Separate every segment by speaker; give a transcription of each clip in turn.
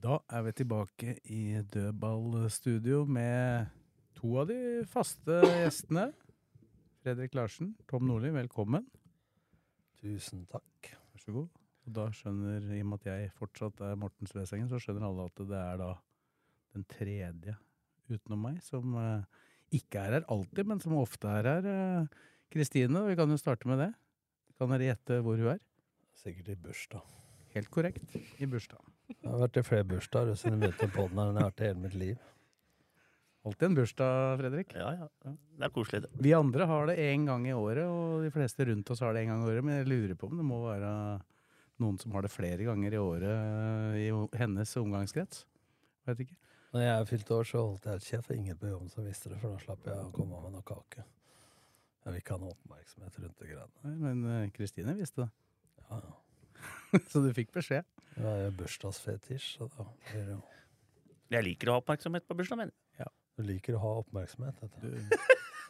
Speaker 1: Da er vi tilbake i dødballstudio med to av de faste gjestene. Fredrik Larsen, Tom Nordli, velkommen.
Speaker 2: Tusen takk.
Speaker 1: Vær så god. Og da skjønner, i og med at jeg fortsatt er Morten Svesengen, så skjønner alle at det er da den tredje utenom meg som eh, ikke er her alltid, men som ofte er her. eh, Kristine, og vi kan jo starte med det. Kan dere gjette hvor hun er?
Speaker 2: Sikkert i bursdag.
Speaker 1: Helt korrekt, i bursdag.
Speaker 2: Jeg har vært i flere bursdager siden jeg begynte på den her enn jeg har vært i hele mitt liv.
Speaker 1: Alltid en bursdag, Fredrik.
Speaker 3: Ja, ja. Det er koselig, det.
Speaker 1: Vi andre har det én gang i året, og de fleste rundt oss har det én gang i året. Men jeg lurer på om det må være noen som har det flere ganger i året eh, i o- hennes omgangskrets. Vet ikke.
Speaker 2: Når jeg fylte år, så holdt jeg kjeft. Det var Ingen på jobben som visste det, for da slapp jeg å komme med noe kake. Jeg vil ikke ha noe oppmerksomhet rundt det greiene.
Speaker 1: Nei, Men eh, Kristine visste det,
Speaker 2: Ja, ja.
Speaker 1: så du fikk beskjed.
Speaker 2: Jeg har jo bursdagsfetisj, så da blir det jo
Speaker 3: Jeg liker å ha oppmerksomhet på bursdagen min.
Speaker 2: Du liker å ha oppmerksomhet, vet du.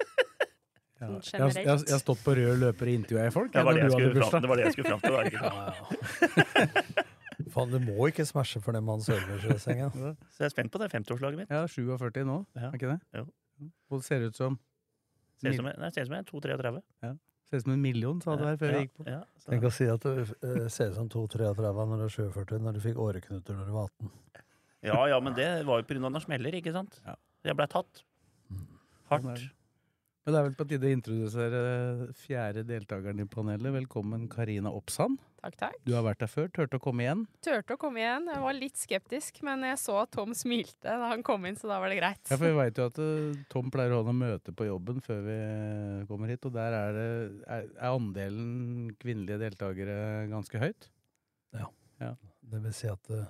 Speaker 1: Ja.
Speaker 4: Sånn
Speaker 1: Jeg, har- jeg, har- jeg har stått på rød løper og intervjua i folk.
Speaker 3: Det var det
Speaker 1: jeg,
Speaker 3: jeg
Speaker 1: når du hadde
Speaker 3: skulle
Speaker 1: bursdag.
Speaker 3: fram, det var det jeg skulle fram til. da, ikke sant?
Speaker 2: Faen, du må ikke smashe for den mannen sørger i senga.
Speaker 3: Så jeg er spent på det 50-årslaget mitt.
Speaker 1: Jeg er 47 nå,
Speaker 3: Ja.
Speaker 1: er ikke det?
Speaker 3: Jo.
Speaker 1: Og det ser ut som
Speaker 3: Ser ut som jeg, nei, ser ut som jeg er 2-33.
Speaker 1: Ser ut som en million, sa du her før vi gikk på.
Speaker 3: Ja, så-
Speaker 2: Tenk å si at du eh, ser ut som 2-33 når du er 47, når du fikk åreknuter når du var 18.
Speaker 3: ja, ja, men det var jo pga. noen smeller, ikke sant?
Speaker 1: Ja.
Speaker 3: Jeg blei tatt.
Speaker 1: Sånn er
Speaker 3: Hardt.
Speaker 1: det. Men det er vel på tide å introdusere fjerde deltakeren i panelet. Velkommen, Karina Oppsand.
Speaker 4: Takk, takk.
Speaker 1: Du har vært her før, turte å komme igjen.
Speaker 4: Turte å komme igjen. Jeg var litt skeptisk, men jeg så at Tom smilte da han kom inn, så da var det greit.
Speaker 1: Ja, for Vi veit jo at eh, Tom pleier å ha noe møte på jobben før vi eh, kommer hit. Og der er, det, er, er andelen kvinnelige deltakere ganske høyt.
Speaker 2: Det vil si at eh,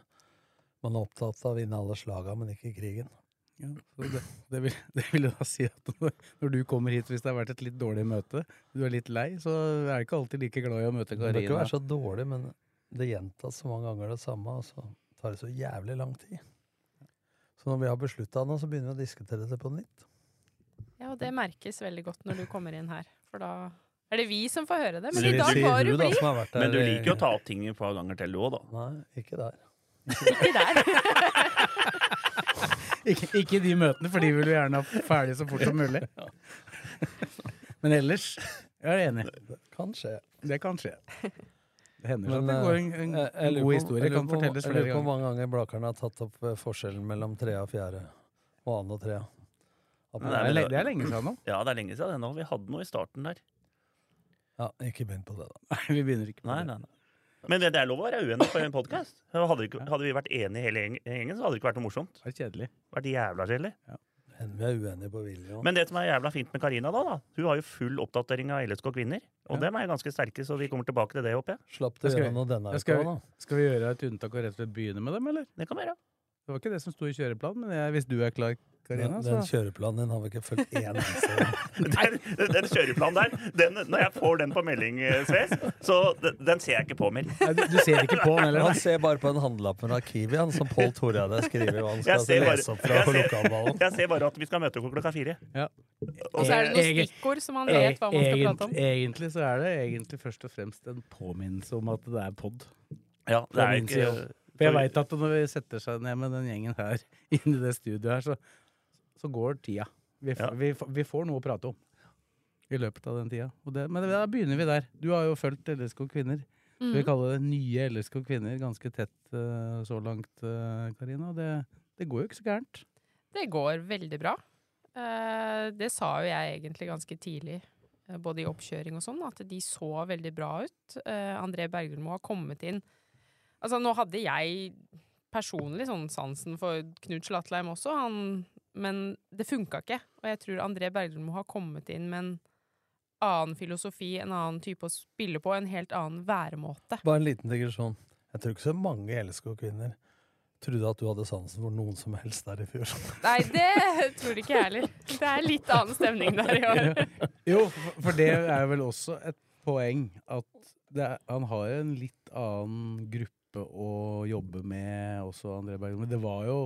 Speaker 2: man er opptatt av å vinne alle slaga, men ikke krigen.
Speaker 1: Så det, det, vil, det vil jo da si at når- når du kommer hit hvis det har vært et litt dårlig møte, du er litt lei, så er du ikke alltid like glad i å møte
Speaker 2: Det bør ikke
Speaker 1: Karina.
Speaker 2: være så dårlig, men det gjentas så mange ganger det samme, og så tar det så jævlig lang tid. Så når vi har beslutta noe, så begynner vi å diskutere det på nytt.
Speaker 4: Ja, og det merkes veldig godt når du kommer inn her, for da er det vi som får høre det. Men
Speaker 2: Sier-
Speaker 4: i dag
Speaker 2: sier
Speaker 4: var du
Speaker 2: da,
Speaker 4: blid.
Speaker 2: som har vært
Speaker 3: Men du
Speaker 2: der i-
Speaker 3: liker jo å ta opp ting et par ganger til, du òg, da.
Speaker 2: Nei, ikke der.
Speaker 4: Ikke der.
Speaker 1: Ikke, ikke i de møtene, for de vil du gjerne ha ferdig så fort som mulig. Men ellers jeg er enig.
Speaker 2: Det kan skje.
Speaker 1: Det kan skje. Det hender
Speaker 2: Men,
Speaker 1: at det går en, en
Speaker 2: Jeg- jeg lurer
Speaker 1: god
Speaker 2: på-
Speaker 1: historie
Speaker 2: jeg lurer
Speaker 1: kan
Speaker 2: på-
Speaker 1: fortelles
Speaker 2: Jeg
Speaker 1: flere
Speaker 2: lurer på hvor
Speaker 1: ganger.
Speaker 2: mange ganger Blakerne har tatt opp eh, forskjellen mellom trea og fjerde. Og annen og trea. At man-
Speaker 1: Det
Speaker 3: Nei,
Speaker 1: er,
Speaker 3: men
Speaker 1: le- det er lenge siden nå.
Speaker 3: Ja, det er lenge siden det nå. Vi hadde noe i starten der.
Speaker 2: Ja, ikke begynn på det, da.
Speaker 1: Nei, vi begynner ikke. på
Speaker 3: Nei,
Speaker 1: det.
Speaker 3: nei, nei. Men det, det er lov å være uenig på en podkast. Hadde, ikke- hadde vi vært enige hele gjeng- gjengen, så hadde det ikke vært noe morsomt.
Speaker 1: Det er kjedelig.
Speaker 3: Vært jævla kjedelig.
Speaker 2: Hender vi er uenige på vilje òg.
Speaker 3: Men det som er jævla fint med Karina, da, da hun har jo full oppdatering av LSK kvinner. Og
Speaker 1: Ja.
Speaker 3: dem er ganske sterke, så vi kommer tilbake til det, håper jeg.
Speaker 2: Slapp du
Speaker 1: Jeg skal-
Speaker 2: gjennom noe denne
Speaker 1: jeg skal-
Speaker 2: uka, da.
Speaker 1: Skal vi gjøre et unntak og rett og slett begynne med dem, eller?
Speaker 3: Det kan vi gjøre.
Speaker 1: Det var ikke det som sto i kjøreplanen, men jeg, hvis du er klar, Karina,
Speaker 2: Den, den
Speaker 1: så
Speaker 2: kjøreplanen din har vi ikke fulgt én eneste gang.
Speaker 3: Den, den kjøreplanen der, den, når jeg får den på melding, eh, Sves, så den, den ser jeg ikke på mer.
Speaker 1: Nei, du, du ser ikke på den heller.
Speaker 2: Han
Speaker 1: nei.
Speaker 2: ser bare på en handlelapp fra Kiwi, han, som Pål Toreide skriver hva han
Speaker 3: Jeg
Speaker 2: skal
Speaker 3: ser,
Speaker 2: lese opp fra
Speaker 3: bare,
Speaker 2: på
Speaker 3: jeg, ser,
Speaker 2: lokalballen.
Speaker 3: jeg ser bare at vi skal møte klokka fire.
Speaker 1: Ja.
Speaker 4: Og så er det noen
Speaker 1: Egen-
Speaker 4: stikkord som man vet hva man skal prate om.
Speaker 1: Egent- egentlig så er det egentlig først og fremst en påminnelse om at det er pod.
Speaker 3: Ja, det er jo
Speaker 1: Fra min
Speaker 3: ikke
Speaker 1: For jeg veit at når vi setter seg ned med den gjengen her, inn i det studioet her, så, så går tida. Vi, f-
Speaker 3: Ja.
Speaker 1: vi, f- vi får noe å prate om i løpet av den tida. Og det, men da begynner vi der. Du har jo fulgt LSK Kvinner. Skal vi kalle det nye LSK Kvinner ganske tett eh, så langt, eh, Karina? Og det, det går jo ikke så gærent.
Speaker 4: Det går veldig bra. Eh, det sa jo jeg egentlig ganske tidlig, eh, både i oppkjøring og sånn, at de så veldig bra ut. Eh, André Bergulmo har kommet inn. Altså, nå hadde jeg personlig sånn sansen for Knut Slatleim også, han, men det funka ikke. Og jeg tror André Bergulmo har kommet inn med en annen filosofi, en annen type å spille på, en helt annen væremåte.
Speaker 2: Bare en liten digresjon. Jeg tror ikke så mange LSK-kvinner trodde at du hadde sansen for noen som helst der i fjor.
Speaker 4: Nei, det tror ikke jeg heller. Det er litt annen stemning der i år.
Speaker 1: Jo, for- for det er vel også et poeng at det er, han har en litt annen gruppe å jobbe med også, André Bergum. Det var jo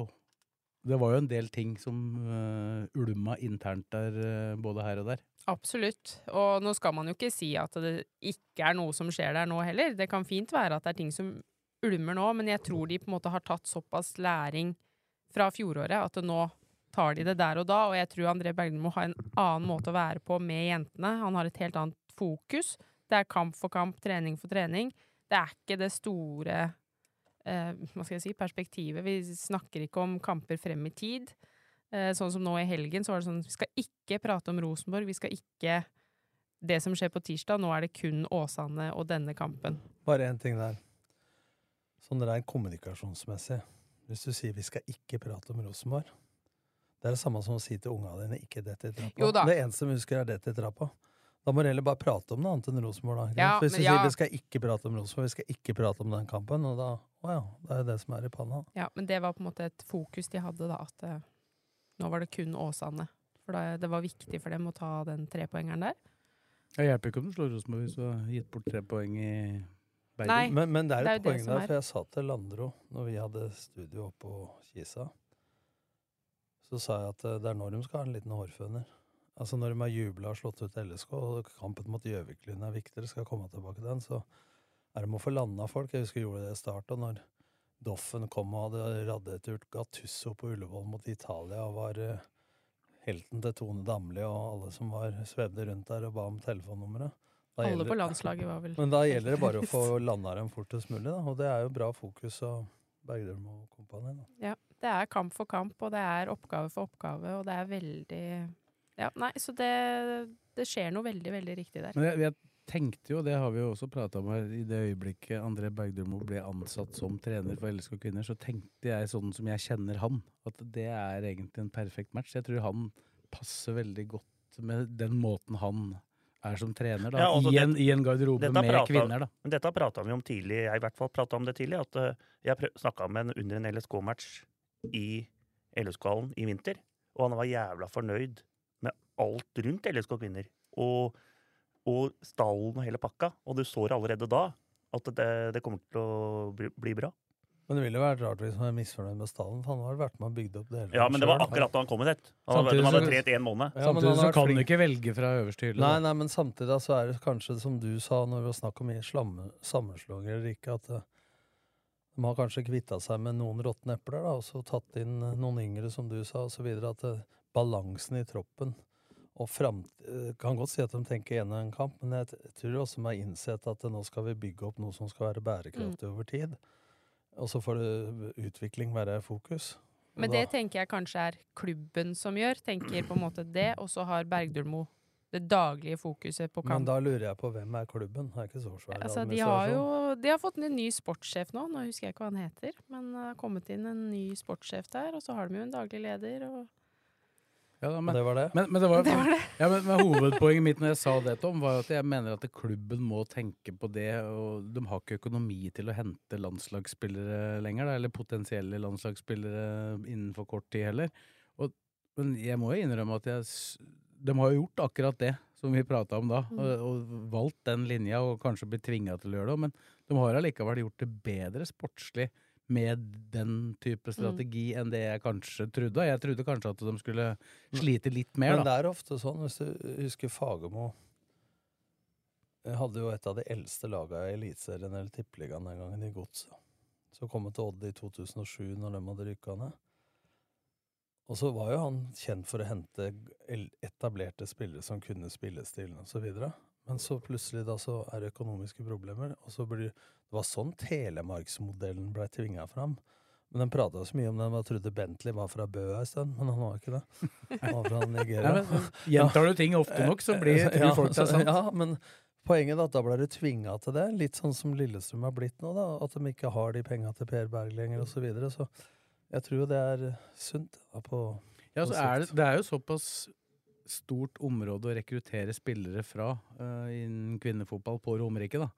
Speaker 1: det var jo en del ting som øh, ulma internt der, øh, både her og der.
Speaker 4: Absolutt. Og nå skal man jo ikke si at det ikke er noe som skjer der nå heller. Det kan fint være at det er ting som ulmer nå, men jeg tror de på en måte har tatt såpass læring fra fjoråret at nå tar de det der og da. Og jeg tror André Bergdemo har en annen måte å være på med jentene. Han har et helt annet fokus. Det er kamp for kamp, trening for trening. Det er ikke det store eh, hva skal jeg si, perspektivet. Vi snakker ikke om kamper frem i tid. Eh, sånn som nå i helgen, så var det sånn Vi skal ikke prate om Rosenborg. Vi skal ikke det som skjer på tirsdag. Nå er det kun Åsane og denne kampen.
Speaker 2: Bare én ting der. Sånn rent kommunikasjonsmessig. Hvis du sier 'vi skal ikke prate om Rosenborg' Det er det samme som å si til unga dine 'ikke dett i trappa'.
Speaker 4: Jo da.
Speaker 2: Det eneste de husker, er 'dett i trappa'. Da må du heller bare prate om noe annet enn Rosenborg. Da. ikke
Speaker 4: Ja,
Speaker 2: sant? Hvis
Speaker 4: men
Speaker 2: du
Speaker 4: ja.
Speaker 2: sier 'vi skal ikke prate om Rosenborg', 'vi skal ikke prate om den kampen', og da Å ja, det er jo det som er i panna.
Speaker 4: Ja, men det var på en måte et fokus de hadde, da. At eh, nå var det kun Åsane. For da, det var viktig for dem å ta den trepoengeren der.
Speaker 1: Det hjelper ikke om du slår Rosenborg hvis du har gitt bort tre poeng i Bergen.
Speaker 4: Nei.
Speaker 2: Men, men det er
Speaker 4: det
Speaker 2: et
Speaker 4: er jo det
Speaker 2: poeng
Speaker 4: som
Speaker 2: der,
Speaker 4: er.
Speaker 2: for jeg sa til Landro når vi hadde studio oppe på Kisa, så sa jeg at eh, det er når de skal ha en liten hårføner. Altså når de har jubla og slått ut LSK, og kampen mot Gjøviklyn er viktig, dere skal komme tilbake til den, så er det med å få landa folk. Jeg husker jeg gjorde det i starten, når Doffen kom og hadde raddet ut Gattusso på Ullevål mot Italia og var eh, helten til Tone Damli og alle som var svevde rundt der og ba om telefonnummeret. Da
Speaker 4: Alle
Speaker 2: gjelder-
Speaker 4: på landslaget var vel
Speaker 2: men da gjelder det bare å få landa dem fortest mulig, da. og det er jo bra fokus av Bergdølm og kompani. Da.
Speaker 4: Det er kamp for kamp, og det er oppgave for oppgave, og det er veldig Ja, nei, så det, det skjer noe veldig, veldig riktig der.
Speaker 1: Men jeg, jeg tenkte jo, det har vi jo også prata om her, i det øyeblikket André Bergdølmo ble ansatt som trener for LSK kvinner, så tenkte jeg sånn som jeg kjenner han, at det er egentlig en perfekt match. Jeg tror han passer veldig godt med den måten han er som trener, da.
Speaker 3: Ja, altså,
Speaker 1: I, en, I en garderobe
Speaker 3: dette
Speaker 1: med
Speaker 3: pratet-
Speaker 1: kvinner, da.
Speaker 3: Men dette prata vi om tidlig, jeg i hvert fall pratet om det tidlig, at eh, jeg snakka med en under en LSK-match i LSK-hallen i vinter, og han var jævla fornøyd med alt rundt LSK kvinner. Og, og stallen og hele pakka. Og du så allerede da at det, det kommer til å bli, bli bra.
Speaker 2: Men det ville vært rart hvis man er misfornøyd med stallen, for han har vært med og bygd opp det hele.
Speaker 3: Ja, men det var
Speaker 2: selv.
Speaker 3: akkurat da han kom hit. Han,
Speaker 1: Samtidig
Speaker 3: de hadde
Speaker 1: så-
Speaker 3: trent én måned.
Speaker 2: Ja, men
Speaker 1: Samtidig
Speaker 2: han har
Speaker 1: så
Speaker 2: vært
Speaker 1: kan du
Speaker 2: flink.
Speaker 1: ikke velge fra øverste hylle.
Speaker 2: Nei,
Speaker 1: da.
Speaker 2: nei, men samtidig da, så er det kanskje som du sa når vi var snakk om i slamme, sammenslåinger eller ikke, at eh, de har kanskje kvitta seg med noen råtne epler, da, og så tatt inn eh, noen yngre, som du sa, osv. At eh, balansen i troppen og framt... eh, Kan godt si at de tenker gjennom en kamp, men jeg t- tror også de har innsett at eh, nå skal vi bygge opp noe som skal være bærekraftig
Speaker 4: Mm.
Speaker 2: over tid. Og så får det eh, utvikling være fokus. Og
Speaker 4: Men
Speaker 2: da-
Speaker 4: det tenker jeg kanskje er klubben som gjør. Tenker på en måte det, og så har Bergdølmo det daglige fokuset på
Speaker 2: men
Speaker 4: kamp.
Speaker 2: da lurer jeg på hvem er klubben? Det er ikke så svær
Speaker 4: Altså, de har
Speaker 2: administrasjon.
Speaker 4: jo de har fått en ny sportssjef nå, nå husker jeg ikke hva han heter. Men det har kommet inn en ny sportssjef der, og så har de jo en daglig leder. Og
Speaker 1: Ja, da, men,
Speaker 2: Det var det.
Speaker 1: men, men det var, Ja, men, men hovedpoenget mitt når jeg sa det, Tom, var jo at jeg mener at klubben må tenke på det. og De har ikke økonomi til å hente landslagsspillere lenger, da, eller potensielle landslagsspillere innenfor kort tid heller. Og, men jeg må jo innrømme at jeg, s- de har jo gjort akkurat det som vi prata om da, og, og valgt den linja og kanskje blitt tvinga til å gjøre det, men de har allikevel gjort det bedre sportslig. Med den type strategi enn det jeg kanskje trodde. Jeg trodde kanskje at de skulle slite litt mer. da.
Speaker 2: Men det er ofte sånn, hvis du husker Fagermo eh, hadde jo et av de eldste laga i Eliteserien eller Tippeligaen den gangen, i Godset. Så kom han til Odd i 2007, når de hadde rykka ned. Og så var jo han kjent for å hente el- etablerte spillere som kunne spillestilen osv. Men så plutselig da så er det økonomiske problemer, og så blir Det var sånn Telemarksmodellen blei tvinga fram. Men de prata så mye om den, jeg trodde Bentley var fra Bø en stund, men han var ikke det. Han var fra Nigeria.
Speaker 1: Nei, men, gjentar du ting sånn. ofte nok, så blir tror
Speaker 2: Ja,
Speaker 1: folk det er
Speaker 2: så-
Speaker 1: sant.
Speaker 2: Ja, men poenget er at da ble du tvinga til det. Litt sånn som Lillestrøm har blitt nå, da. At de ikke har de penga til Per Berg lenger, osv. Så, videre. så jeg tror jo det er sunt. Da, på
Speaker 1: Ja, så er det, det er jo såpass stort område å rekruttere spillere fra eh, innen kvinnefotball på Romerike, da.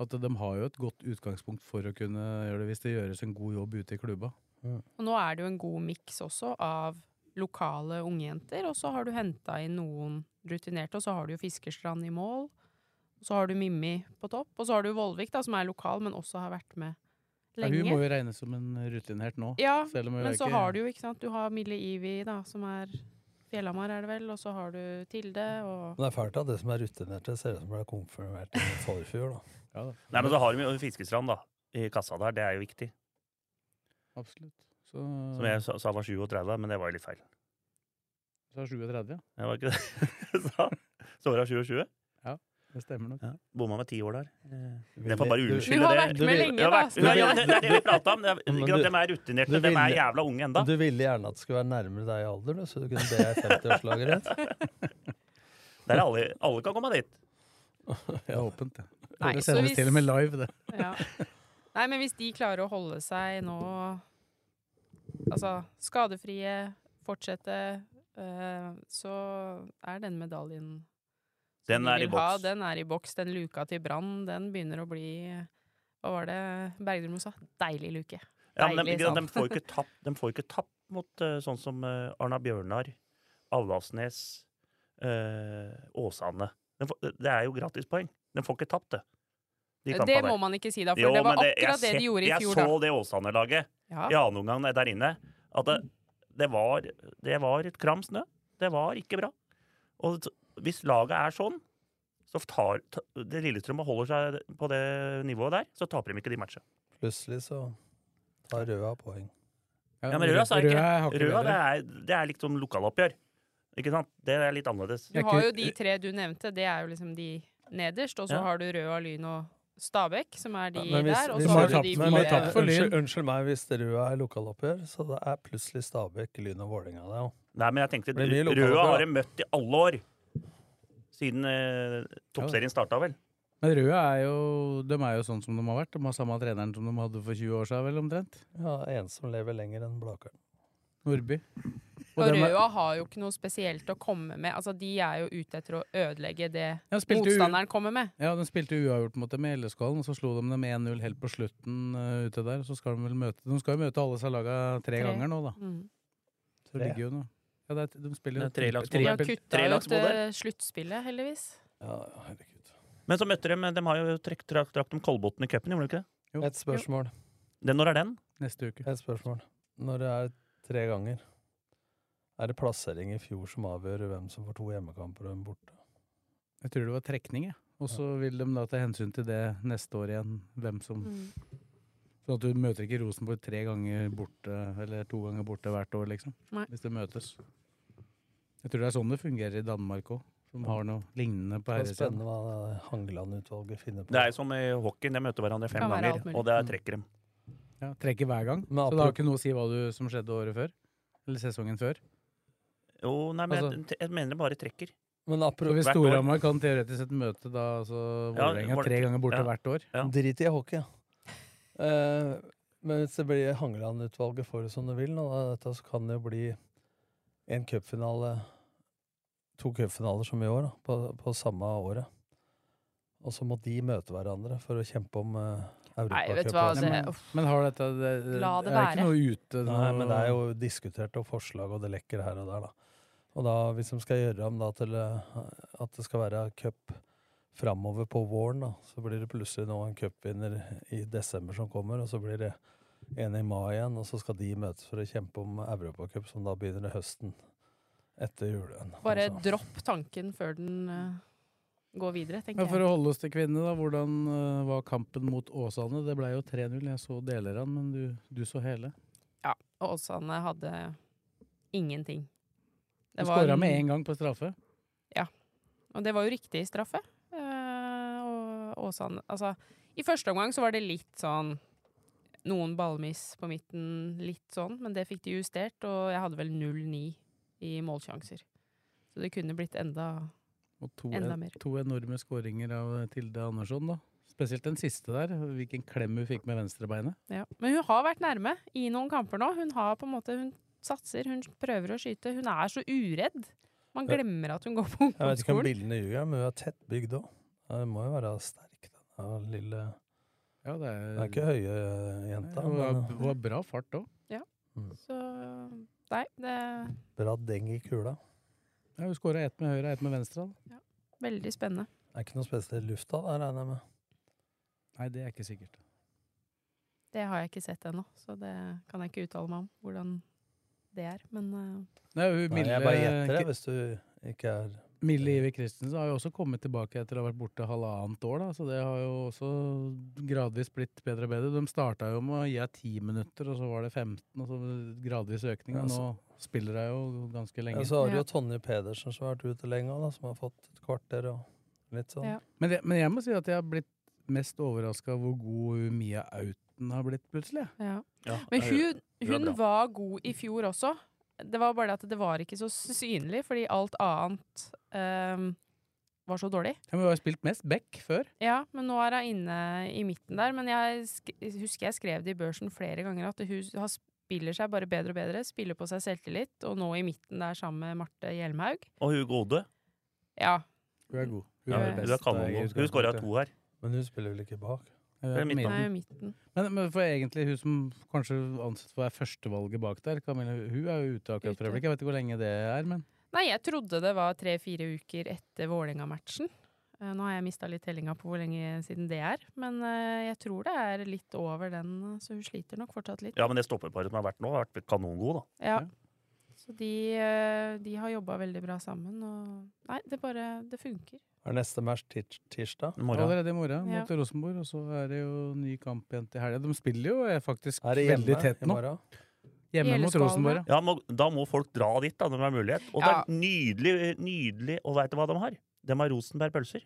Speaker 1: At de har jo et godt utgangspunkt for å kunne gjøre det, hvis det gjøres en god jobb ute i klubba.
Speaker 4: Og nå er det jo en god miks også av lokale ungjenter, og så har du henta inn noen rutinerte, og så har du jo Fiskerstrand i mål. Og så har du Mimmi på topp, og så har du Vollvik, da, som er lokal, men også har vært med
Speaker 1: Ja, Hun må
Speaker 4: lenge.
Speaker 1: jo regnes som en rutinert nå.
Speaker 4: Ja,
Speaker 1: selv om hun
Speaker 4: men
Speaker 1: er
Speaker 4: så
Speaker 1: ikke-
Speaker 4: har du jo, ikke sant, du har Mille Ivi, da, som er Fjellhamar, er det vel, og så har du Tilde, og
Speaker 2: Men det er fælt at det som er rutinerte, ser ut som det er konfirmert i forfjor. da.
Speaker 1: Ja, da.
Speaker 3: Nei, men så har de jo Fiskestrand, da. I kassa der. Det er jo viktig.
Speaker 1: Absolutt. Så,
Speaker 3: Som jeg sa, sa var 37, men det var jo litt feil.
Speaker 1: så er 37, ja.
Speaker 3: Det var ikke det jeg sa. Så var hun 27.
Speaker 1: Det stemmer nok.
Speaker 3: Ja. Bomma med ti år der. Det
Speaker 2: Ville-
Speaker 3: får bare
Speaker 2: du-
Speaker 3: unnskylde
Speaker 4: Du har
Speaker 3: det.
Speaker 4: vært med lenge,
Speaker 3: Eh, Ja,
Speaker 4: da,
Speaker 3: vært-
Speaker 4: så
Speaker 3: Ja,
Speaker 4: det-
Speaker 3: ja, det, det er det vi prata om. Det er,
Speaker 2: Men
Speaker 3: ikke
Speaker 2: du-
Speaker 3: sant, de er rutinerte.
Speaker 2: du
Speaker 3: De er
Speaker 2: ville-
Speaker 3: jævla unge enda.
Speaker 2: Du ville gjerne at det skulle være nærmere deg i alder, du, så du kunne be ei 50-årslaget rett.
Speaker 3: Der er alle, alle kan komme dit.
Speaker 1: Det er åpent, det.
Speaker 4: Nei,
Speaker 1: det
Speaker 4: så
Speaker 1: sendes
Speaker 4: hvis-
Speaker 1: til og med live, det.
Speaker 4: ja. Nei, men hvis de klarer å holde seg nå Altså, skadefrie, fortsette, eh, så er den medaljen som
Speaker 3: Den
Speaker 4: de
Speaker 3: er
Speaker 4: vil
Speaker 3: i
Speaker 4: ha,
Speaker 3: boks.
Speaker 4: Den er i boks. Den luka til Brann, den begynner å bli Hva var det Bergdølmo sa? Deilig luke.
Speaker 3: Ja, men de,
Speaker 4: Deilig,
Speaker 3: de,
Speaker 4: sa
Speaker 3: de,
Speaker 4: han.
Speaker 3: får ikke tapp, de får ikke tapp mot eh, sånn som eh, Arna Bjørnar, Alvdalsnes, eh, Åsane. De får, det er jo gratispoeng. De får ikke tapt, det. De
Speaker 4: Eh, det
Speaker 3: kampene
Speaker 4: må
Speaker 3: der.
Speaker 4: man ikke si da, for
Speaker 3: Jo,
Speaker 4: det var
Speaker 3: men jeg
Speaker 4: akkurat det
Speaker 3: sett-
Speaker 4: de gjorde i fjor.
Speaker 3: Jeg
Speaker 4: da.
Speaker 3: så det Åsane-laget
Speaker 4: Ja.
Speaker 3: i annen omgang der inne, at det, det, var, det var et kram snø. Det var ikke bra. Og t- hvis laget er sånn, så tar ta- det Lillestrøm og holder seg på det nivået der, så taper de ikke de matchene.
Speaker 2: Plutselig så tar Røa poeng.
Speaker 3: Ja, men Røa, så er ikke,
Speaker 1: Røa,
Speaker 3: Røa det, er, det er liksom lokaloppgjør. Ikke sant? Det er litt annerledes.
Speaker 4: Du
Speaker 1: Jeg
Speaker 4: har
Speaker 1: kunne-
Speaker 4: jo de tre du nevnte, det er jo liksom de nederst, og så
Speaker 3: Ja.
Speaker 4: har du Røa, Lyn og Stabæk, som er de
Speaker 2: Ja, men hvis-
Speaker 4: der, og
Speaker 2: hvis
Speaker 4: så har
Speaker 1: man
Speaker 4: du
Speaker 1: tapt-
Speaker 4: de
Speaker 1: men man
Speaker 4: fire-
Speaker 1: tapt for Lyn.
Speaker 2: unnskyld, unnskyld meg hvis Røa er lokaloppgjør, så det er plutselig Stabæk, Lyn og Vålerenga der òg.
Speaker 3: Nei, men jeg tenkte
Speaker 2: Det blir lokaloppgjør,
Speaker 3: Røa
Speaker 2: da.
Speaker 3: har de møtt i alle år. Siden eh, toppserien starta, vel.
Speaker 1: Men Røa er jo, de er jo sånn som de har vært. De har samme treneren som de hadde for 20 år siden, vel omtrent.
Speaker 2: Ja, en som lever lenger enn Blakeren.
Speaker 1: Nordby.
Speaker 4: Og
Speaker 1: dem er-
Speaker 4: Røa har jo ikke noe spesielt å komme med. Altså, De er jo ute etter å ødelegge det
Speaker 1: Ja, spilte u-
Speaker 4: motstanderen kommer med.
Speaker 1: Ja, de spilte uavgjort mot dem i LSK-hallen, og så slo de dem 1-0 helt på slutten eh, ute der. Så skal de vel møte De skal jo møte alle seg laga tre,
Speaker 4: Tre.
Speaker 1: ganger nå, da.
Speaker 4: Mm.
Speaker 1: Så
Speaker 2: Tre.
Speaker 1: ligger jo noe. Ja, det er, de spiller jo
Speaker 3: Det er tre
Speaker 1: trippel-
Speaker 3: lags mot dem.
Speaker 4: De har
Speaker 1: trippel-
Speaker 4: kutta ut
Speaker 3: Trelagsmodell.
Speaker 4: eh, sluttspillet, heldigvis.
Speaker 2: Ja, ja, herregud.
Speaker 3: Men så møtte de De har jo trekt trakt, trakt om Kolbotn i cupen, gjorde de ikke det?
Speaker 1: Jo.
Speaker 2: Et spørsmål.
Speaker 3: Den, når er den?
Speaker 1: neste uke.
Speaker 2: Et spørsmål. Når det er tre ganger, er det plassering i fjor som avgjør hvem som får to hjemmekamper og en borte?
Speaker 1: Jeg tror det var trekning, jeg. Og så vil de da ta hensyn til det neste år igjen, hvem som Sånn at du møter ikke Rosenborg tre ganger borte, eller to ganger borte hvert år, liksom.
Speaker 4: Nei.
Speaker 1: Hvis det møtes. Jeg tror det er sånn det fungerer i Danmark òg, som har noe lignende på
Speaker 2: Det er
Speaker 1: herresiden.
Speaker 2: spennende hva Hangeland-utvalget finner på.
Speaker 3: Det er jo som i hockey, de møter hverandre fem
Speaker 4: Kan være
Speaker 3: ganger,
Speaker 4: alt mulig.
Speaker 3: og det er trekker dem.
Speaker 1: Ja, trekker hver gang.
Speaker 2: Men
Speaker 1: Så det har
Speaker 2: apropos-
Speaker 1: ikke noe å si hva du, som skjedde året før. Eller sesongen før.
Speaker 3: Jo, nei, men jeg,
Speaker 1: Altså-
Speaker 3: jeg mener det bare trekker.
Speaker 2: Men
Speaker 1: Så
Speaker 2: apropos
Speaker 1: hvis
Speaker 3: hvert år.
Speaker 1: Storhamar kan teoretisk sett møte da altså
Speaker 3: Ja,
Speaker 1: Vålerenga
Speaker 3: var det-
Speaker 1: tre ganger borte
Speaker 3: ja.
Speaker 1: hvert år
Speaker 3: Ja.
Speaker 2: Drit i hockey, ja. Eh, men hvis det blir Hangeland-utvalget får det som det vil, nå, da, dette, så kan det jo bli en cupfinale To cupfinaler som i år, da, på, på samme året. Og så må de møte hverandre for å kjempe om uh,
Speaker 4: Nei, vet du
Speaker 2: europacupen.
Speaker 4: hva.
Speaker 1: Nei,
Speaker 4: Det,
Speaker 1: men-
Speaker 4: uff.
Speaker 1: Men har dette det, det,
Speaker 4: La det
Speaker 1: er ikke
Speaker 4: være.
Speaker 1: noe ute
Speaker 2: Nei,
Speaker 1: noe-
Speaker 2: men det er jo diskutert og forslag, og det lekker her og der, da. Og da, hvis de skal gjøre om da til eh, at det skal være cup framover på våren, da, så blir det plutselig nå en cupvinner i desember som kommer, og så blir det en i mai igjen, og så skal de møtes for å kjempe om Europacup, som da begynner i høsten etter julen.
Speaker 4: Bare
Speaker 2: Altså,
Speaker 4: dropp tanken før den eh, går videre,
Speaker 1: Men
Speaker 4: tenker
Speaker 1: for
Speaker 4: jeg.
Speaker 1: å holde oss til kvinnene, da. Hvordan eh, var kampen mot Åsane? Det ble jo 3-0. Jeg så deler av den, men du, du så hele.
Speaker 4: Ja, og Åsane hadde ingenting.
Speaker 1: Du skåra med én gang på straffe.
Speaker 4: Og det var jo riktig straffe. Eh, og Åsane Altså, i første omgang så var det litt sånn Noen ballmiss på midten, litt sånn, men det fikk de justert, og jeg hadde vel 0-9 i målsjanser. Så det kunne blitt enda
Speaker 1: Og to,
Speaker 4: Enda mer.
Speaker 1: to enorme skåringer av eh, Tilde Andersson, da. Spesielt den siste der. Hvilken klem hun fikk med venstrebeinet.
Speaker 4: ja. Men hun har vært nærme i noen kamper nå. Hun har på en måte Hun satser, hun prøver å skyte. Hun er så uredd. Man
Speaker 2: Ja.
Speaker 4: glemmer at hun går på
Speaker 2: Jeg vet ikke om
Speaker 4: ungdomsskolen.
Speaker 2: bildene ljuger, men hun er tett bygd òg. Hun må jo være sterk, den Ja, lille
Speaker 1: Ja, det
Speaker 2: Det er ikke høye eh, jenta,
Speaker 1: det var,
Speaker 2: men
Speaker 1: det var bra fart òg.
Speaker 4: Så nei, det er
Speaker 2: bra deng i kula.
Speaker 1: Ja, hun skåra ett med høyre og ett med venstre. Da.
Speaker 4: veldig spennende.
Speaker 2: Er ikke noe spesielt i lufta, der regner jeg med.
Speaker 1: Nei, det er ikke sikkert.
Speaker 4: Det har jeg ikke sett ennå, så det kan jeg ikke uttale meg om hvordan det er. Men eh,
Speaker 1: Nei, hun
Speaker 2: Nei,
Speaker 1: Mille,
Speaker 2: jeg bare gjetter det, hvis du ikke er
Speaker 1: Mille Iver Christensen har jo også kommet tilbake etter å ha vært borte halvannet år, da, så det har jo også gradvis blitt bedre og bedre. De starta jo med å gi henne ti minutter, og så var det 15, og så gradvis økning.
Speaker 2: Ja,
Speaker 1: Og nå spiller hun jo ganske
Speaker 2: Ja,
Speaker 1: lenge.
Speaker 2: så har du
Speaker 4: Ja.
Speaker 2: jo Tonje Pedersen som har vært ute lenge, også, da, som har fått et kvarter og litt sånn.
Speaker 4: Ja.
Speaker 1: Men, det, men jeg må si at jeg har blitt mest overraska hvor god hun Mia Auten har blitt plutselig.
Speaker 4: ja.
Speaker 3: Ja,
Speaker 4: Men
Speaker 3: det er-
Speaker 4: hun,
Speaker 3: hun er
Speaker 4: hun
Speaker 3: bra.
Speaker 4: var god i fjor også. Det var bare det at det var ikke så synlig, fordi alt annet eh, var så dårlig.
Speaker 1: Ja, men hun har jo spilt mest back før.
Speaker 4: Ja, men nå er hun inne i midten der. Men jeg sk husker jeg skrev det i børsen flere ganger, at hun har spiller seg bare bedre og bedre. Spiller på seg selvtillit, og nå i midten der sammen med Marte Hjelmhaug.
Speaker 3: Og hun gode.
Speaker 4: Ja,
Speaker 1: Hun er god.
Speaker 4: Ja,
Speaker 1: er
Speaker 4: hun
Speaker 1: best,
Speaker 3: Hun er kanon.
Speaker 1: eh, i
Speaker 3: nå. Hun
Speaker 1: utgangspunktet.
Speaker 3: skåra to her.
Speaker 2: Men hun spiller vel ikke bak?
Speaker 1: Hun er
Speaker 3: Hun er midtbane.
Speaker 4: hun er
Speaker 1: midten.
Speaker 4: i midten.
Speaker 1: Men, men for egentlig hun som kanskje ansett for å være førstevalget bak der, Camilla, hun er jo ute akkurat for
Speaker 4: Ute.
Speaker 1: øyeblikket. Jeg vet ikke hvor lenge det er, men
Speaker 4: Nei, jeg trodde det var tre-fire uker etter Vålerenga-matchen. Eh, Nå har jeg mista litt tellinga på hvor lenge siden det er, men eh, jeg tror det er litt over den, eh, så hun sliter nok fortsatt litt.
Speaker 3: Ja, men det stopperparet som har vært nå, har vært kanongod, da.
Speaker 4: Ja.
Speaker 1: Ja.
Speaker 4: Så de, eh, de har jobba veldig bra sammen, og Nei, det bare Det funker.
Speaker 2: Er neste match tirs tirsdag?
Speaker 3: I morgen.
Speaker 1: allerede i morgen
Speaker 4: Ja.
Speaker 1: mot Rosenborg, og så er det jo ny kamp igjen til helga. De spiller jo eh, faktisk
Speaker 2: Er det
Speaker 1: veldig
Speaker 2: hjemme
Speaker 1: tett
Speaker 2: i
Speaker 1: nå.
Speaker 2: morgen?
Speaker 1: Hjemme mot
Speaker 4: Gjeleskålen,
Speaker 1: Rosenborg, ja.
Speaker 3: Ja, må, da må folk dra dit da, når de har mulighet. Og
Speaker 4: Ja.
Speaker 3: det er nydelig, nydelig Og veit du hva de har? De har Rosenberg pølser.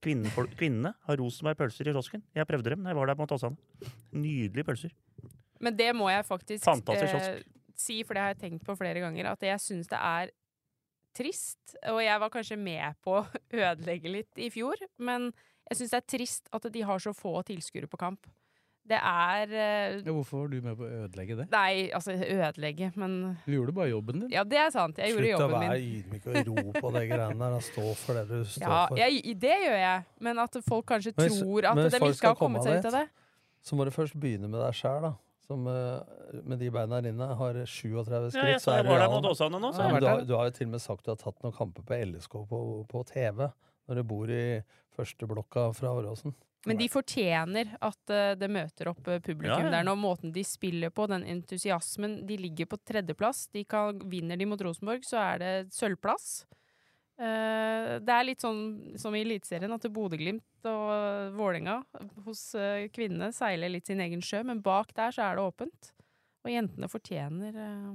Speaker 3: Kvinnen, for- kvinnene har Rosenberg pølser i kiosken. Jeg prøvde dem da jeg var der på Åsane. Nydelige pølser.
Speaker 4: Men det må jeg faktisk eh,
Speaker 3: Fantastisk kiosk.
Speaker 4: si, for det har jeg tenkt på flere ganger, at jeg syns det er trist. Og jeg var kanskje med på å ødelegge litt i fjor, men jeg syns det er trist at de har så få tilskuere på kamp. Det er eh,
Speaker 1: ja. Hvorfor var du med på å ødelegge det?
Speaker 4: Nei, altså ødelegge, men
Speaker 1: Du gjorde bare jobben din.
Speaker 4: Ja, det er sant. Jeg gjorde
Speaker 2: Slutt å
Speaker 4: jobben
Speaker 2: være
Speaker 4: min.
Speaker 2: ydmyk og ro på de greiene der. da. Stå for det du står
Speaker 4: Ja,
Speaker 2: for.
Speaker 4: jeg, det gjør jeg, men at folk kanskje
Speaker 2: Men hvis-
Speaker 4: tror at
Speaker 2: men hvis
Speaker 4: de
Speaker 2: folk
Speaker 4: ikke har
Speaker 2: skal komme
Speaker 4: kommet seg
Speaker 2: av
Speaker 4: ut av det.
Speaker 2: Så må du først begynne med deg sjæl, da. Som eh, med de beina dine har 37 skritt.
Speaker 3: Ja, jeg,
Speaker 2: så
Speaker 3: sa
Speaker 2: er
Speaker 3: jeg
Speaker 2: det
Speaker 3: var der
Speaker 2: real.
Speaker 3: mot Åsane
Speaker 2: Ja,
Speaker 3: nå, så
Speaker 2: men
Speaker 1: vært
Speaker 2: du, har,
Speaker 1: der.
Speaker 2: du har jo til og med sagt du har tatt noen kamper på LSK på, på TV. Når du bor i førsteblokka fra Åråsen.
Speaker 4: Men de fortjener at eh, det møter opp eh, publikum
Speaker 3: Ja, ja.
Speaker 4: der nå. Måten de spiller på, den entusiasmen. De ligger på tredjeplass. De kan, vinner de mot Rosenborg, så er det sølvplass. Eh, det er litt sånn som i Eliteserien, at Bodø-Glimt og eh, Vålerenga hos eh, kvinnene seiler litt sin egen sjø, men bak der så er det åpent. Og jentene fortjener eh,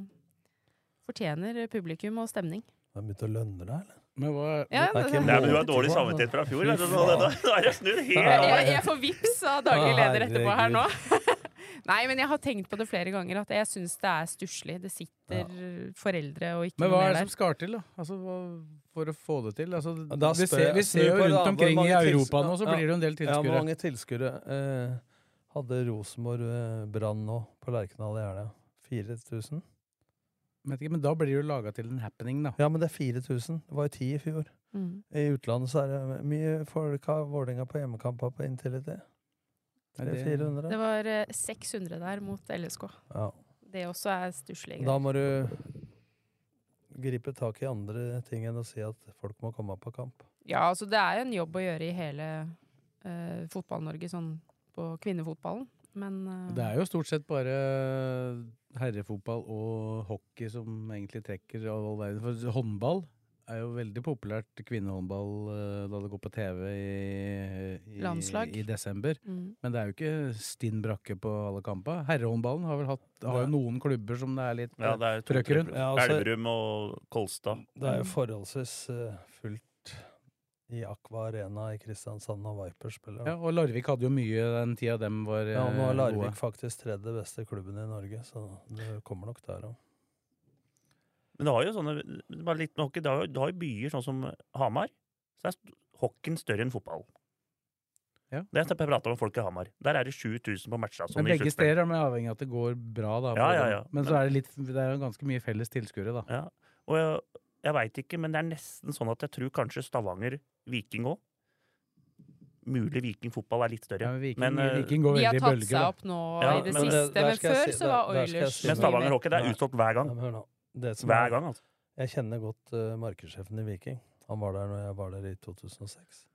Speaker 4: Fortjener publikum og stemning.
Speaker 2: Har det begynt å lønne deg, eller?
Speaker 1: Men hva,
Speaker 4: Ja,
Speaker 2: Det er
Speaker 4: det-
Speaker 2: ikke
Speaker 3: Nei, men Du har dårlig samvittighet fra fjor. Vet du, nå, nå, nå er det snudd helt
Speaker 4: jeg,
Speaker 3: av.
Speaker 4: jeg, jeg får vips av daglig
Speaker 2: Å,
Speaker 4: leder etterpå her nå.
Speaker 2: herregud.
Speaker 4: Nei, men jeg har tenkt på det flere ganger, at jeg syns det er stusslig. Det sitter foreldre og ikke
Speaker 1: men hva
Speaker 4: noe
Speaker 1: er det
Speaker 4: mer
Speaker 1: som
Speaker 4: der.
Speaker 1: skal til da? Altså, hva, for å få det til? Altså,
Speaker 2: Da
Speaker 1: vi,
Speaker 2: spør
Speaker 1: ser,
Speaker 2: jeg-
Speaker 1: vi
Speaker 2: snur
Speaker 1: ser jo
Speaker 2: på det
Speaker 1: rundt
Speaker 2: andre,
Speaker 1: omkring i
Speaker 2: mange tils-
Speaker 1: Europa nå, så
Speaker 2: ja.
Speaker 1: blir det jo en del
Speaker 2: Ja, hvor
Speaker 1: tilskuere.
Speaker 2: mange tilskuere eh, hadde Rosenborg eh, Brann nå på Lerkendal i helga? 4000?
Speaker 1: Vet ikke, Men da blir det jo laga til en happening, da.
Speaker 2: Ja, men det er 4000. Det var jo 10 i fjor.
Speaker 4: Mm.
Speaker 2: I utlandet så er det mye folk har Vålerenga på hjemmekamper på inntil i det.
Speaker 1: Nei, det-
Speaker 2: 400.
Speaker 4: Det var eh, 600 der mot LSK.
Speaker 2: Ja.
Speaker 4: Det også er stusslig.
Speaker 2: Da må du gripe tak i andre ting enn å si at folk må komme på kamp.
Speaker 4: Ja, altså det er jo en jobb å gjøre i hele eh, Fotball-Norge, sånn på kvinnefotballen. Men eh,
Speaker 1: Det er jo stort sett bare eh, herrefotball og hockey som egentlig trekker av all verden. For håndball er jo veldig populært, kvinnehåndball, eh, da det går på TV i, i,
Speaker 4: Landslag.
Speaker 1: i desember.
Speaker 4: mm.
Speaker 1: Men det er jo ikke stinn brakke på alle kamper. Herrehåndballen har vel hatt, har jo noen klubber som det er litt
Speaker 3: Ja, det er to,
Speaker 1: Trøkker rundt.
Speaker 3: tre-
Speaker 2: Ja, altså-
Speaker 3: Elverum og Kolstad.
Speaker 2: Det er jo forholdsvis eh, fullt i Aqua Arena i Kristiansand når Viper spiller.
Speaker 1: Ja,
Speaker 2: da.
Speaker 1: og Larvik hadde jo mye den tida dem var
Speaker 2: Ja, og nå er
Speaker 1: eh,
Speaker 2: Larvik faktisk tredje beste klubben i Norge, så det kommer nok der òg.
Speaker 3: Men det har jo sånne bare litt med hockey, det har jo, det har jo byer sånn som Hamar. Så er st- hockeyen større enn fotball.
Speaker 1: Ja.
Speaker 3: Det har jeg prata med folk i Hamar. Der er det 7000 på matcha. Sånn,
Speaker 1: Men
Speaker 3: i
Speaker 1: begge
Speaker 3: sluttspill.
Speaker 1: steder er man avhengig av at det går bra, da.
Speaker 3: Ja,
Speaker 1: for
Speaker 3: ja,
Speaker 1: dem.
Speaker 3: ja.
Speaker 1: Men så er det, litt, det er jo ganske mye felles tilskuere, da.
Speaker 3: Ja. Og jeg, jeg veit ikke, men det er nesten sånn at jeg tror kanskje Stavanger Viking òg. mulig Viking fotball er litt
Speaker 1: Ja,
Speaker 3: større.
Speaker 1: men Viking,
Speaker 3: Men, eh,
Speaker 1: Viking går
Speaker 4: De har
Speaker 1: veldig i
Speaker 4: tatt
Speaker 1: bølger.
Speaker 4: seg
Speaker 1: da.
Speaker 4: opp nå
Speaker 3: Ja,
Speaker 4: i det
Speaker 3: men eh, det-
Speaker 4: siste,
Speaker 2: der
Speaker 4: men
Speaker 2: skal jeg
Speaker 4: før
Speaker 2: si-
Speaker 4: så var
Speaker 2: der- der skal jeg
Speaker 4: Oilers
Speaker 2: si-
Speaker 3: Men Stavanger Hockey det er
Speaker 2: Nei.
Speaker 3: utsolgt hver
Speaker 2: Ja,
Speaker 3: gang.
Speaker 2: men hør nå. Det som
Speaker 3: Hver
Speaker 2: er,
Speaker 3: gang, altså.
Speaker 2: jeg kjenner godt eh, markedssjefen i Viking. Han var der når jeg var der i 2006.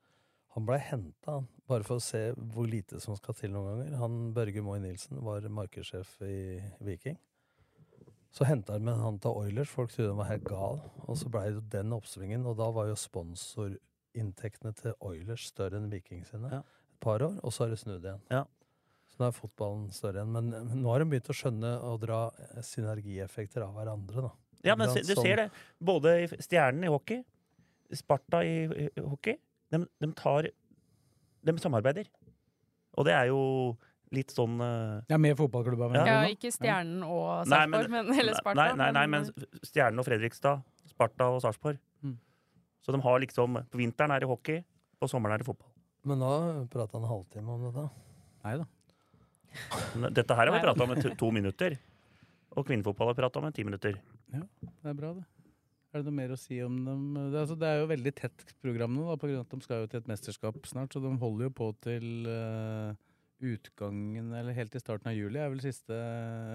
Speaker 2: Han blei henta, han. Bare for å se hvor lite som skal til noen ganger. Han Børge Moy Nilsen var markedssjef i Viking. Så henta han med han til Oilers. Folk trodde han var helt gal. Og så blei det den oppsvingen, og da var jo sponsorinntektene til Oilers større enn Viking sine.
Speaker 3: Ja.
Speaker 2: Et par år, og så har det snudd igjen.
Speaker 3: Ja.
Speaker 2: Så nå er fotballen større igjen. Men men nå har de begynt å skjønne og dra eh, synergieffekter av hverandre, da.
Speaker 3: Ja, men
Speaker 2: Ikke
Speaker 3: se-
Speaker 2: sant?
Speaker 3: du
Speaker 2: Sånn-
Speaker 3: ser det. Både i f- Stjernen i hockey, Sparta i i hockey, de, tar De samarbeider. Og det er jo litt sånn eh,
Speaker 1: Ja, med fotballklubba, mener
Speaker 4: Ja,
Speaker 1: du nå?
Speaker 4: ikke Stjernen og
Speaker 3: Nei, men-
Speaker 4: Sarpsborg, men, eh, eller Sparta.
Speaker 3: Nei, nei, nei, men Stjernen og Fredrikstad, Sparta og Sarpsborg.
Speaker 1: Mm.
Speaker 3: Så de har liksom På vinteren er det hockey, på sommeren er det fotball.
Speaker 2: Men da prata han en halvtime om dette.
Speaker 1: Nei da.
Speaker 3: Men Dette her har vi
Speaker 4: Nei.
Speaker 3: prata om i to- to minutter. Og kvinnefotball har vi prata om i ti minutter.
Speaker 1: Det er bra, det. Er det noe mer å si om dem? Det er, altså, det er jo veldig tett program nå, da, på grunn av at de skal jo til et mesterskap snart. Så de holder jo på til eh, utgangen, eller helt til starten av juli, er vel siste,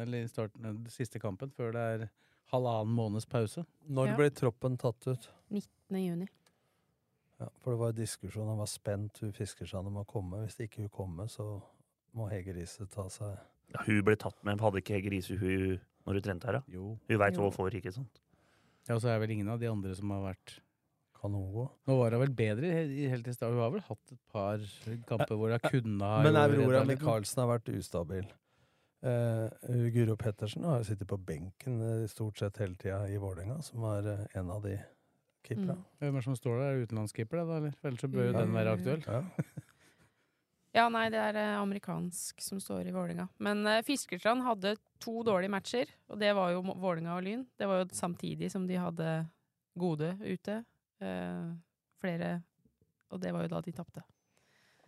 Speaker 1: eller i starten, siste kampen, før det er halvannen måneds pause.
Speaker 2: Når
Speaker 4: Ja.
Speaker 2: ble troppen tatt ut?
Speaker 4: 19. juni.
Speaker 2: Ja, for det var diskusjon, han var spent, hun Fiskersand må komme. Hvis ikke hun kommer, så må Hege Riise ta seg
Speaker 3: Ja, hun ble tatt med, hadde ikke Hege Riise hun når hun trente her, da?
Speaker 1: Jo.
Speaker 3: Hun veit hva
Speaker 4: Jo.
Speaker 3: hun får, ikke sant?
Speaker 1: Ja, og så er vel ingen av de andre som har vært
Speaker 2: Kan hun gå?
Speaker 1: Nå var hun vel bedre he- i- helt i stad. Hun har vel hatt et par kamper hvor hun kunne ha
Speaker 2: Men
Speaker 1: gjort
Speaker 2: Aurora
Speaker 1: redda litt, men-
Speaker 2: Michaelsen har vært ustabil. Eh, hun Guro Pettersen har jo sittet på benken eh, stort sett hele tida i Vålerenga, som er eh, en av de keeperne.
Speaker 4: Mm.
Speaker 1: Hvem er det som står der? Er det utenlandskeeper, det da? Eller? For Ellers så bør jo den være aktuell.
Speaker 2: Ja.
Speaker 4: Ja, nei, det er eh, amerikansk som står i Vålinga. Men eh, Fiskerstrand hadde to dårlige matcher, og det var jo Mo- Vålinga og Lyn. Det var jo samtidig som de hadde gode ute. eh, flere Og det var jo da de tapte.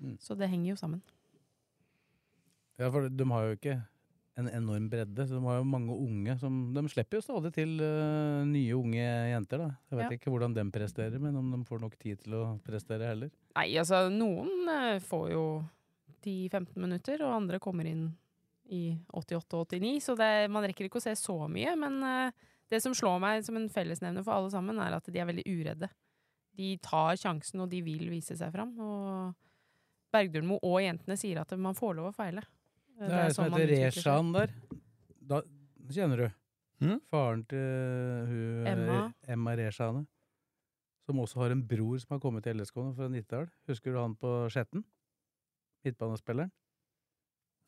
Speaker 1: Mm.
Speaker 4: Så det henger jo sammen.
Speaker 1: Ja, for de har jo ikke en enorm bredde, så de har jo mange unge som De slipper jo stadig til øh, nye unge jenter, da. Jeg vet
Speaker 4: Ja.
Speaker 1: ikke hvordan de presterer, men om de får nok tid til å prestere heller.
Speaker 4: Nei, altså, noen eh, får jo 10-15 minutter, og andre kommer inn i 88-89, så det, er- man rekker ikke å se så mye. Men eh, det som slår meg som en fellesnevner for alle sammen, er at de er veldig uredde. De tar sjansen, og de vil vise seg fram. Og Bergdølmo og jentene sier at man får lov å feile. Eh,
Speaker 1: Det er, som
Speaker 4: man
Speaker 1: heter
Speaker 4: utvikler seg.
Speaker 1: Reshan der. Da kjenner du.
Speaker 3: Hm?
Speaker 2: Mm.
Speaker 1: Faren til hun
Speaker 4: Emma.
Speaker 1: eh, Emma Reshane. Som også har en bror som har kommet til LSK nå, fra Nittedal. Husker du han på Skjetten? Midtbanespilleren.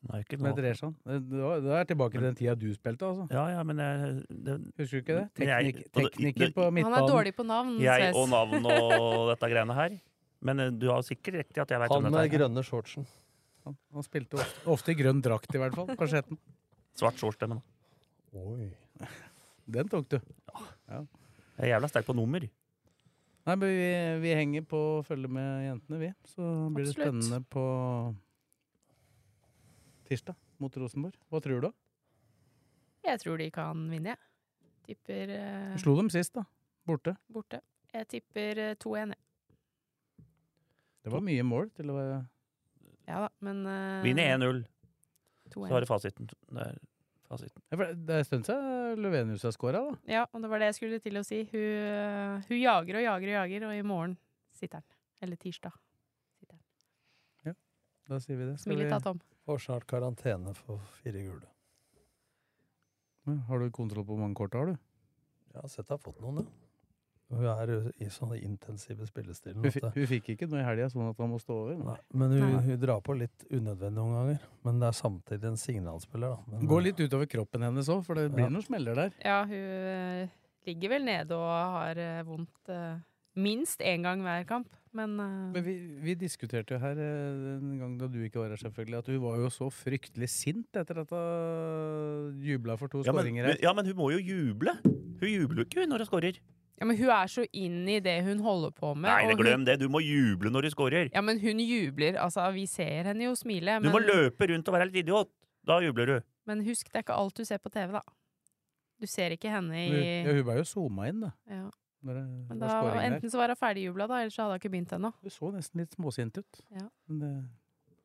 Speaker 3: Nei, ikke
Speaker 1: Som het
Speaker 3: nå.
Speaker 1: Reshan. Det, det var- det er tilbake til den tida du spilte, altså.
Speaker 3: Ja, ja, men jeg, det,
Speaker 1: Husker du ikke det?
Speaker 3: Men jeg-
Speaker 1: Teknik,
Speaker 3: og det-
Speaker 1: tekniker
Speaker 3: det-
Speaker 1: på
Speaker 4: Han er
Speaker 1: midtbanen.
Speaker 4: dårlig på navn.
Speaker 3: jeg
Speaker 4: Mm, ses.
Speaker 3: og navn og dette greiene her. Men eh, du har sikkert riktig at jeg veit om
Speaker 2: Han med
Speaker 3: dette. her.
Speaker 2: grønne shortsen.
Speaker 1: Han, han spilte ofte, ofte i grønn drakt, i hvert fall. På Skjetten.
Speaker 3: Svart shorts, det, men.
Speaker 2: Oi.
Speaker 1: Den tok du.
Speaker 3: Jeg er jævla sterk på nummer.
Speaker 1: Nei, men vi, vi henger på å følge med jentene, vi. Så blir det
Speaker 4: Absolutt.
Speaker 1: spennende på tirsdag mot Rosenborg. Hva tror du?
Speaker 4: Jeg tror de kan vinne, jeg. Tipper eh,
Speaker 1: Slo dem sist, da. Borte.
Speaker 4: borte. Jeg tipper eh, 2-1, jeg.
Speaker 1: Det var mye mål til å være
Speaker 4: Ja da, men eh,
Speaker 3: Vinner 1-0,
Speaker 4: 2-1.
Speaker 3: så har du fasiten. Det er fasiten.
Speaker 1: Ja, for Det er en stund siden Løvenius har scora, da.
Speaker 4: Ja, og det var det jeg skulle til å si. Hun, øh, hun jager og jager og jager, og i morgen sitter den. Eller tirsdag.
Speaker 1: Da sier vi det. Skal vi,
Speaker 4: Smilet av Tom.
Speaker 2: Får snart karantene for fire gule.
Speaker 1: Ja, har du kontroll på hvor mange kort du har, du?
Speaker 2: Jeg har sett jeg har fått noen, ja. Hun er eh, i sånne intensive spillestilen.
Speaker 1: Hun,
Speaker 2: at
Speaker 1: fi-
Speaker 2: det-
Speaker 1: hun fikk ikke noe i helga, sånn at han må stå over.
Speaker 2: Nei, men hun,
Speaker 4: Nei.
Speaker 2: hun drar på litt unødvendig noen ganger. Men det er samtidig en signalspiller, da. Men,
Speaker 1: Går litt utover kroppen hennes òg, for det blir
Speaker 2: Ja.
Speaker 1: noen smeller der.
Speaker 4: Ja, hun øh, ligger vel nede og har øh, vondt øh, minst én gang hver kamp, men øh,
Speaker 1: Men vi, vi diskuterte jo her eh, en gang da du ikke var her, selvfølgelig, at hun var jo så fryktelig sint etter at hun jubla for to
Speaker 3: Ja men,
Speaker 1: skåringer her.
Speaker 3: ja, men hun må jo juble! Hun jubler jo ikke hun, når hun scorer.
Speaker 4: ja, men hun er så inn i det hun holder på med.
Speaker 3: Nei,
Speaker 4: og hun,
Speaker 3: glem det! Du må juble når du scorer!
Speaker 4: ja, men hun jubler. Altså, vi ser henne jo smile,
Speaker 3: Du må
Speaker 4: men,
Speaker 3: løpe rundt og være litt idiot! Da jubler du.
Speaker 4: men husk, det er ikke alt du ser på TV, da. Du ser ikke henne
Speaker 1: Hun,
Speaker 4: i
Speaker 1: ja, hun ble jo zooma inn, da.
Speaker 4: ja.
Speaker 1: Når det,
Speaker 4: Men
Speaker 1: når
Speaker 4: da,
Speaker 1: scoringen er.
Speaker 4: enten så var hun ferdigjubla, da, eller så hadde hun ikke begynt ennå.
Speaker 1: Du så nesten litt småsint ut.
Speaker 4: Ja.
Speaker 1: Men det,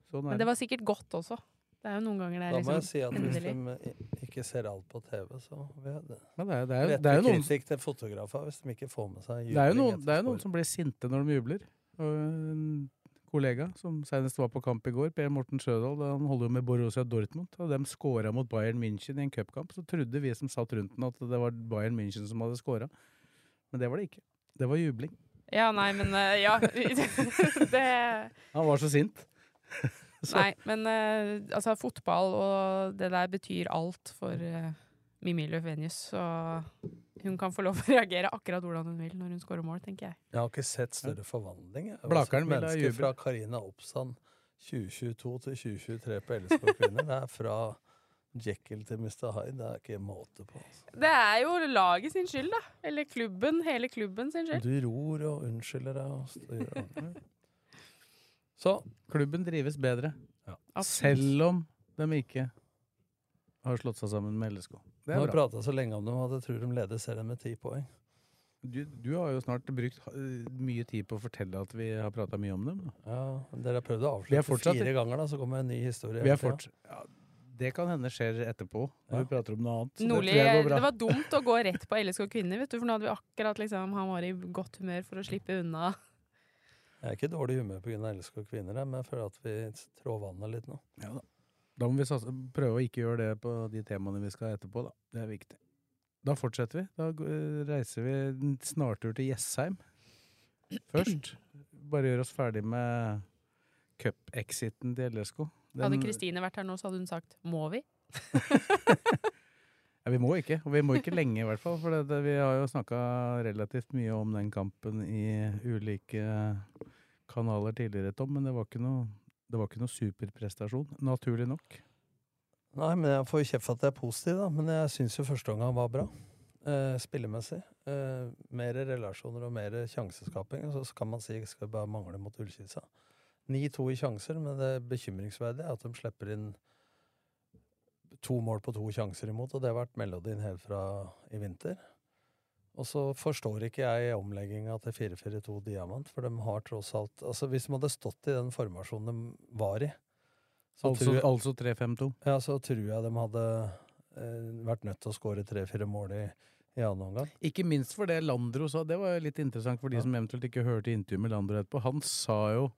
Speaker 1: sånn
Speaker 4: Men
Speaker 1: er
Speaker 4: det
Speaker 1: det.
Speaker 4: var sikkert godt også. Det er jo noen ganger det
Speaker 2: Da
Speaker 4: er
Speaker 2: må jeg
Speaker 4: liksom
Speaker 2: si at hvis
Speaker 4: endelig.
Speaker 2: de i- ikke ser alt på TV, så vet det.
Speaker 1: Men det er, det er, jo- det er
Speaker 2: Rettelig
Speaker 1: jo noen,
Speaker 2: kritikk til fotografer hvis de ikke får med
Speaker 1: det er
Speaker 2: seg
Speaker 1: jo
Speaker 2: jubling
Speaker 1: noen, det er jo
Speaker 2: etter
Speaker 1: noen som blir sinte når de jubler. Og en kollega som senest var på kamp i går, Per Morten Sjødal, da han holder jo med Borussia Dortmund, og de scora mot Bayern München i en cupkamp, så trodde vi som satt rundt den at det var Bayern München som hadde scora. Men det var det ikke. Det var jubling.
Speaker 4: Ja, nei, men eh, Ja. det
Speaker 1: Han var så sint. Så-
Speaker 4: Nei, men eh, altså, fotball og det der betyr alt for eh, Mimmi Løvenius. Så hun kan få lov å reagere akkurat hvordan hun vil når hun scorer mål, tenker jeg.
Speaker 2: Jeg har ikke sett større forvandling. jeg. Jeg har
Speaker 1: Blakeren
Speaker 2: sett
Speaker 1: vil ha
Speaker 2: mennesker
Speaker 1: jubel.
Speaker 2: fra Karina Oppsand 2022 til 2023 på LSK Kvinner. Det er fra Jekyll til Mr. Hyde. Det er ikke måte på. Altså.
Speaker 4: Det er jo laget sin skyld, da. Eller klubben. Hele klubben sin skyld.
Speaker 2: Du ror og unnskylder deg. Og styrer. Så
Speaker 1: Klubben drives bedre,
Speaker 4: Absolutt.
Speaker 1: selv om de ikke har slått seg sammen med LSK. Det
Speaker 2: nå har
Speaker 1: er
Speaker 2: jeg
Speaker 1: bra.
Speaker 2: prata så lenge om dem at jeg tror de leder serien med ti poeng.
Speaker 1: Du, du har jo snart brukt eh, mye tid på å fortelle at vi har prata mye om dem. da.
Speaker 2: Ja, dere har prøvd å
Speaker 1: Vi er
Speaker 2: avslutte
Speaker 1: fortsatt-
Speaker 2: fire ganger, da, så kommer en ny historie.
Speaker 1: Vi
Speaker 2: hele
Speaker 1: er
Speaker 2: tiden.
Speaker 1: fort, ja, det kan hende skjer etterpå, når
Speaker 2: Ja.
Speaker 1: vi prater om noe annet. Så det
Speaker 4: Nordli,
Speaker 1: tror jeg går
Speaker 4: eh, det
Speaker 1: bra.
Speaker 4: var dumt å gå rett på LSK kvinner, vet du, for nå hadde vi akkurat liksom Han var i godt humør for å slippe unna.
Speaker 2: Jeg er ikke i dårlig humør pga. LSK Kvinner, jeg, men jeg føler at vi trår vannet litt nå.
Speaker 1: Ja, da. da må vi satse, prøve å ikke gjøre det på de temaene vi skal ha etterpå, da. Det er viktig. Da fortsetter vi. Da eh, reiser vi en snartur til Jessheim først. Bare gjør oss ferdig med cup-exiten til LSK.
Speaker 4: Hadde
Speaker 1: Den-
Speaker 4: Kristine vært her nå, så hadde hun sagt 'må vi'?
Speaker 1: Ja, vi må ikke, og vi må ikke lenge i hvert fall, for det, det, vi har jo snakka relativt mye om den kampen i ulike kanaler tidligere, Tom, men det var ikke noe, det var ikke noe superprestasjon, naturlig nok.
Speaker 2: Nei, men jeg får jo kjeft for at jeg er positiv, da. Men jeg syns jo første omgang var bra. Eh, spillemessig. Eh, mer relasjoner og mer sjanseskaping. og Så kan man si skal vi bare mangle mot Ullkisa. 9-2 i sjanser, men det bekymringsverdige er at de slipper inn to mål på to sjanser imot, og det har vært melodien helt fra i vinter. Og så forstår ikke jeg omlegginga til 4-4-2 Diamant, for de har tross alt Altså, hvis de hadde stått i den formasjonen de var i så
Speaker 1: Altså,
Speaker 2: tror jeg-
Speaker 1: altså 3-5-2.
Speaker 2: ja, så tror jeg de hadde eh, vært nødt til å skåre tre-fire mål i, i annen omgang.
Speaker 1: Ikke minst for det Landro sa, det var jo litt interessant for de
Speaker 2: Ja.
Speaker 1: som eventuelt ikke hørte intervjuet med Landro etterpå. Han sa jo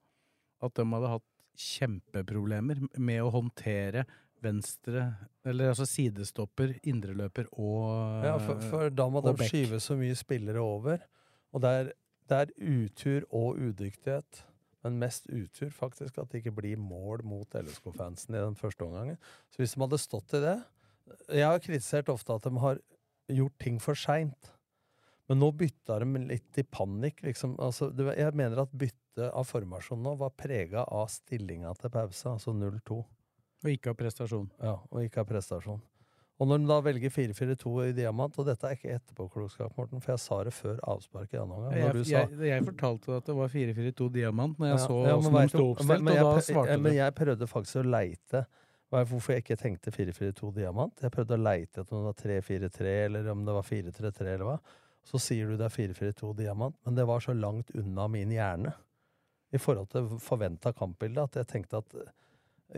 Speaker 1: at de hadde hatt kjempeproblemer med å håndtere venstre, eller altså sidestopper, indreløper og
Speaker 2: Ja, for, for da må de
Speaker 1: eh, og Beck.
Speaker 2: skyve så mye spillere over. Og det er, det er utur og udyktighet, men mest utur faktisk at det ikke blir mål mot LSK-fansen i den første omgangen. Så hvis de hadde stått i det Jeg har kritisert ofte at de har gjort ting for seint. Men nå bytta de litt i panikk, liksom. Altså, det var- jeg mener at byttet av formasjon nå var prega av stillinga til pause, altså 0-2.
Speaker 1: og ikke av prestasjon.
Speaker 2: Ja, og ikke er prestasjon. Og når de da velger 4-4-2 i diamant, og dette er ikke etterpåklokskap, Morten, for jeg sa det før avspark i annen omgang,
Speaker 1: Jeg,
Speaker 2: når du sa
Speaker 1: jeg, jeg fortalte at det var 4-4-2 diamant når jeg
Speaker 2: Ja,
Speaker 1: så
Speaker 2: ja, men
Speaker 1: hvordan de
Speaker 2: vet du-
Speaker 1: sto oppstilt,
Speaker 2: men- men
Speaker 1: og da
Speaker 2: jeg prø-
Speaker 1: svarte
Speaker 2: ja, Men
Speaker 1: du.
Speaker 2: jeg prøvde faktisk å leite hva- hvorfor jeg ikke tenkte 4-4-2 diamant. Jeg prøvde å leite etter om det var 3-4-3, eller om det var 4-3-3, eller hva. Så sier du det er 4-4-2 diamant, men det var så langt unna min hjerne i forhold til forventa kampbilde at jeg tenkte at eh,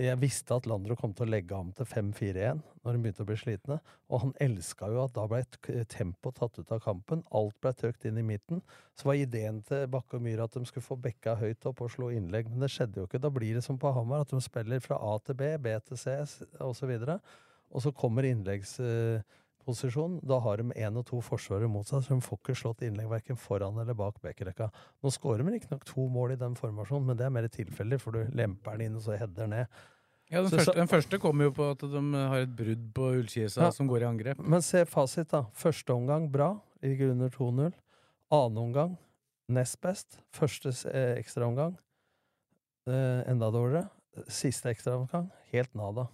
Speaker 2: jeg visste at Landro kom til å legge ham til 5-4-1 når han begynte å bli slitne. Og han elska jo at da ble et tempo tatt ut av kampen. Alt ble tøkt inn i midten. Så var ideen til Bakke og Myhre at de skulle få bekka høyt opp og slå innlegg, men det skjedde jo ikke. Da blir det som på Hamar, at de spiller fra A til B, B til C osv. Og så kommer innleggsposisjonen. Da har de én og to forsvarere mot seg, så de får ikke slått innlegg verken foran eller bak bekkerekka. Nå skårer de riktignok to mål i den formasjonen, men det er mer tilfeldig, for du lemper den inn, og så header den ned.
Speaker 1: Ja, den,
Speaker 2: så-
Speaker 1: første,
Speaker 2: så-
Speaker 1: den første kom jo på at de har et brudd på ullkisa
Speaker 2: Ja.
Speaker 1: som går i angrep.
Speaker 2: Men se fasit, da. Første omgang bra, ligger under 2-0. Annen omgang nest best. Første s- eh, ekstraomgang eh, enda dårligere. Siste ekstraomgang helt nada.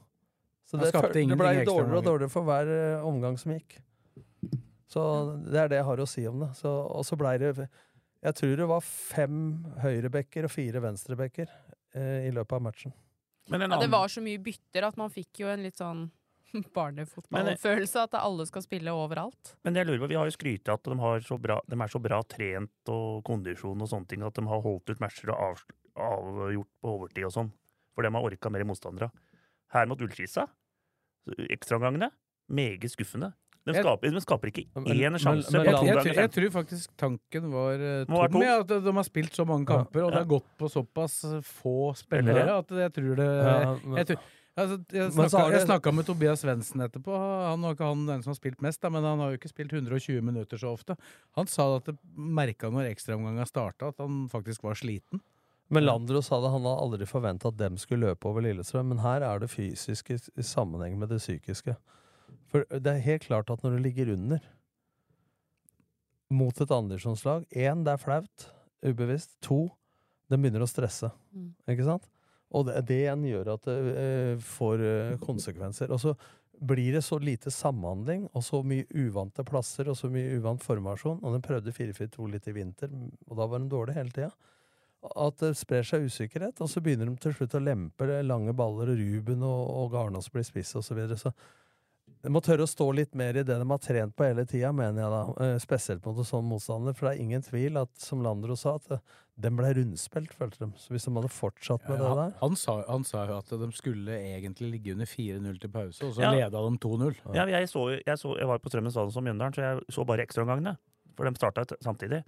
Speaker 2: Så
Speaker 1: Han
Speaker 2: det,
Speaker 1: skapte
Speaker 2: fø- det
Speaker 1: ingenting
Speaker 2: ble
Speaker 1: i
Speaker 2: jo dårligere og
Speaker 1: ekstraomgangen.
Speaker 2: dårligere for hver eh, omgang som gikk. Så det er det jeg har å si om det. Så, og så blei det Jeg tror det var fem høyrebacker og fire venstrebacker eh, i løpet av matchen.
Speaker 3: Men en
Speaker 4: Ja, det
Speaker 3: annen,
Speaker 4: var så mye bytter at man fikk jo en litt sånn barnefotballfølelse at alle skal spille overalt.
Speaker 3: Men jeg lurer på, vi har jo skrytet at de, har så bra, de er så bra trent og kondisjon og sånne ting, at de har holdt ut matcher og avsl- avgjort på overtid og sånn. For de har orka mer motstandere. Her mot Ullskisa, så ekstraomgangene, meget skuffende. De
Speaker 1: Jeg-
Speaker 3: skaper, de skaper ikke
Speaker 2: Men-
Speaker 3: én
Speaker 2: men-
Speaker 3: sjanse.
Speaker 2: men
Speaker 3: på
Speaker 1: Jeg,
Speaker 3: to
Speaker 1: jeg,
Speaker 3: ganger
Speaker 1: tror- jeg tror faktisk tanken var eh,
Speaker 3: Må være
Speaker 1: tom,
Speaker 3: to.
Speaker 1: ja, at de har spilt så mange
Speaker 2: Ja,
Speaker 1: kamper, og det
Speaker 3: ja.
Speaker 1: har gått på såpass få spillere
Speaker 3: Spillere.
Speaker 1: at jeg tror det
Speaker 2: Ja, men-
Speaker 1: jeg tror- Altså, jeg
Speaker 2: Men så
Speaker 1: snakka,
Speaker 2: har
Speaker 1: jeg
Speaker 2: det-
Speaker 1: snakka med Tobias Svendsen etterpå. Han var ikke han den som har spilt mest, da, men han har jo ikke spilt 120 minutter så ofte. Han sa at det merka når ekstraomganga starta, at han faktisk var sliten.
Speaker 2: Men Landro sa det, han hadde aldri forventa at dem skulle løpe over Lillestrøm, men her er det fysiske i- i sammenheng med det psykiske. For det er helt klart at når du ligger under mot et andredivisjonslag Én, det er flaut, ubevisst. To, den begynner å stresse.
Speaker 4: Mm.
Speaker 2: Ikke sant? Og det, det igjen gjør at det eh, får eh, konsekvenser. Og så blir det så lite samhandling, og så mye uvante plasser, og så mye uvant formasjon. Og den prøvde 4-4-2 litt i vinter, og da var den dårlig hele tida at det sprer seg usikkerhet, og så begynner de til slutt å lempe det, lange baller, og Ruben og, og Garnås blir spiss osv. Så, videre. så de må tørre å stå litt mer i det de har trent på hele tida, mener jeg da. eh, Spesielt mot en sånn motstander, for det er ingen tvil at, som Landro sa, at eh, den ble rundspilt, følte de. Så hvis de hadde fortsatt med det
Speaker 1: Han,
Speaker 2: der
Speaker 1: han, sa, han sa jo at de skulle egentlig ligge under 4-0 til pause, og så
Speaker 3: Ja.
Speaker 1: leda de 2-0.
Speaker 3: Ja, men jeg, så, jeg, så, jeg var på Strømmen stadion som Mjøndalen, så jeg så bare ekstraomgangene. For de starta samtidig.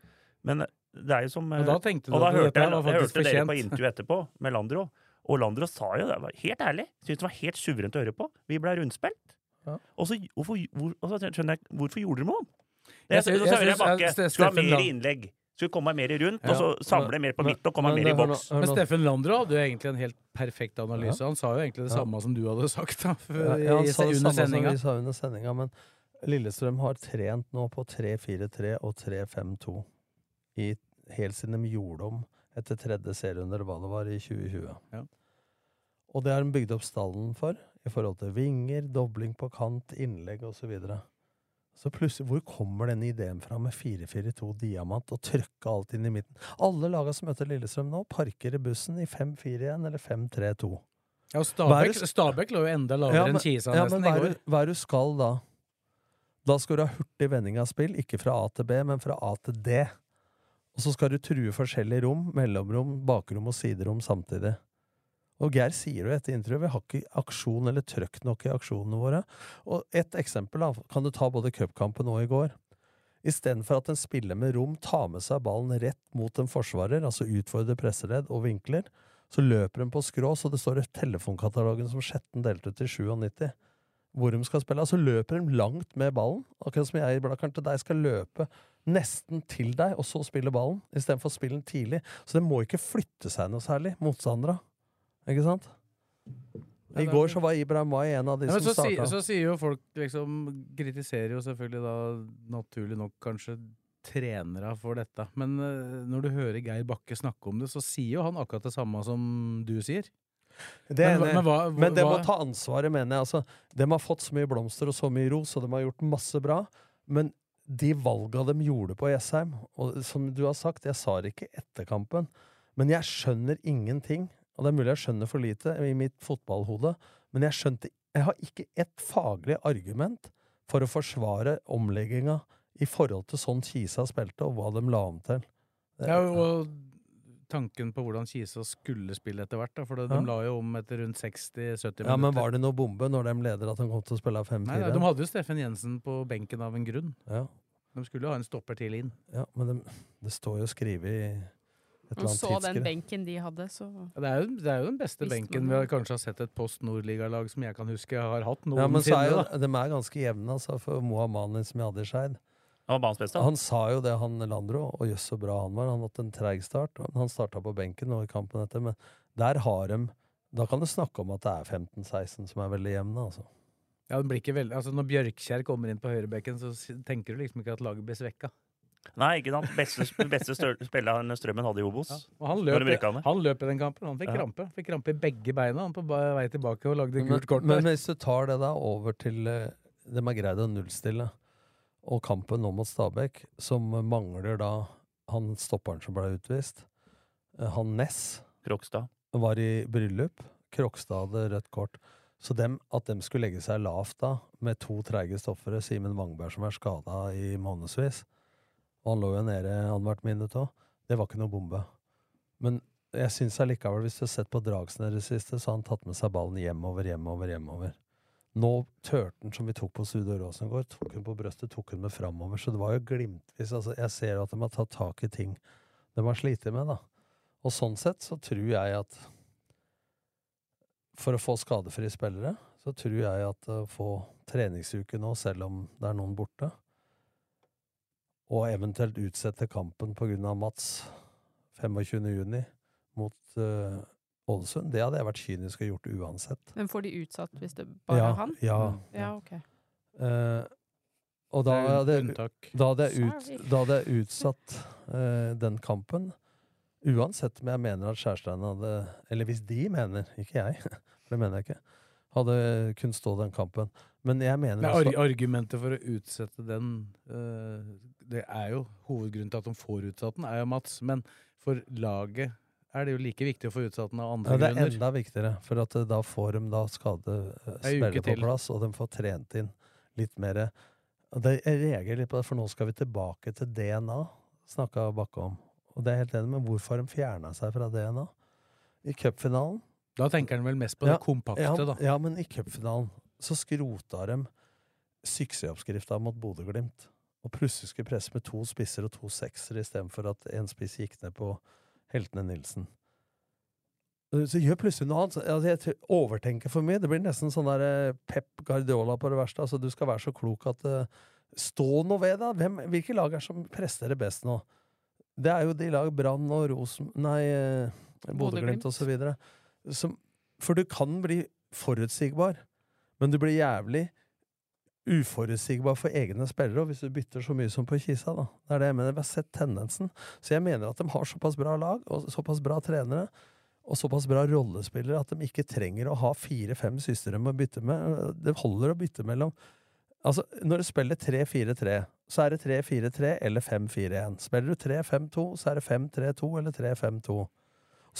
Speaker 3: Men det er jo som eh,
Speaker 1: Og da tenkte du
Speaker 3: Og da
Speaker 1: at
Speaker 3: hørte
Speaker 1: dette
Speaker 3: jeg,
Speaker 1: her var
Speaker 3: jeg hørte
Speaker 1: faktisk
Speaker 3: dere på
Speaker 1: fortjent.
Speaker 3: intervju etterpå med Landro, og Landro sa jo det, var helt ærlig, syntes det var helt suverent å høre på. Vi ble rundspilt.
Speaker 2: Ja.
Speaker 3: Og så hvorfor, hvor, og så skjønner jeg, hvorfor gjorde dere noe?
Speaker 1: Jeg
Speaker 3: Jeg,
Speaker 1: synes-
Speaker 3: jeg,
Speaker 1: jeg
Speaker 3: jeg,
Speaker 1: synes- jeg-
Speaker 3: Bakke
Speaker 1: Ste-
Speaker 3: skulle ha
Speaker 1: Steffen
Speaker 3: mer
Speaker 1: Land-
Speaker 3: innlegg. Skulle komme mer rundt,
Speaker 1: Ja,
Speaker 3: og så samle mer på
Speaker 2: men-
Speaker 3: midt og komme
Speaker 2: men
Speaker 3: mer i
Speaker 2: det- hør nå-
Speaker 3: boks.
Speaker 2: hør
Speaker 1: Men
Speaker 2: nå-
Speaker 1: Steffen Landro hadde jo egentlig en helt perfekt analyse. Han sa jo egentlig det
Speaker 2: Ja.
Speaker 1: samme som du hadde sagt da,
Speaker 2: Ja, ja, han
Speaker 1: i-
Speaker 2: sa det
Speaker 1: under
Speaker 2: samme som
Speaker 1: sendinga.
Speaker 2: vi sa under sendinga, men Lillestrøm har trent nå på 3-4-3 og 3-5-2 i- helt siden de gjorde om etter tredje serierunde, eller hva det var, i 2020.
Speaker 1: Ja.
Speaker 2: Og det har de bygd opp stallen for, i forhold til vinger, dobling på kant, innlegg osv. Så, videre. så plutselig, hvor kommer denne ideen fra med 4-4-2 diamant og trykke alt inn i midten? Alle laga som møter Lillestrøm nå, parker i bussen i 5-4-1 eller 5-3-2.
Speaker 1: Ja, og
Speaker 2: Hva er
Speaker 1: Stabæk,
Speaker 2: det-
Speaker 1: Stabæk lå jo enda lavere
Speaker 2: Ja, men-
Speaker 1: enn Kisa
Speaker 2: Ja, men
Speaker 1: nesten
Speaker 2: hva
Speaker 1: i
Speaker 2: er,
Speaker 1: går.
Speaker 2: du, hva er du skal da? Da skal du ha hurtig vending av spill, ikke fra A til B, men fra A til D. Og så skal du true forskjellige rom, mellomrom, bakrom og siderom samtidig. Og Geir sier jo etter intervjuet vi har ikke aksjon eller trøkk nok i aksjonene våre. Og et eksempel da, kan du ta både cupkampen og i går. Istedenfor at en spiller med rom tar med seg ballen rett mot en forsvarer, altså utfordrer presseledd og vinkler, så løper de på skrå, så det står i telefonkatalogen som Skjetten delte ut i 97 hvor de skal spille. Altså løper de langt med ballen, akkurat som jeg blakkeren til deg skal løpe nesten til deg, og så spille ballen, istedenfor å spille den tidlig. Så det må ikke flytte seg noe særlig, motstandere. Ikke sant? I går så var Ibrahim Mai en av de
Speaker 1: Ja, men
Speaker 2: som
Speaker 1: så, si,
Speaker 2: starta.
Speaker 1: så sier jo folk liksom Kritiserer jo selvfølgelig da naturlig nok kanskje trenere for dette. Men eh, når du hører Geir Bakke snakke om det, så sier jo han akkurat det samme som du sier.
Speaker 2: Det er
Speaker 1: hva-
Speaker 2: enig.
Speaker 1: hva,
Speaker 2: Men de må
Speaker 1: hva-
Speaker 2: ta ansvaret, mener jeg. Altså, de har fått så mye blomster og så mye ros, og de har gjort masse bra. Men de valga de gjorde på Jessheim, og som du har sagt, jeg sa det ikke etter kampen, men jeg skjønner ingenting. Og det er mulig jeg skjønner for lite i mitt fotballhode, men jeg skjønte Jeg har ikke ett faglig argument for å forsvare omlegginga i forhold til sånn Kisa spilte, og hva de la om til.
Speaker 1: ja, og tanken på hvordan Kisa skulle spille etter hvert, da. For de
Speaker 2: Ja.
Speaker 1: la jo om etter rundt 60-70 minutter.
Speaker 2: Ja, men var det noe bombe når de leder at han kom til å spille
Speaker 1: Nei, nei, de
Speaker 2: 5-4?
Speaker 1: hadde jo Steffen Jensen på benken av en grunn.
Speaker 2: Ja.
Speaker 1: De skulle jo ha en stopper til inn.
Speaker 2: Ja, men det, det står jo skrevet i et eller
Speaker 4: Og
Speaker 2: annet
Speaker 4: så den
Speaker 2: tidsskrift.
Speaker 4: benken de hadde, så
Speaker 1: Ja, Det er, jo, det er jo den beste
Speaker 4: Visste
Speaker 1: benken vi
Speaker 4: man
Speaker 1: har
Speaker 4: det?
Speaker 1: kanskje har sett et Post Nord-ligalag som jeg kan huske jeg har hatt
Speaker 2: Ja, men så
Speaker 1: noensinne.
Speaker 2: er jo,
Speaker 1: da.
Speaker 2: de er ganske jevne, altså, for Mohamani som jeg hadde i Skeid.
Speaker 3: Han var banens beste.
Speaker 2: Han sa jo det, han Landro, og jøss så bra han var. Han hadde en treig start. og Han starta på benken nå i kampen etter, men der har de Da kan du snakke om at det er 15-16 som er veldig jevne, altså.
Speaker 1: Ja, den blir ikke veldig, altså Når Bjørkskjær kommer inn på høyrebekken, så s- tenker du liksom ikke at laget blir svekka.
Speaker 3: Nei, ikke sant. Beste, beste stør- spilleren Strømmen hadde i Obos.
Speaker 1: Ja. Og han
Speaker 3: Når
Speaker 1: løp,
Speaker 3: de bruker han det.
Speaker 1: han løp i den kampen. Han fikk
Speaker 3: Ja.
Speaker 1: krampe. Fikk krampe i begge beina han på ba- vei tilbake og lagde
Speaker 2: Men,
Speaker 1: gult kort.
Speaker 2: men
Speaker 1: der.
Speaker 2: hvis du tar det da over til eh, De har greid å nullstille, og kampen nå mot Stabæk, som mangler da han stopperen som ble utvist, eh, han Ness
Speaker 3: Krokstad.
Speaker 2: var i bryllup. Krokstad hadde rødt kort. Så dem, at dem skulle legge seg lavt da, med to treige stoffere, Simen Wangberg som er skada i månedsvis, og han lå jo nede annethvert minutt òg, det var ikke noe bombe. Men jeg syns allikevel, hvis du har sett på Dragsen i det siste, så har han tatt med seg ballen hjemover, hjemover, hjemover. Nå tørte han som vi tok på Studio Rosengård, tok hun på brøstet, tok hun med framover, så det var jo glimtvis. Altså, jeg ser jo at de har tatt tak i ting de har slitt med, da. Og sånn sett så tror jeg at for å få skadefrie spillere, så tror jeg at å få treningsuke nå, selv om det er noen borte, og eventuelt utsette kampen på grunn av Mats 25. juni mot eh, Ålesund, det hadde jeg vært kynisk og gjort uansett.
Speaker 4: Men får de utsatt hvis det bare
Speaker 2: ja,
Speaker 4: er han?
Speaker 2: Ja.
Speaker 4: Ja, ok.
Speaker 2: Eh, og da
Speaker 1: Mm. Det er
Speaker 2: hadde,
Speaker 1: un- unntak.
Speaker 2: da hadde jeg, ut,
Speaker 4: Sorry.
Speaker 2: da hadde jeg utsatt eh, den kampen. Uansett om jeg mener at Skjærstein hadde Eller hvis de mener, ikke jeg, for det mener jeg ikke, hadde kunnet stå den kampen. Men jeg mener
Speaker 1: Men
Speaker 2: også-
Speaker 1: arg argumentet for å utsette den eh, Det er jo hovedgrunnen til at de får utsatt den, er jo Mats. Men for laget er det jo like viktig å få utsatt den av
Speaker 2: Ja,
Speaker 1: andre
Speaker 2: det er
Speaker 1: grunner.
Speaker 2: enda viktigere, for at eh, da får de da skade
Speaker 1: Ei
Speaker 2: eh,
Speaker 1: uke
Speaker 2: spillere på
Speaker 1: til.
Speaker 2: plass, og de får trent inn litt mer. Og det, jeg reagerer litt på det, for nå skal vi tilbake til DNA, snakka Bakke om. Og det er jeg helt enig med hvorfor de fjerna seg fra DNA. I cupfinalen
Speaker 1: Da tenker han vel mest på
Speaker 2: Ja,
Speaker 1: det kompakte,
Speaker 2: ja,
Speaker 1: da.
Speaker 2: Ja, men i cupfinalen så skrota de suksessoppskrifta mot Bodø-Glimt. Og plutselig skulle presse med to spisser og to seksere istedenfor at én spiss gikk ned på heltene Nilsen. Uh, Så gjør plutselig noe annet. Så- Altså, jeg tror- overtenker for mye. Det blir nesten sånn der eh, Pep Guardiola på det verste. Altså, du skal være så klok at eh, Stå nå ved, da! Hvem, hvilke lag er det som presterer best nå? Det er jo de lag Brann og Rosen... Nei, eh, Bodø-Glimt
Speaker 4: Bodø-Glimt.
Speaker 2: og så videre. Som, for du kan bli forutsigbar, men du blir jævlig uforutsigbar for egne spillere, og hvis du bytter så mye som på Kisa, da. Det er det jeg mener. Vi har sett tendensen. Så jeg mener at de har såpass bra lag, og såpass bra trenere, og såpass bra rollespillere at de ikke trenger å ha fire-fem søstre de må bytte med. Det holder å bytte mellom Altså, når du spiller 3-4-3, så er det 3-4-3 eller 5-4-1. Spiller du 3-5-2, så er det 5-3-2 eller 3-5-2.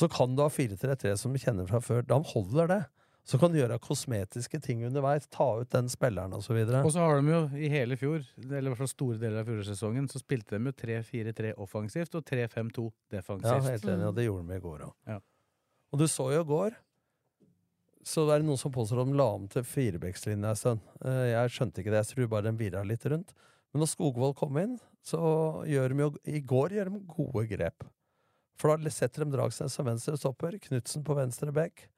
Speaker 2: Så kan du ha 4-3-3 som du kjenner fra før. Da holder det. Så kan du gjøre kosmetiske ting underveis. Ta ut den spilleren og så videre.
Speaker 1: Og så har de jo i hele fjor, eller i hvert fall store deler av fjorårssesongen, så spilte de jo 3-4-3 offensivt og 3-5-2
Speaker 2: Ja,
Speaker 1: defensivt.
Speaker 2: helt enig, og det gjorde de i går òg.
Speaker 1: Ja.
Speaker 2: Og du så jo i går, så er det noen som påstår at de la om til firebekslinja en stund. Eh, Jeg skjønte ikke det, jeg tror bare den virra litt rundt. Men når Skogvold kom inn, så gjør de jo I går gjør de gode grep. For da setter de Dragsnes som venstre stopper, Knutsen på venstre back,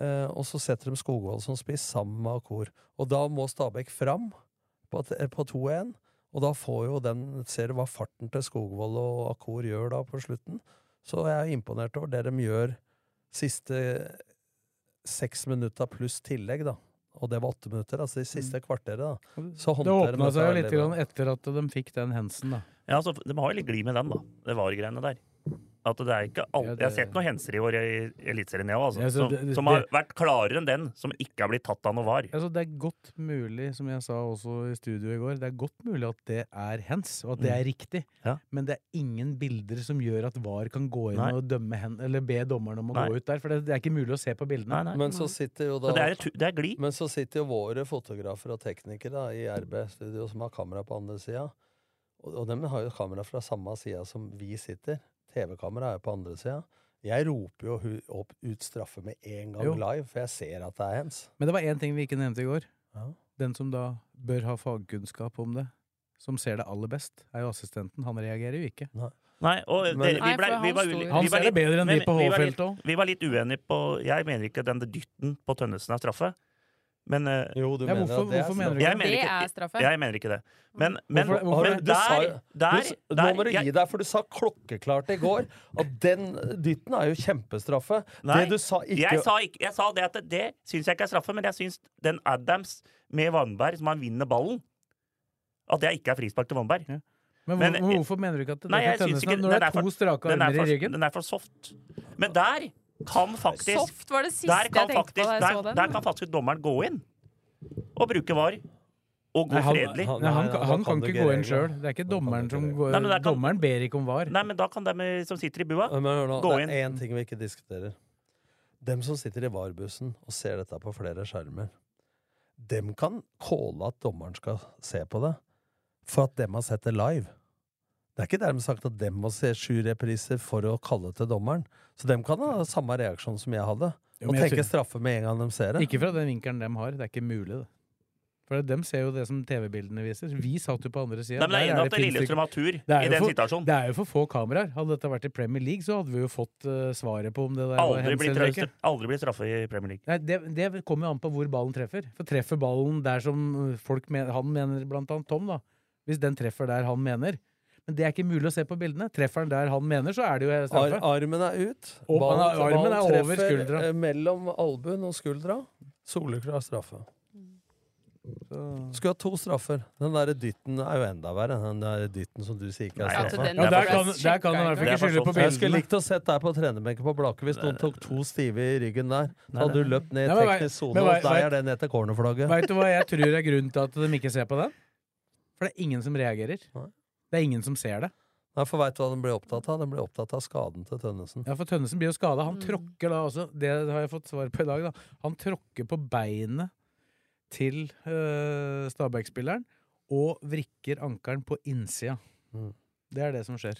Speaker 2: eh, og så setter de Skogvold som spiss sammen med Akor. Og da må Stabæk fram på, t- eh, på 2-1, og da får jo den Ser du hva farten til Skogvold og Akor gjør da på slutten? Så jeg er imponert over det de gjør siste seks minutter pluss tillegg, da. Og det var åtte minutter, altså de siste kvarteret, da. Så
Speaker 1: Det
Speaker 2: håndterer de
Speaker 1: åpna
Speaker 2: dette
Speaker 1: seg jo
Speaker 2: veldig
Speaker 1: litt
Speaker 2: bra.
Speaker 1: grann etter at de fikk den Hensen, da.
Speaker 3: Ja, altså, De har jo litt glid med den, da. Det var greiene der. At det er ikke all...
Speaker 1: Ja, det-
Speaker 3: Jeg har sett noen henser i år i Eliteserien, jeg òg, altså.
Speaker 1: Ja, så
Speaker 3: som,
Speaker 1: det- det-
Speaker 3: som har vært klarere enn den som ikke har blitt tatt av noe var.
Speaker 1: Altså, det er godt mulig, som jeg sa også i studio i går, det er godt mulig at det er hens, og at
Speaker 2: Mm.
Speaker 1: det er riktig.
Speaker 3: Ja.
Speaker 1: Men det er ingen bilder som gjør at VAR kan gå inn
Speaker 3: Nei.
Speaker 1: og dømme hen, eller be dommeren om å
Speaker 3: Nei.
Speaker 1: gå ut der, for det, det er ikke mulig å se på
Speaker 3: Nei,
Speaker 1: bildene.
Speaker 3: nei.
Speaker 2: Men så sitter jo da
Speaker 3: Så det er, et- det er glid.
Speaker 2: Men så sitter jo våre fotografer og teknikere da, i RB-studio som har kamera på andre sida. Og, og dem har jo kamera fra samme sida som vi sitter. TV-kamera er jo på andre sida. Jeg roper jo hu- opp, ut straffe med en gang
Speaker 1: Jo.
Speaker 2: live, for jeg ser at det er hens.
Speaker 1: Men det var én ting vi ikke nevnte i går.
Speaker 2: Ja.
Speaker 1: Den som da bør ha fagkunnskap om det, som ser det aller best, er jo assistenten. Han reagerer jo ikke.
Speaker 3: Nei, og det,
Speaker 2: Men-
Speaker 3: vi
Speaker 4: Nei,
Speaker 3: ble,
Speaker 4: for
Speaker 3: vi
Speaker 4: han
Speaker 3: var
Speaker 4: sto
Speaker 3: uli-
Speaker 4: jo-
Speaker 1: Han
Speaker 3: vi var
Speaker 1: ser det
Speaker 3: litt-
Speaker 1: bedre enn
Speaker 3: men
Speaker 1: de på
Speaker 3: vi var litt-
Speaker 1: H-feltet òg.
Speaker 3: Vi var litt uenige på Jeg mener ikke den dytten på Tønnesen er straffe. Men eh,
Speaker 2: Jo, du
Speaker 1: Ja, hvorfor-
Speaker 2: mener at det
Speaker 1: hvorfor
Speaker 2: er
Speaker 1: mener du
Speaker 2: straffe.
Speaker 3: jeg mener
Speaker 4: Det er
Speaker 3: ikke,
Speaker 4: straffe.
Speaker 3: jeg mener ikke det. Men, men,
Speaker 1: Hvorfor- hvorfor-
Speaker 3: men
Speaker 2: Du sa
Speaker 3: der,
Speaker 2: jo-
Speaker 3: der,
Speaker 2: Du s-
Speaker 3: der
Speaker 2: Nå må du
Speaker 3: jeg-
Speaker 2: gi deg, for du sa klokkeklart i går at den dytten er jo kjempestraffe.
Speaker 3: Nei,
Speaker 2: det du sa ikke
Speaker 3: Jeg sa, ikke, jeg sa det at det syns jeg ikke er straffe, men jeg syns den Adams med Vannberg, som han vinner ballen At det ikke er frispark til Vannberg.
Speaker 1: Ja, Men, hvor,
Speaker 3: Men-
Speaker 1: men hvorfor mener du ikke at det
Speaker 3: Nei,
Speaker 1: er
Speaker 3: jeg
Speaker 1: for
Speaker 3: syns ikke
Speaker 1: Tønnesen når det
Speaker 3: den
Speaker 1: er to strake
Speaker 3: den, er
Speaker 1: armer i
Speaker 3: for,
Speaker 1: ryggen?
Speaker 3: den er for soft. Men der kan faktisk
Speaker 4: Soft var det siste
Speaker 3: der
Speaker 4: jeg
Speaker 3: kan,
Speaker 4: tenkte
Speaker 3: faktisk,
Speaker 4: på da jeg
Speaker 3: der,
Speaker 4: så den.
Speaker 3: der kan faktisk dommeren gå inn og bruke var og
Speaker 1: Nei,
Speaker 3: gå
Speaker 1: han,
Speaker 3: fredelig.
Speaker 2: han-
Speaker 1: nei, han,
Speaker 2: nei, da
Speaker 1: kan- han
Speaker 2: kan
Speaker 1: kan
Speaker 2: du
Speaker 1: ikke
Speaker 2: ikke
Speaker 1: gå inn
Speaker 2: reglene.
Speaker 1: sjøl. Det er ikke
Speaker 2: Da kan
Speaker 1: dommeren
Speaker 2: du
Speaker 1: som
Speaker 2: ikke
Speaker 1: går
Speaker 3: Nei, men der kan-
Speaker 1: Dommeren ber ikke om var.
Speaker 3: Nei, men da kan de som sitter i bua
Speaker 2: Men hør nå,
Speaker 3: Gå
Speaker 2: det
Speaker 3: inn.
Speaker 2: er én ting vi ikke diskuterer. Dem som sitter i VAR-bussen og ser dette på flere skjermer, dem kan calle at dommeren skal se på det, for at dem har sett det live. Det er ikke dermed sagt at dem må se sju repriser for å kalle til dommeren. Så dem kan ha samme reaksjon som jeg hadde,
Speaker 1: Jo,
Speaker 2: og
Speaker 1: men jeg
Speaker 2: tenke
Speaker 1: tror-
Speaker 2: straffe med en gang de ser det.
Speaker 1: Ikke fra den vinkelen dem har. Det er ikke mulig, det. For dem ser jo det som TV-bildene viser. Vi satt jo på andre sida.
Speaker 3: Nei, men jeg er enig i at Lillestrøm har tur i
Speaker 1: Det er jo
Speaker 3: den
Speaker 1: for-
Speaker 3: situasjonen.
Speaker 1: Det er jo for få kameraer. Hadde dette vært i Premier League, så hadde vi jo fått eh, svaret på om det der var
Speaker 3: Aldri
Speaker 1: hens
Speaker 3: blitt
Speaker 1: eller
Speaker 3: trøst-
Speaker 1: ikke.
Speaker 3: aldri blitt straffe i Premier League.
Speaker 1: Nei, det, det kommer jo an på hvor ballen treffer. For treffer ballen der som eh, folk men, han mener, blant annet Tom, da. Hvis den treffer der han mener. Men det er ikke mulig å se på bildene. Treffer den der han mener, så er det jo
Speaker 2: Ar
Speaker 1: straffe.
Speaker 2: armen er ut.
Speaker 1: Og
Speaker 2: Ballen-
Speaker 1: han- armen
Speaker 2: ballen
Speaker 1: er over
Speaker 2: treffer,
Speaker 1: skuldra.
Speaker 2: eh, Mellom albuen og skuldra. Soleklar straffe. Skulle ha to straffer. Den derre dytten er jo enda verre. Den der dytten som du sier ikke er
Speaker 3: Nei,
Speaker 4: Ja,
Speaker 3: altså,
Speaker 2: straffe.
Speaker 4: den
Speaker 1: Ja,
Speaker 3: Det er
Speaker 1: der kan, der kan han i hvert fall
Speaker 3: Det er
Speaker 1: ikke skylde
Speaker 3: for
Speaker 1: på
Speaker 3: sånn.
Speaker 2: Jeg skulle
Speaker 1: bildene.
Speaker 2: likt å sett deg på trenerbenken på Blaker hvis noen tok to stive i ryggen der. Så
Speaker 3: Nei,
Speaker 2: hadde du løpt ned
Speaker 1: Nei,
Speaker 2: i
Speaker 1: men vei-
Speaker 2: teknisk sone,
Speaker 1: men vei-
Speaker 2: og der
Speaker 1: vei-
Speaker 2: er det ned til cornerflagget.
Speaker 1: Veit du hva jeg tror er grunnen til at de ikke ser på den? For det er ingen som reagerer.
Speaker 2: Nei.
Speaker 1: Det er ingen som ser det.
Speaker 2: Nei, for veit du hva den ble opptatt av? Den ble opptatt av skaden til Tønnesen.
Speaker 1: Ja, For Tønnesen blir jo skada. Han
Speaker 4: Mm.
Speaker 1: tråkker da også Det har jeg fått svar på i dag. da Han tråkker på beinet til øh, Stabæk-spilleren og vrikker ankelen på innsida.
Speaker 2: Mm.
Speaker 1: Det er det som skjer.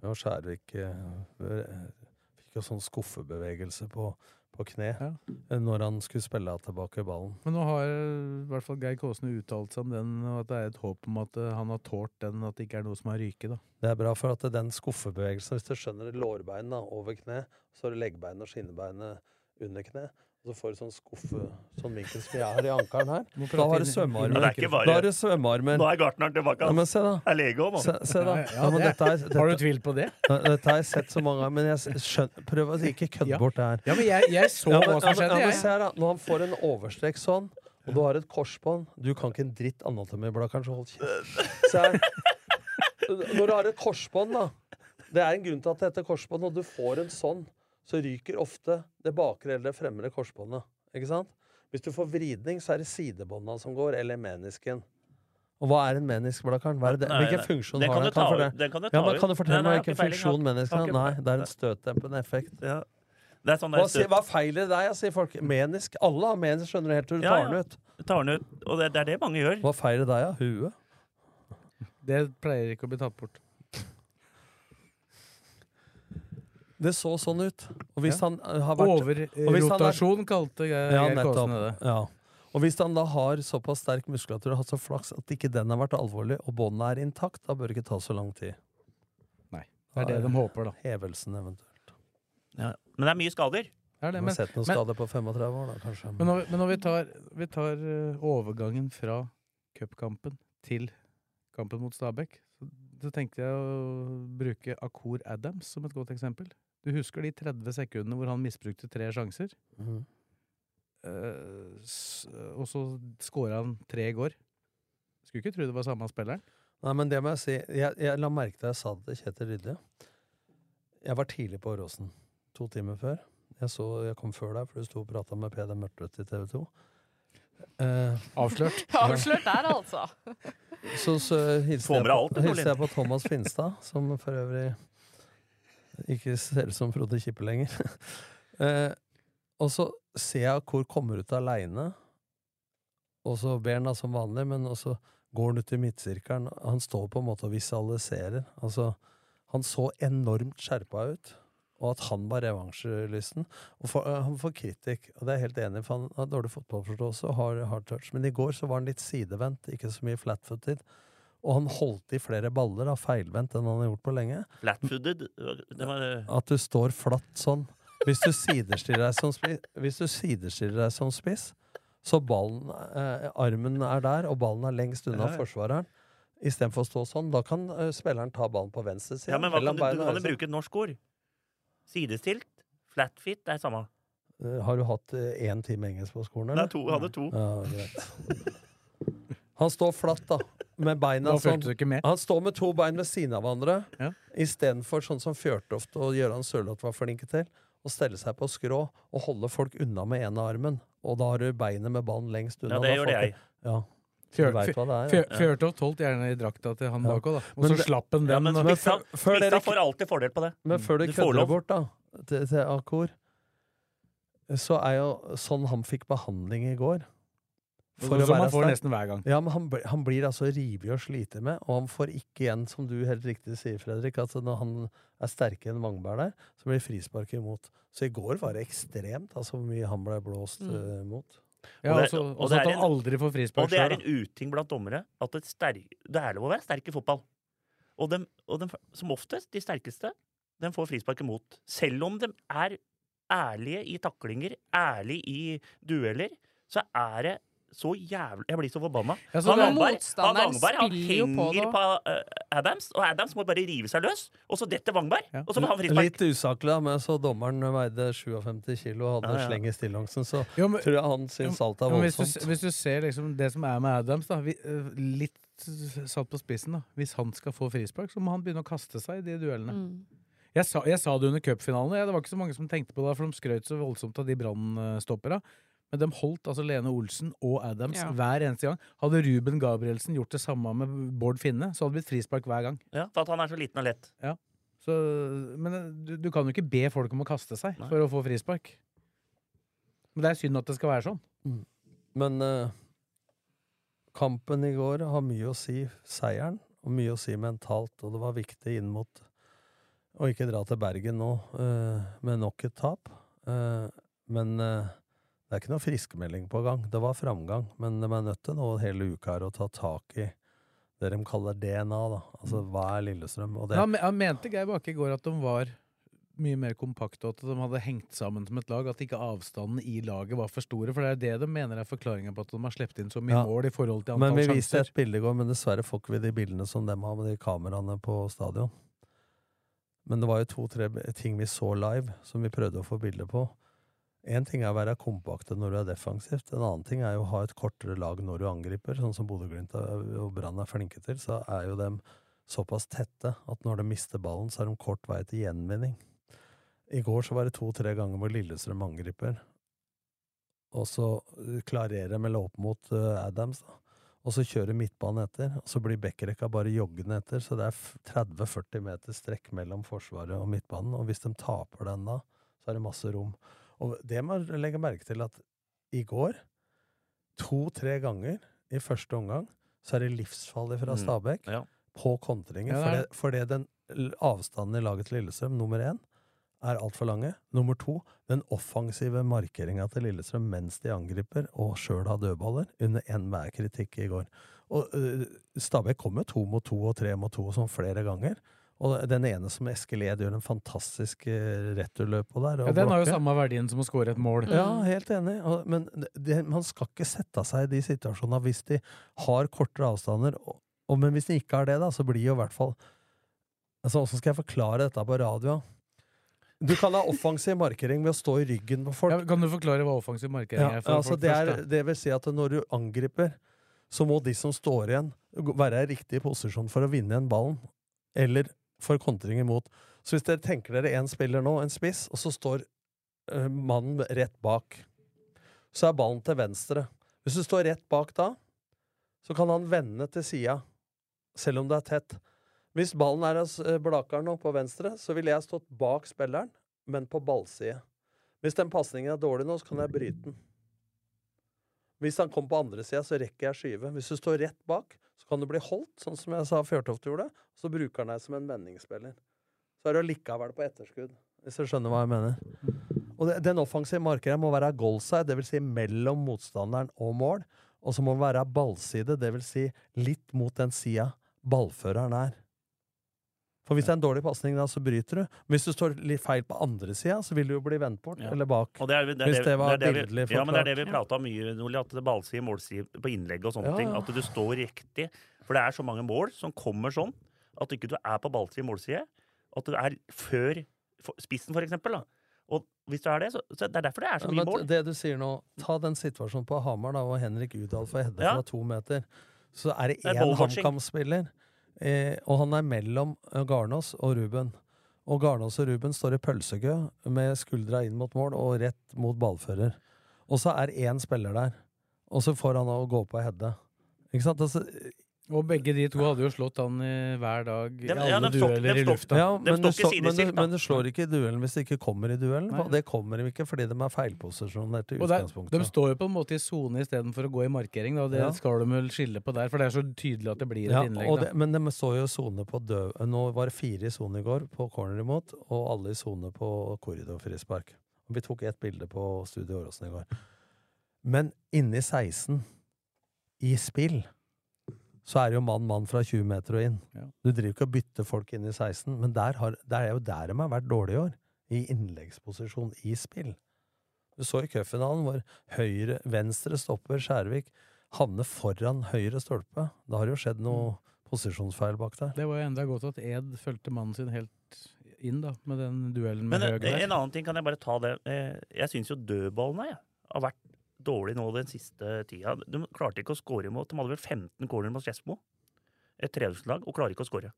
Speaker 2: Og Skjærvik eh, fikk jo sånn skuffebevegelse på, på kne
Speaker 1: Ja.
Speaker 2: eh, når han skulle spille tilbake ballen.
Speaker 1: Men nå har øh, i hvert fall Geir Kåsene uttalt seg om den, og at det er et håp om at øh, han har tålt den, at det ikke er noe som har ryket. da
Speaker 2: Det er bra for at den skuffebevegelsen, hvis du skjønner lårbeinet da, over kne, så har du leggbeinet og skinnebeinet under kne, og så får du sånn skuffe, sånn vinkel som jeg har i ankeren her.
Speaker 1: Må
Speaker 2: Da
Speaker 1: prate inn
Speaker 2: har du
Speaker 1: i-
Speaker 3: Ja,
Speaker 2: svømmearmen.
Speaker 3: det er ikke bare-
Speaker 2: Da har du svømmearmen.
Speaker 3: Nå er gartneren tilbake.
Speaker 2: Ja,
Speaker 3: ass.
Speaker 2: men se da.
Speaker 3: Er lege òg,
Speaker 2: Se,
Speaker 3: mann.
Speaker 2: se da.
Speaker 1: Ja, ja,
Speaker 2: Ja, men
Speaker 1: det-
Speaker 2: dette, er,
Speaker 1: Har du
Speaker 2: dette,
Speaker 1: tvil på det?
Speaker 2: dette har jeg sett så mange ganger, men jeg skjønner, prøv å ikke
Speaker 1: Ja.
Speaker 2: kødde bort det her.
Speaker 1: Ja, men jeg, jeg så
Speaker 2: Ja, men,
Speaker 1: hva
Speaker 2: ja,
Speaker 1: som
Speaker 2: men,
Speaker 1: skjedde,
Speaker 2: ja, men
Speaker 1: jeg.
Speaker 2: se her da. Når han får en overstrekk sånn, og du har et korsbånd Du kan ikke en dritt anatomi, Blakkaren, så hold kjeft. Se her. Når du har et korsbånd, da Det er en grunn til at det heter korsbånd. Når du får en sånn, så ryker ofte det bakre eller det fremre korsbåndet. Ikke sant? Hvis du får vridning, så er det sidebånda som går, eller menisken. Og hva er en menisk, Blakkaren? Hva er det-
Speaker 3: Nei,
Speaker 2: Hvilken
Speaker 3: nei.
Speaker 2: funksjon
Speaker 3: Den
Speaker 2: har
Speaker 3: kan
Speaker 2: den?
Speaker 3: du ta
Speaker 2: Kan, for
Speaker 3: ut.
Speaker 2: det?
Speaker 3: Den kan du ta
Speaker 2: Ja, men
Speaker 3: ut.
Speaker 2: kan du
Speaker 3: Nei,
Speaker 2: fortelle
Speaker 3: nei,
Speaker 2: meg
Speaker 3: jeg
Speaker 2: hvilken
Speaker 3: har ikke peiling, jeg har-
Speaker 2: funksjon menisken
Speaker 3: har
Speaker 2: har?
Speaker 3: ikke-
Speaker 2: Nei, det er en støtdempende effekt.
Speaker 3: Ja. Det er sånn der
Speaker 2: Hva, sier,
Speaker 3: støt-
Speaker 2: hva feiler deg, ja, sier folk. Menisk. Alle har menisk, skjønner du, helt til du
Speaker 3: Ja,
Speaker 2: tar
Speaker 3: ja.
Speaker 2: den ut.
Speaker 3: tar den ut. Og det, det er det mange gjør.
Speaker 2: Hva feiler deg, ja? Huet?
Speaker 1: Det pleier ikke å bli tatt bort.
Speaker 2: Det så sånn ut. Og hvis
Speaker 1: Ja.
Speaker 2: han eh, har vært Og hvis han er-
Speaker 1: Overrotasjon øh, kalte Geir
Speaker 2: Ja,
Speaker 1: Geir
Speaker 2: nettopp.
Speaker 1: Kåsene det.
Speaker 2: Ja. Og hvis han da har såpass sterk muskulatur og hatt så flaks at ikke den har vært alvorlig, og båndet er intakt, da bør det ikke ta så lang tid.
Speaker 1: Nei, Det er det de håper, da.
Speaker 2: Hevelsen eventuelt.
Speaker 3: Men det er mye skader.
Speaker 1: Det er
Speaker 2: Du
Speaker 1: det,
Speaker 2: har
Speaker 1: men,
Speaker 2: sett noen skader på 35 år, da, kanskje.
Speaker 1: men, når, vi- men når vi tar, vi tar eh, overgangen fra cupkampen til kampen mot Stabæk, så, så tenkte jeg å bruke Akur Adams som et godt eksempel. Du husker de 30 sekundene hvor han misbrukte tre sjanser?
Speaker 2: Mhm.
Speaker 1: Eh, s- og så skåra han tre i går. Skulle ikke tro det var samme spilleren.
Speaker 2: Nei, men det må jeg si. Jeg, jeg la merke til jeg sa det til Kjetil Rydde. Jeg var tidlig på Åråsen. To timer før. Jeg, så, jeg kom før deg, for du sto og prata med Peder Mørtvedt i TV 2. Eh,
Speaker 1: Avslørt.
Speaker 4: Avslørt der, altså.
Speaker 2: så så hilste,
Speaker 3: Får
Speaker 2: jeg
Speaker 3: med deg alt,
Speaker 2: på,
Speaker 3: du,
Speaker 2: hilste jeg på Thomas Finstad, som for øvrig ikke ser ut som Frode Kippe lenger. eh, og så ser jeg hvor kommer ut aleine, og så ber han da som vanlig, men også går han ut i midtsirkelen. Han står på en måte og visualiserer. Altså, han så enormt skjerpa ut, og at han var revansjelysten. Og for, eh, han får kritikk, og det er jeg helt enig i, for han har dårlig fotballforståelse og har hard touch. Men i går så var han litt sidevendt, ikke så mye flatfooted. Og han holdt i flere baller, da, feilvendt enn han har gjort på lenge.
Speaker 3: Flatfooded. Det var, eh,
Speaker 2: At du står flatt sånn. Hvis du sidestiller deg som spiss, hvis du sidestiller deg som spiss så ballen, eh, armen er der, og ballen er lengst unna
Speaker 3: Ja, ja.
Speaker 2: forsvareren. Istedenfor å stå sånn. Da kan eh, spilleren ta ballen på venstre side.
Speaker 3: ja, men hva
Speaker 2: eller
Speaker 3: kan du, du
Speaker 2: beina altså.
Speaker 3: kan jo
Speaker 2: høyre side.
Speaker 3: bruke et norsk ord. Sidestilt. Flatfit, det er samme.
Speaker 2: Eh, Har du hatt eh, én time engelsk på skolen,
Speaker 3: Det
Speaker 2: eller?
Speaker 3: er to, hadde to.
Speaker 2: Ja, greit. Han står flatt, da. Med beina
Speaker 1: Nå
Speaker 3: altså-
Speaker 2: sånn.
Speaker 1: fulgte du ikke med.
Speaker 2: Han står med to bein ved siden av hverandre,
Speaker 1: Ja.
Speaker 2: istedenfor sånn som Fjørtoft og Gøran Sørloth var flinke til, å stelle seg på skrå og holde folk unna med ene armen. Og da har du beinet med ballen lengst unna.
Speaker 3: Ja, det
Speaker 2: Da
Speaker 3: gjorde
Speaker 2: folk-
Speaker 3: jeg.
Speaker 2: Ja.
Speaker 1: Fjør-
Speaker 2: du vet hva det er. ja.
Speaker 1: Fjør- Fjørtoft holdt gjerne i drakta til han
Speaker 2: Ja.
Speaker 1: bak òg, da. Og
Speaker 2: Men
Speaker 1: så
Speaker 2: det-
Speaker 1: slapp han den.
Speaker 3: Ja, men
Speaker 1: og-
Speaker 3: spissa,
Speaker 2: før dere-
Speaker 3: spissa får alltid fordel på det.
Speaker 2: Men før du
Speaker 3: Du får
Speaker 2: kødder det
Speaker 3: lov.
Speaker 2: bort, da. til, til Akor, så er jo sånn han fikk behandling i går
Speaker 1: For Sånn som man får
Speaker 2: sterk.
Speaker 1: nesten hver gang.
Speaker 2: Ja, men han, bl- han blir altså rivig og sliter med, og han får ikke igjen, som du helt riktig sier, Fredrik, at når han er sterkere enn Vangbær der, så blir frisparket imot. Så i går var det ekstremt, altså hvor mye han ble blåst
Speaker 4: Mm.
Speaker 2: eh, mot.
Speaker 1: Ja,
Speaker 3: Og det-
Speaker 1: også,
Speaker 3: og
Speaker 1: også
Speaker 3: det
Speaker 1: at
Speaker 3: er
Speaker 1: han
Speaker 3: en-
Speaker 1: aldri får
Speaker 3: Og
Speaker 1: frispark
Speaker 3: det er
Speaker 1: sjøl.
Speaker 3: en uting blant dommere at et sterk, det er lov å være sterk i fotball. Og, dem, og dem, som oftest, de sterkeste, de får frispark imot. Selv om de er ærlige i taklinger, ærlige i dueller, så er det så jævlig Jeg blir så forbanna.
Speaker 1: Ja, så
Speaker 3: Han
Speaker 1: det er-
Speaker 3: Langberg- han
Speaker 4: motstanderen
Speaker 3: Langberg, han
Speaker 4: spiller jo på
Speaker 3: henger
Speaker 4: det.
Speaker 3: på eh, Adams, og Adams må bare rive seg løs. Og så detter Wangberg,
Speaker 1: Ja.
Speaker 3: og så får han frispark.
Speaker 2: Litt usaklig, da, men så dommeren veide 57 kilo og hadde
Speaker 3: Ja, ja.
Speaker 2: sleng i stillongsen, så
Speaker 1: Jo, men-
Speaker 2: tror jeg han syns alt er
Speaker 1: Ja, men hvis, du,
Speaker 2: voldsomt.
Speaker 1: s- hvis du ser liksom det som er med Adams, da, vi, eh, litt s- satt på spissen da. Hvis han skal få frispark, så må han begynne å kaste seg i de duellene.
Speaker 4: Mm.
Speaker 1: Jeg sa, jeg sa det under cupfinalen. Ja, det var ikke så mange som tenkte på det, for de skrøt så voldsomt av de brannstoppera. Men de holdt altså Lene Olsen og Adams
Speaker 4: Ja.
Speaker 1: hver eneste gang. Hadde Ruben Gabrielsen gjort det samme med Bård Finne, så hadde det blitt frispark hver gang.
Speaker 3: Ja, for at han er så liten og lett.
Speaker 1: Så, men eh, du, du kan jo ikke be folk om å kaste seg
Speaker 3: Nei.
Speaker 1: for å få frispark. Men det er synd at det skal være sånn.
Speaker 2: Men eh, kampen i går har mye å si, seieren, og mye å si mentalt, og det var viktig inn mot å ikke dra til Bergen nå eh, med nok et tap. Eh, men eh, det er ikke noe friskmelding på gang. Det var framgang, men de er nødt til nå hele uka her å ta tak i det de kaller DNA, da. Altså hva er Lillestrøm? Og det,
Speaker 1: Men Han, me- han mente Geir Bakke i går at de var mye mer kompakte, og at de hadde hengt sammen som et lag. At ikke avstanden i laget var for store. For det er det de mener er forklaringa på at de har sluppet inn så mye
Speaker 2: Ja.
Speaker 1: mål i forhold til
Speaker 2: Men
Speaker 1: antall
Speaker 2: vi viste
Speaker 1: sjanser.
Speaker 2: et bilde i går, men dessverre får ikke vi de bildene som dem har med de kameraene på stadion. Men det var jo to-tre b- ting vi så live, som vi prøvde å få bilde på. Én ting er å være kompakte når du er defensivt, en annen ting er jo å ha et kortere lag når du angriper, sånn som Bodø-Glimt er- og Brann er flinke til. Så er jo dem såpass tette at når de mister ballen, så er de kort vei til gjenvinning. I går så var det to-tre ganger hvor Lillestrøm angriper, og så eh, klarerer de eller opp mot eh, Adams, da og så kjører midtbanen etter, og så blir backrekka bare joggende etter, så det er f- 30-40 meter strekk mellom Forsvaret og midtbanen, og hvis de taper den da, så er det masse rom. Og det må jeg legge merke til at i går, to-tre ganger i første omgang, så er det livsfarlig fra
Speaker 3: Mm,
Speaker 2: Stabæk
Speaker 3: ja.
Speaker 2: på kontringer,
Speaker 1: Ja, det er
Speaker 2: fordi, fordi den l- avstanden i laget til Lillestrøm, nummer én, er altfor lange. Nummer to, den offensive markeringa til Lillestrøm mens de angriper og sjøl har dødballer, under enhver kritikk i går. Og øh, Stabæk kom jo to mot to og tre mot to sånn flere ganger. Og den ene som Eskeled gjør en fantastisk øh, returløp på der. og
Speaker 1: Ja, den har jo
Speaker 2: blokker.
Speaker 1: samme verdien som å score et mål.
Speaker 2: Ja, helt enig. Og- Men det, man skal ikke sette seg i de situasjonene hvis de har kortere avstander. Og, og, men hvis de ikke har det, da, så blir jo i hvert fall altså, Hvordan skal jeg forklare dette på radio? Du kan ha offensiv markering ved å stå i ryggen på folk.
Speaker 1: Ja, kan du forklare hva offensiv markering
Speaker 2: Ja,
Speaker 1: er? for
Speaker 2: altså
Speaker 1: folk
Speaker 2: det,
Speaker 1: først,
Speaker 2: er, det vil si at når du angriper, så må de som står igjen, gå- være i riktig posisjon for å vinne igjen ballen, eller for kontring imot. Så hvis dere tenker dere en spiller nå, en spiss, og så står eh, mannen rett bak, så er ballen til venstre. Hvis du står rett bak da, så kan han vende til sida, selv om det er tett. Hvis ballen er hos eh, Blakar nå, på venstre, så ville jeg stått bak spilleren, men på ballside. Hvis den pasningen er dårlig nå, så kan jeg bryte den. Hvis han kommer på andre sida, så rekker jeg skyve. Hvis du står rett bak, så kan du bli holdt, sånn som jeg sa Fjørtoft gjorde, og så bruker han deg som en vendingsspiller. Så er du likevel på etterskudd, hvis du skjønner hva jeg mener. Og det, den offensive markeren må være goalside, dvs. Si mellom motstanderen og mål, og så må den være ballside, dvs. Si litt mot den sida ballføreren er. For hvis det er en dårlig pasning, da, så bryter du. Hvis du står litt feil på andre sida, så vil du jo bli vendt bort,
Speaker 3: Ja.
Speaker 2: eller bak.
Speaker 3: Og det er, det er,
Speaker 2: Hvis det var
Speaker 3: det er
Speaker 2: bildelig
Speaker 3: vi, Ja, men det er det vi
Speaker 4: forklart.
Speaker 3: prata om mye, Nordli, at det ballside, målside på innlegg og sånne
Speaker 2: Ja,
Speaker 3: ting.
Speaker 2: ja.
Speaker 3: At du står riktig. For det er så mange mål som kommer sånn at ikke du er på ballside, målside. At du er før for- spissen, for eksempel. Da. Og hvis du er det, så, så det er derfor det er så
Speaker 2: Ja,
Speaker 3: mye
Speaker 2: men
Speaker 3: mål.
Speaker 2: Det du sier nå, ta den situasjonen på Hamar da, og Henrik Udal får hedde
Speaker 3: Ja.
Speaker 2: fra to meter. Så er det
Speaker 3: Det er
Speaker 2: én
Speaker 3: ballwatching.
Speaker 2: HamKam-spiller, eh, og han er mellom eh, Garnås og Ruben. Og Garnås og Ruben står i pølsekø med skuldra inn mot mål og rett mot ballfører. Og så er én spiller der, og så får han å gå på og hedde. Ikke sant? Altså,
Speaker 1: da. Og begge de to hadde jo slått han i hver dag i
Speaker 3: Dem- ja,
Speaker 1: alle
Speaker 3: dem slår-
Speaker 1: dueller i
Speaker 3: dem slår-
Speaker 1: lufta.
Speaker 3: De står
Speaker 2: det
Speaker 3: ikke
Speaker 2: slår- men,
Speaker 3: sidestilt,
Speaker 2: det,
Speaker 3: da.
Speaker 2: men det slår ikke i duellen hvis det ikke kommer i duellen.
Speaker 1: Nei.
Speaker 2: Og det kommer de ikke fordi de er feilposisjonerte i
Speaker 1: Og der, de
Speaker 2: utgangspunktet.
Speaker 1: står jo på en måte i sone istedenfor å gå i markering, da. og Det
Speaker 2: Ja.
Speaker 1: skal de vel skille på der, for det er så tydelig at det blir et
Speaker 2: Ja,
Speaker 1: innlegg.
Speaker 2: og
Speaker 1: Da.
Speaker 2: det, men de så jo sone på døv... Nå var det fire i sone i går på corner imot, og alle i sone på korridorfrispark. Og Vi tok ett bilde på Studio Åråsen i går. Men inni 16, i spill, så er det jo mann-mann fra 20 meter og inn.
Speaker 1: Ja.
Speaker 2: Du driver ikke og bytter folk inn i 16, men der, har, der er jo der de har vært dårlige i år. I innleggsposisjon i spill. Du så i cupfinalen hvor høyre, venstre stopper Skjærvik havner foran høyre stolpe. Da har det jo skjedd noe
Speaker 3: Mm.
Speaker 2: posisjonsfeil bak der.
Speaker 1: Det var jo enda godt at Ed fulgte mannen sin helt inn, da, med den duellen med
Speaker 3: Men eh,
Speaker 1: Høg der.
Speaker 3: en annen ting kan jeg bare ta det. Eh, Jeg syns jo dødballene jeg, har vært dårlige nå den siste tida. De klarte ikke å score imot. De hadde vel 15 corner mot Skedsmo. Et tredjedelslag, og klarer ikke å score.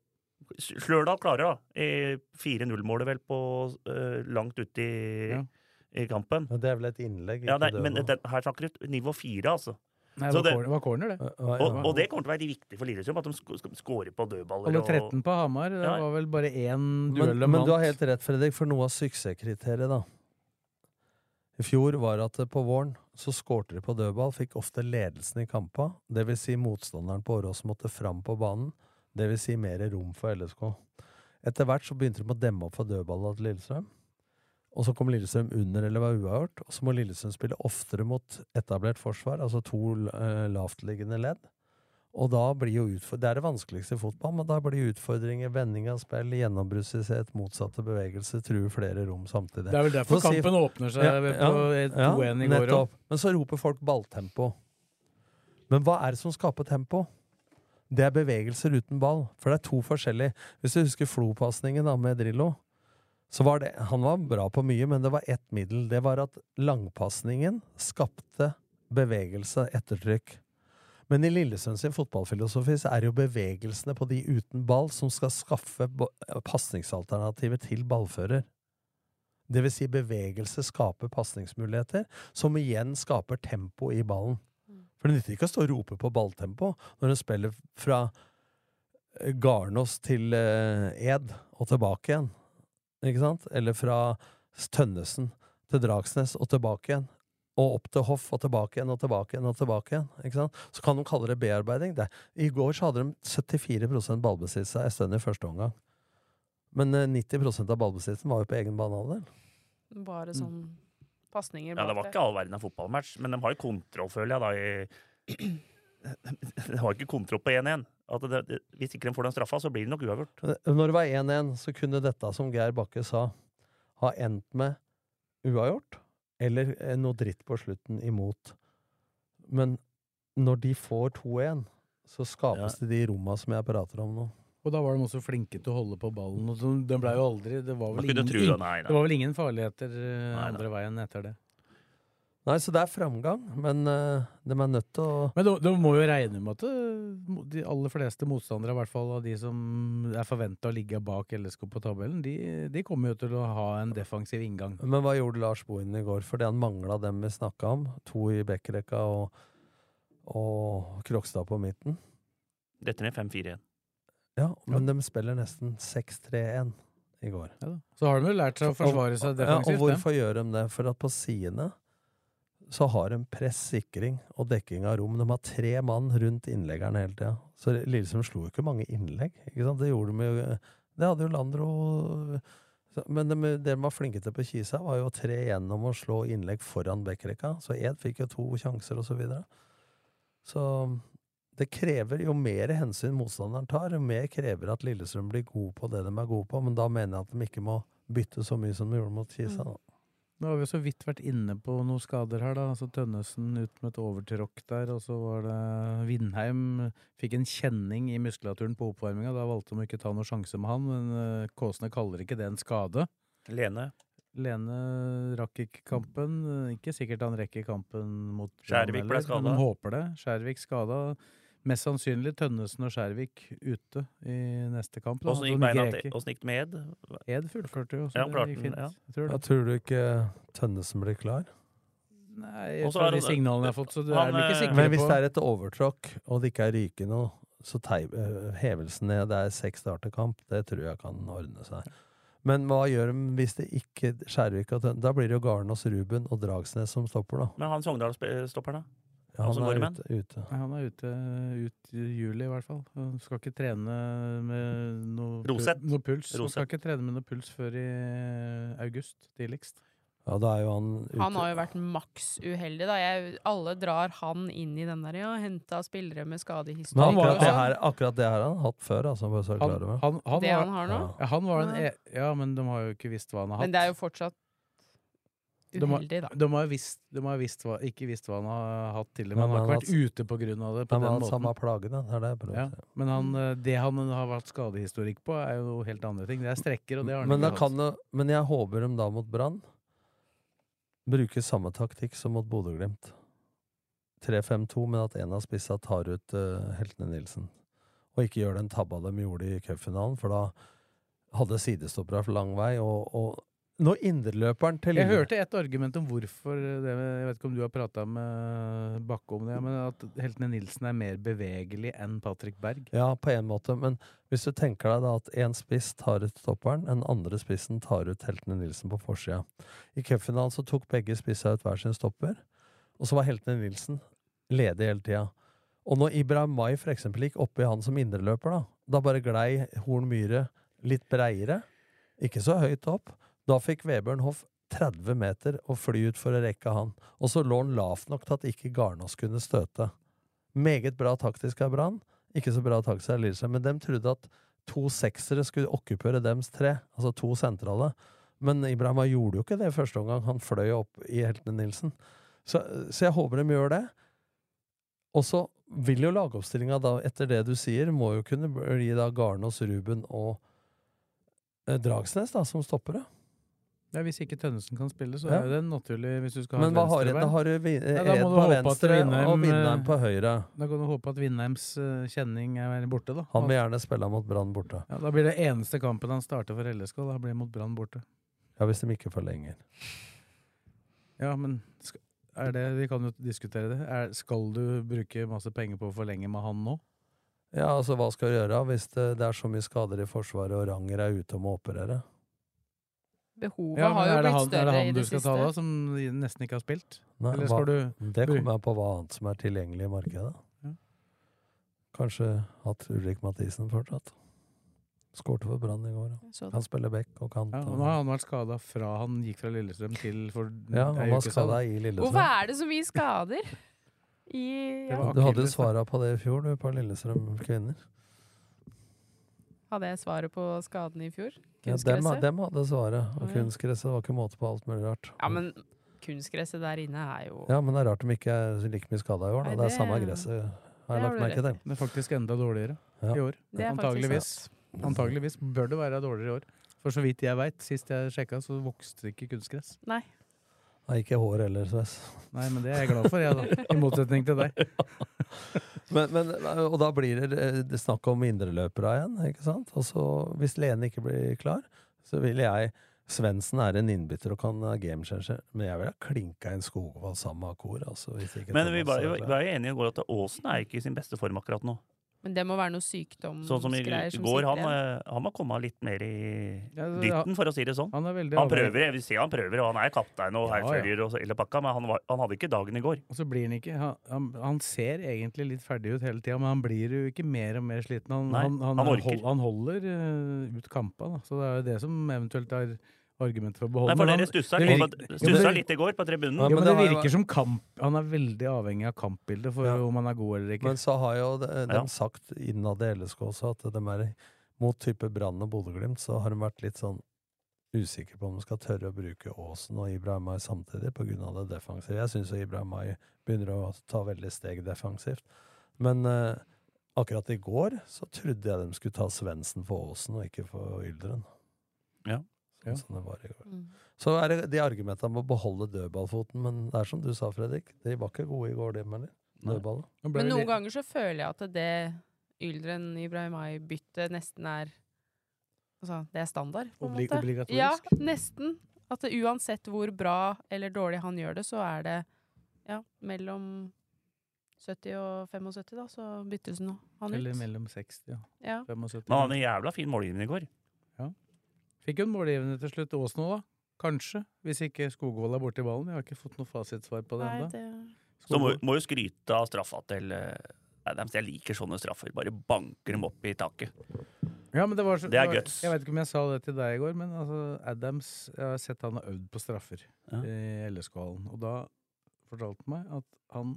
Speaker 3: Slørdal klarer, da. Eh, 4-0-målet vel på eh, langt ute i,
Speaker 1: Ja.
Speaker 3: i kampen.
Speaker 2: Men det er vel et innlegg?
Speaker 3: Ja,
Speaker 2: ikke
Speaker 3: nei,
Speaker 2: det,
Speaker 3: men
Speaker 2: da.
Speaker 3: den, her snakker du nivå fire, altså.
Speaker 1: Nei, det
Speaker 3: så
Speaker 1: var,
Speaker 3: det-
Speaker 1: corner, det var corner, det.
Speaker 2: Ja, ja.
Speaker 3: Og, og det kommer til å være viktig for Lillestrøm, at de sk- skal skåre på dødballer.
Speaker 1: Alle 13 på Hamar, det
Speaker 3: Ja.
Speaker 1: var vel bare én duell
Speaker 2: men,
Speaker 1: om
Speaker 2: men du har
Speaker 1: alt.
Speaker 2: helt rett, Fredrik, for noe av suksesskriteriet, da. I fjor var at eh, på våren så skårte de på dødball, fikk ofte ledelsen i kampa. Det vil si motstanderen på Åråsen måtte fram på banen. Det vil si mer rom for LSK. Etter hvert så begynte de å demme opp for dødballene til Lillestrøm. Og så kom Lillestrøm under eller var uavgjort. Og så må Lillestrøm spille oftere mot etablert forsvar, altså to eh, lavtliggende ledd. Og da blir jo utfor- Det er det vanskeligste i fotball, men da blir utfordringer, vending av spill, gjennombruddsløshet, motsatte bevegelser, truer flere rom samtidig.
Speaker 1: Det er vel derfor
Speaker 2: Så sier-
Speaker 1: kampen åpner seg ved på et 2-1 i går òg.
Speaker 2: nettopp. Men så roper folk balltempo. Men hva er det som skaper tempo? Det er bevegelser uten ball. For det er to forskjellige. Hvis du husker Flo-pasningen da med Drillo, så var det Han var bra på mye, men det var ett middel. Det var at langpasningen skapte bevegelse, ettertrykk. Men i Lillesund sin fotballfilosofi så er det jo bevegelsene på de uten ball som skal skaffe bo- pasningsalternativer til ballfører. Det vil si bevegelse skaper pasningsmuligheter, som igjen skaper tempo i ballen. For det nytter ikke å stå og rope på balltempo når en spiller fra eh, Garnås til eh, Ed og tilbake igjen. Ikke sant? Eller fra Tønnesen til Dragsnes og tilbake igjen. Og opp til Hoff og tilbake igjen og tilbake igjen. og tilbake igjen, ikke sant? Så kan de kalle det bearbeiding. Det. I går så hadde de 74 ballbesittelse en stund i første omgang. Men eh, 90 av ballbesittelsen var jo på egen banehalvdel.
Speaker 4: Bare sånn pasninger
Speaker 3: Ja, det var
Speaker 4: bak
Speaker 3: ikke all verden av fotballmatch, men de har jo kontroll, føler jeg, da. I... De har ikke kontroll på 1-1. At det, det, hvis ikke de får den straffa, så blir det nok uavgjort.
Speaker 2: Når det var 1-1, så kunne dette, som Geir Bakke sa, ha endt med uavgjort, eller eh, noe dritt på slutten imot. Men når de får 2-1, så skapes det de romma som jeg prater om nå.
Speaker 1: Og da var de også flinke til å holde på ballen. Og så, den ble jo aldri Det var
Speaker 3: Man
Speaker 1: vel
Speaker 3: kunne
Speaker 1: ingen,
Speaker 3: tro det, nei,
Speaker 1: det
Speaker 3: nei.
Speaker 1: var vel ingen farligheter eh,
Speaker 3: Nei, nei.
Speaker 1: andre veien etter det.
Speaker 2: Nei, så det er framgang, men eh, de er nødt til å
Speaker 1: Men da da må jo regne med at eh, de aller fleste motstandere, i hvert fall av de som er forventa å ligge bak LSK på tabellen, de, de kommer jo til å ha en defensiv inngang.
Speaker 2: Men hva gjorde Lars Bohin i går? Fordi han mangla dem vi snakka om. To i backrekka og, og Krokstad på midten.
Speaker 3: Dette ned 5-4-1.
Speaker 2: Ja, men de spiller nesten 6-3-1 i går.
Speaker 1: Ja, da. så har de jo lært seg å forsvare seg defensivt.
Speaker 2: Ja, og hvorfor gjør de det? For at på sidene så har de press, sikring og dekking av rom. De har tre mann rundt innleggeren hele tida. Så Lillestrøm slo jo ikke mange innlegg. Ikke sant? Det gjorde de jo Det hadde jo Landro så- Men de, det de var flinke til på Kisa, var jo å tre gjennom og slå innlegg foran backrekka. Så Ed fikk jo to sjanser, og så videre. Så det krever jo mer hensyn motstanderen tar, jo mer krever at Lillestrøm blir god på det de er gode på, men da mener jeg at de ikke må bytte så mye som de gjorde mot Kisa. Da.
Speaker 1: Nå har vi jo så vidt vært inne på noen skader her, da. Altså Tønnesen ut med et overtråkk der, og så var det Vindheim fikk en kjenning i muskulaturen på oppvarminga. Da valgte de å ikke ta noen sjanse med han, men eh, Kåsene kaller ikke det en skade.
Speaker 3: Lene.
Speaker 1: Lene rakk ikke kampen. eh, Ikke sikkert han rekker kampen mot Brann
Speaker 3: Skjærvik ble
Speaker 1: heller,
Speaker 3: skadet.
Speaker 1: Men de håper det. Skjærvik skada. Mest sannsynlig Tønnesen og Skjærvik ute i neste kamp. da.
Speaker 3: Åssen gikk
Speaker 1: At de
Speaker 3: beina
Speaker 1: ikke
Speaker 3: til?
Speaker 1: rekker.
Speaker 3: Åssen gikk det med Ed?
Speaker 1: Ed fullførte jo, så
Speaker 3: Ja, klarte
Speaker 1: det gikk
Speaker 3: den,
Speaker 1: fint.
Speaker 3: ja.
Speaker 1: Jeg tror det.
Speaker 2: Ja, tror du ikke Tønnesen blir klar?
Speaker 1: Nei,
Speaker 3: Og så
Speaker 1: fra
Speaker 3: er
Speaker 1: de
Speaker 3: han-
Speaker 1: signalene jeg har fått, så du
Speaker 3: han,
Speaker 1: er vel ikke
Speaker 3: eh,
Speaker 1: sikker
Speaker 2: Men hvis
Speaker 1: på
Speaker 2: det er et overtråkk, og det ikke er rykende, Så tei, eh, hevelsen ned, det er seks starterkamp, det tror jeg kan ordne seg. Men hva gjør de hvis det ikke Skjærvik og Tønne? Da blir det jo Garnås, Ruben og Dragsnes som stopper, da.
Speaker 3: Men han Sogndal-stopperen, da?
Speaker 2: Ja,
Speaker 3: Han som går i
Speaker 2: er
Speaker 3: menn?
Speaker 2: ute, ute.
Speaker 1: Nei, han er ute ut i juli, i hvert fall. Han skal ikke trene med noe, pu-
Speaker 3: Roseth.
Speaker 1: noe puls. Han skal
Speaker 3: Roseth.
Speaker 1: ikke trene med noe puls før i eh, august, tidligst.
Speaker 2: Ja, da er jo han ute.
Speaker 4: Han har jo vært maks uheldig, da. Jeg, alle drar han inn i den der, ja. Henta spillere med
Speaker 2: Men han
Speaker 4: skadehistorikk.
Speaker 2: var,
Speaker 4: og
Speaker 2: det
Speaker 4: sånn.
Speaker 2: her, akkurat det her har han hatt før, altså, bare så du er
Speaker 1: Han,
Speaker 2: klar over.
Speaker 1: han, han,
Speaker 4: det han
Speaker 1: var,
Speaker 4: har nå.
Speaker 2: Ja.
Speaker 1: ja, han var den
Speaker 4: Ja.
Speaker 1: e Ja, men de har jo ikke visst hva han har hatt.
Speaker 4: Men det er jo fortsatt
Speaker 1: De har-
Speaker 4: uheldig, da.
Speaker 1: De har jo visst, de har visst hva, ikke visst hva han har hatt tidligere,
Speaker 2: Men
Speaker 1: men han har
Speaker 2: han
Speaker 1: ikke vært ute på grunn av det. på
Speaker 2: Han har
Speaker 1: den
Speaker 2: hatt samme
Speaker 1: måten.
Speaker 2: plage, da. Det er det jeg prøver å
Speaker 1: Ja,
Speaker 2: si.
Speaker 1: men han, eh, det han har vært skadehistorikk på, er jo noe helt andre ting. Det er strekker, og det har han
Speaker 2: Men, da
Speaker 1: ikke
Speaker 2: kan jo, men jeg håper de da mot Brann bruker samme taktikk som mot Bodø-Glimt. 3-5-2, men at en av spissa tar ut eh, Heltene Nilsen. Og ikke gjør den tabba de gjorde i cupfinalen, for da hadde sidestoppera for lang vei, og, og når indreløperen til
Speaker 1: Jeg
Speaker 2: Lille-
Speaker 1: hørte et argument om hvorfor det, Jeg vet ikke om du har prata med Bakke om det, men at Heltene Nilsen er mer bevegelig enn Patrick Berg.
Speaker 2: Ja, på en måte, men hvis du tenker deg da at én spiss tar ut stopperen, den andre spissen tar ut Heltene Nilsen på forsida. I cupfinalen så tok begge spissa ut hver sin stopper, og så var Heltene Nilsen ledig hele tida. Og når Ibrahim Mai for eksempel gikk oppi han som indreløper, da, da bare glei Horn Myhre litt breiere, ikke så høyt opp. Da fikk Vebjørn Hoff 30 meter å fly ut for å rekke han, og så lå han lavt nok til at ikke Garnås kunne støte. Meget bra taktisk av Brann, ikke så bra taktisk av Lillestrøm, men de trodde at to seksere skulle okkupere dems tre, altså to sentrale. Men Ibrahima gjorde jo ikke det i første omgang, han fløy opp i Heltene Nilsen. Så, så jeg håper de gjør det. Og så vil jo lagoppstillinga da, etter det du sier, må jo kunne bli da Garnås, Ruben og eh, Dragsnes da, som stoppere.
Speaker 1: Ja, hvis ikke Tønnesen kan spille, så
Speaker 2: Ja.
Speaker 1: er jo det naturlig hvis du skal ha
Speaker 2: Men
Speaker 1: et
Speaker 2: hva har du? Da
Speaker 1: venstrebein.
Speaker 2: har du vi- eh,
Speaker 1: Ja, da må
Speaker 2: Ed
Speaker 1: du
Speaker 2: på
Speaker 1: håpe at
Speaker 2: venstre og
Speaker 1: Vindheim, eh,
Speaker 2: Vindheim på høyre.
Speaker 1: Da kan du håpe at Vindheims eh, kjenning er borte, da.
Speaker 2: Han vil gjerne spille mot Brann borte.
Speaker 1: ja, da blir det eneste kampen han starter for LSK, da blir mot Brann borte.
Speaker 2: Ja, hvis de ikke forlenger.
Speaker 1: Ja, men sk- er det, vi kan jo diskutere det. Er, skal du bruke masse penger på å forlenge med han nå?
Speaker 2: Ja, altså hva skal du gjøre hvis det, det er så mye skader i Forsvaret og Ranger er ute om å operere?
Speaker 4: Behovet
Speaker 1: Ja, men
Speaker 4: har jo
Speaker 1: er, det
Speaker 4: blitt
Speaker 1: han, er det
Speaker 4: større i
Speaker 1: han du
Speaker 4: det
Speaker 1: skal
Speaker 4: siste.
Speaker 1: ta da, som nesten ikke har spilt?
Speaker 2: Nei,
Speaker 1: Eller
Speaker 2: hva,
Speaker 1: skal du
Speaker 2: det kommer an på hva annet som er tilgjengelig i markedet.
Speaker 1: Ja.
Speaker 2: Kanskje hatt Ulrik Mathisen fortsatt. Skårte for Brann i går. ja.
Speaker 4: Så
Speaker 2: Kan spille back og kant.
Speaker 1: Ja, og
Speaker 2: og-
Speaker 1: nå har han vært skada fra han gikk fra Lillestrøm til for
Speaker 2: ja,
Speaker 1: ei
Speaker 2: han var
Speaker 1: uke siden.
Speaker 2: skada i
Speaker 4: Hvorfor
Speaker 2: Lillestrøm.
Speaker 4: er det så mye skader? I,
Speaker 1: Det
Speaker 4: ja.
Speaker 1: var
Speaker 2: Du hadde
Speaker 1: akilles, da.
Speaker 2: svara på det i fjor, du, på Lillestrøm kvinner.
Speaker 4: Hadde jeg svaret på skadene i fjor?
Speaker 2: Ja, dem,
Speaker 4: Kunstgresset?
Speaker 2: dem hadde svaret. Og
Speaker 4: Å, ja.
Speaker 2: kunstgresset var ikke måte på alt mulig rart.
Speaker 4: Ja, men kunstgresset der inne er jo
Speaker 2: Ja, men det er rart de ikke er like mye skada i år. Da.
Speaker 4: Nei,
Speaker 2: Det er
Speaker 4: det-
Speaker 2: samme gresset, har jeg
Speaker 4: det har
Speaker 2: lagt
Speaker 4: du
Speaker 2: merke
Speaker 4: rett
Speaker 2: til.
Speaker 1: Det er faktisk enda dårligere
Speaker 2: Ja.
Speaker 1: i år.
Speaker 4: Det er faktisk
Speaker 1: Antageligvis.
Speaker 4: sant.
Speaker 1: Antageligvis bør det være dårligere i år. For så vidt jeg veit, sist jeg sjekka, så vokste det ikke kunstgress.
Speaker 4: Nei.
Speaker 2: Nei, ikke hår heller, Sves.
Speaker 1: Nei, men det er jeg glad for, jeg, da. I motsetning til deg.
Speaker 2: Men, men, og da blir det, eh, det snakk om indreløpere igjen, ikke sant? Og så, hvis Lene ikke blir klar, så vil jeg Svendsen er en innbytter og kan ha gamechanger, men jeg vil ha klinka inn Skogvold sammen med Akor. Altså, hvis ikke
Speaker 3: Men vi
Speaker 2: Thomas
Speaker 3: var
Speaker 2: er
Speaker 3: jo
Speaker 2: klar.
Speaker 3: vi var jo enige i går at Aasen er ikke i sin beste form akkurat nå.
Speaker 4: Men det må være noe sykdom
Speaker 3: Sånn som i
Speaker 4: Mm, greier
Speaker 3: i
Speaker 4: som
Speaker 3: går, han,
Speaker 4: sitter igjen.
Speaker 3: eh, han må komme litt mer i
Speaker 1: Ja, det-
Speaker 3: dytten, for å si det sånn.
Speaker 1: Han er veldig
Speaker 3: Han
Speaker 1: avhengig.
Speaker 3: prøver, jeg vil si han prøver, og han er kaptein og
Speaker 1: Ja, ja.
Speaker 3: hærfører og så- hele pakka, men han, var, han hadde ikke dagen i går.
Speaker 1: Og så blir han ikke Han, han, han ser egentlig litt ferdig ut hele tida, men han blir jo ikke mer og mer sliten. Han,
Speaker 3: Nei,
Speaker 1: han, han,
Speaker 3: han
Speaker 1: han,
Speaker 3: orker.
Speaker 1: hold, han holder eh, ut kampa, da. Så det er jo det som eventuelt er argumentet for å beholde
Speaker 3: Nei, for
Speaker 1: men han-
Speaker 3: dere stussa
Speaker 1: det
Speaker 3: litt,
Speaker 1: virker-
Speaker 3: på-
Speaker 1: jo,
Speaker 3: stussa
Speaker 1: det-
Speaker 3: litt i går på tribunen.
Speaker 2: Ja,
Speaker 1: Ja, men
Speaker 2: det
Speaker 1: det
Speaker 2: har jo
Speaker 1: virker som kamp Han er veldig avhengig av kampbildet for
Speaker 2: Ja.
Speaker 1: om han er god eller ikke.
Speaker 2: Men så har jo de, de
Speaker 3: Ja.
Speaker 2: sagt innad i LSK også at de er mot type Brann og Bodø-Glimt, så har de vært litt sånn usikre på om de skal tørre å bruke Aasen og Ibrahimai samtidig på grunn av det defensive. Jeg syns Ibrahimai begynner å ta veldig steg defensivt. Men eh, akkurat i går så trodde jeg de skulle ta Svendsen for Aasen og ikke for Yldren.
Speaker 3: Ja.
Speaker 1: Ja.
Speaker 2: Sånn som det var i går.
Speaker 4: Mm.
Speaker 2: Så er det de argumentene om å beholde dødballfoten, men det er som du sa, Fredrik, de var ikke gode i går, de heller.
Speaker 3: Nei.
Speaker 2: Dødballet.
Speaker 1: Nå ble
Speaker 4: Men
Speaker 1: vi
Speaker 4: noen
Speaker 1: litt-
Speaker 4: ganger så føler jeg at det Yldren Ibrahimai-byttet nesten er Altså, det er standard, på en
Speaker 1: Obli-
Speaker 4: måte.
Speaker 1: obligatorisk.
Speaker 4: Ja, nesten. At det, uansett hvor bra eller dårlig han gjør det, så er det ja, mellom 70 og 75, da, så byttes nå han
Speaker 1: Eller
Speaker 4: ut.
Speaker 1: mellom 60 og
Speaker 4: Ja.
Speaker 1: 75.
Speaker 3: Men han hadde en jævla fin målgivning i går.
Speaker 1: Fikk hun målgivende til slutt, Ås nå, da? Kanskje, hvis ikke Skogvold er borti ballen. Jeg har ikke fått noe fasitsvar på det
Speaker 4: Nei,
Speaker 1: ennå.
Speaker 4: det,
Speaker 3: Så må, må jo skryte av straffa til eh, Adams. Jeg liker sånne straffer. Bare banker dem opp i taket.
Speaker 1: Ja, men det, var så,
Speaker 3: Det er
Speaker 1: var-
Speaker 3: guts.
Speaker 1: Jeg vet ikke om jeg sa det til deg i går, men altså, Adams Jeg har sett han har øvd på straffer
Speaker 3: Ja.
Speaker 1: i LSK-hallen. Og da fortalte han meg at han,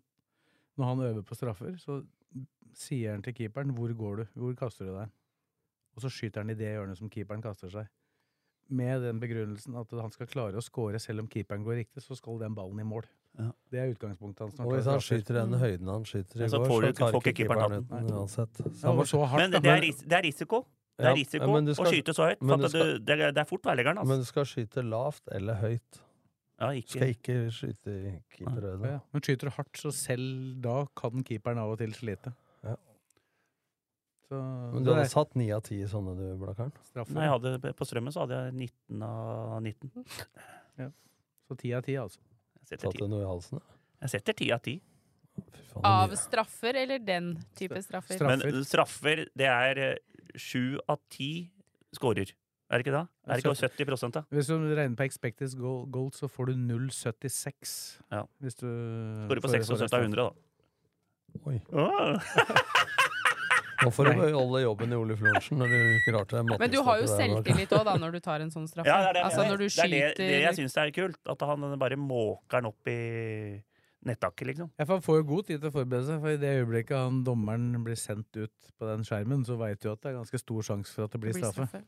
Speaker 1: når han øver på straffer, så sier han til keeperen 'Hvor går du? Hvor kaster du deg?' Og så skyter han i det hjørnet som keeperen kaster seg. Med den begrunnelsen at han skal klare å score selv om keeperen går riktig, så skal den ballen i mål.
Speaker 3: Ja.
Speaker 1: Det er utgangspunktet hans. når han
Speaker 2: Og hvis
Speaker 1: tar
Speaker 2: han
Speaker 1: straffer. Mm.
Speaker 2: skyter i
Speaker 4: Mm.
Speaker 2: den høyden han skyter i
Speaker 3: Ja, så
Speaker 2: går,
Speaker 3: får du
Speaker 2: så
Speaker 3: ikke-
Speaker 2: tar
Speaker 3: får ikke
Speaker 2: ikke keeperen
Speaker 3: keeperen
Speaker 2: ut den uansett.
Speaker 1: Ja,
Speaker 2: Så han
Speaker 1: det var
Speaker 2: må
Speaker 1: så hardt,
Speaker 3: Men
Speaker 1: da.
Speaker 3: det det er, ris det er risiko. Det
Speaker 2: Ja,
Speaker 3: er risiko
Speaker 2: men du skal-
Speaker 3: å skyte så høyt.
Speaker 2: men
Speaker 3: For
Speaker 2: du
Speaker 3: at du, det, er- det er fort værleggeren,
Speaker 2: Men
Speaker 3: altså.
Speaker 2: du skal skyte lavt eller høyt.
Speaker 3: Ja,
Speaker 2: Du skal
Speaker 3: ikke.
Speaker 2: ikke skyte i keeperhøyde.
Speaker 1: Ja, men skyter du hardt, så selv da kan keeperen av og til slite.
Speaker 2: Ja.
Speaker 1: Så
Speaker 2: Men du
Speaker 1: det
Speaker 2: hadde
Speaker 1: er
Speaker 2: satt ni av ti sånne, du, Blakkaren.
Speaker 1: straffe.
Speaker 3: Når jeg hadde, på strømmen så hadde jeg 19 av 19.
Speaker 1: Så ti av ti, altså.
Speaker 3: Jeg setter
Speaker 2: Satt
Speaker 3: 10,
Speaker 2: du noe i halsen? da?
Speaker 3: jeg setter 10 av 10.
Speaker 2: Fy faen,
Speaker 4: av
Speaker 2: det
Speaker 4: straffer eller den type straffer?
Speaker 1: Straff. Straffer.
Speaker 3: Men straffer, det er eh, sju av ti scorer. Er det ikke da? Er det ikke 70 da?
Speaker 1: Hvis du regner på expected goal, goal så får du 0,76.
Speaker 3: Ja.
Speaker 1: Hvis du
Speaker 3: Scorer på 76 av 100, da.
Speaker 2: er- Oi.
Speaker 3: Åh!
Speaker 2: Nå får du beholde jobben i Ole Florensen når du klarte mattestykket
Speaker 4: Men du har jo
Speaker 2: der, Blakkaren.
Speaker 4: selvtillit òg, da, når du tar en sånn straffe.
Speaker 3: Ja, det er det, jeg
Speaker 4: altså
Speaker 3: mener.
Speaker 4: når du
Speaker 3: det, er det, det jeg
Speaker 4: skyter
Speaker 3: syns er kult. At han bare måker den opp i nettaket, liksom.
Speaker 1: Ja, for Han får jo god tid til å forberede seg, for i det øyeblikket han dommeren blir sendt ut på den skjermen, så veit du at det er ganske stor sjanse for at det blir
Speaker 4: blir
Speaker 1: straffe.
Speaker 4: straffe.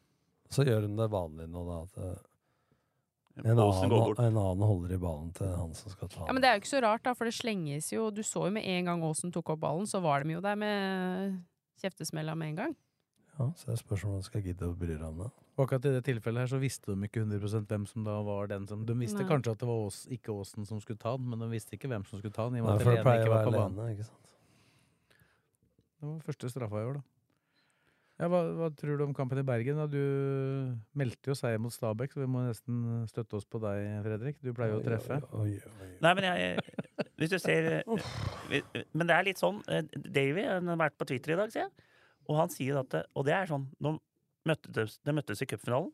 Speaker 2: Så gjør hun det vanlig nå, da. At eh, en
Speaker 3: Åsen
Speaker 2: annen,
Speaker 3: går bort.
Speaker 2: en annen holder i ballen til han som skal ta
Speaker 4: Ja, Men det er jo ikke så rart, da, for det slenges jo Du så jo med en gang Aasen tok opp ballen, så var de jo der med kjeftesmella med en gang.
Speaker 2: Ja, så det spørs om han skal gidde å bry seg om det.
Speaker 1: Og akkurat i det tilfellet her så visste de ikke 100 hvem som da var den som De visste
Speaker 4: Nei.
Speaker 1: kanskje at det var Ås, ikke Åsen som skulle ta den, men de visste ikke hvem som skulle ta den. I og
Speaker 2: Nei,
Speaker 1: med at
Speaker 2: for det
Speaker 1: Lene
Speaker 2: pleier
Speaker 1: ikke
Speaker 2: å
Speaker 1: var
Speaker 2: være
Speaker 1: på banen.
Speaker 2: alene, ikke sant.
Speaker 1: Det var første straffa i år, da. Ja, hva, hva tror du om kampen i Bergen? Da? Du meldte jo seier mot Stabæk, så vi må nesten støtte oss på deg, Fredrik. Du pleier jo å treffe.
Speaker 2: Oi, oi, oi, oi.
Speaker 3: Nei, men jeg Hvis du ser vi- Men det er litt sånn eh, Davy han har vært på Twitter i dag, ser jeg. Og han sier at det- Og det er sånn Nå møttes, de møttes i cupfinalen.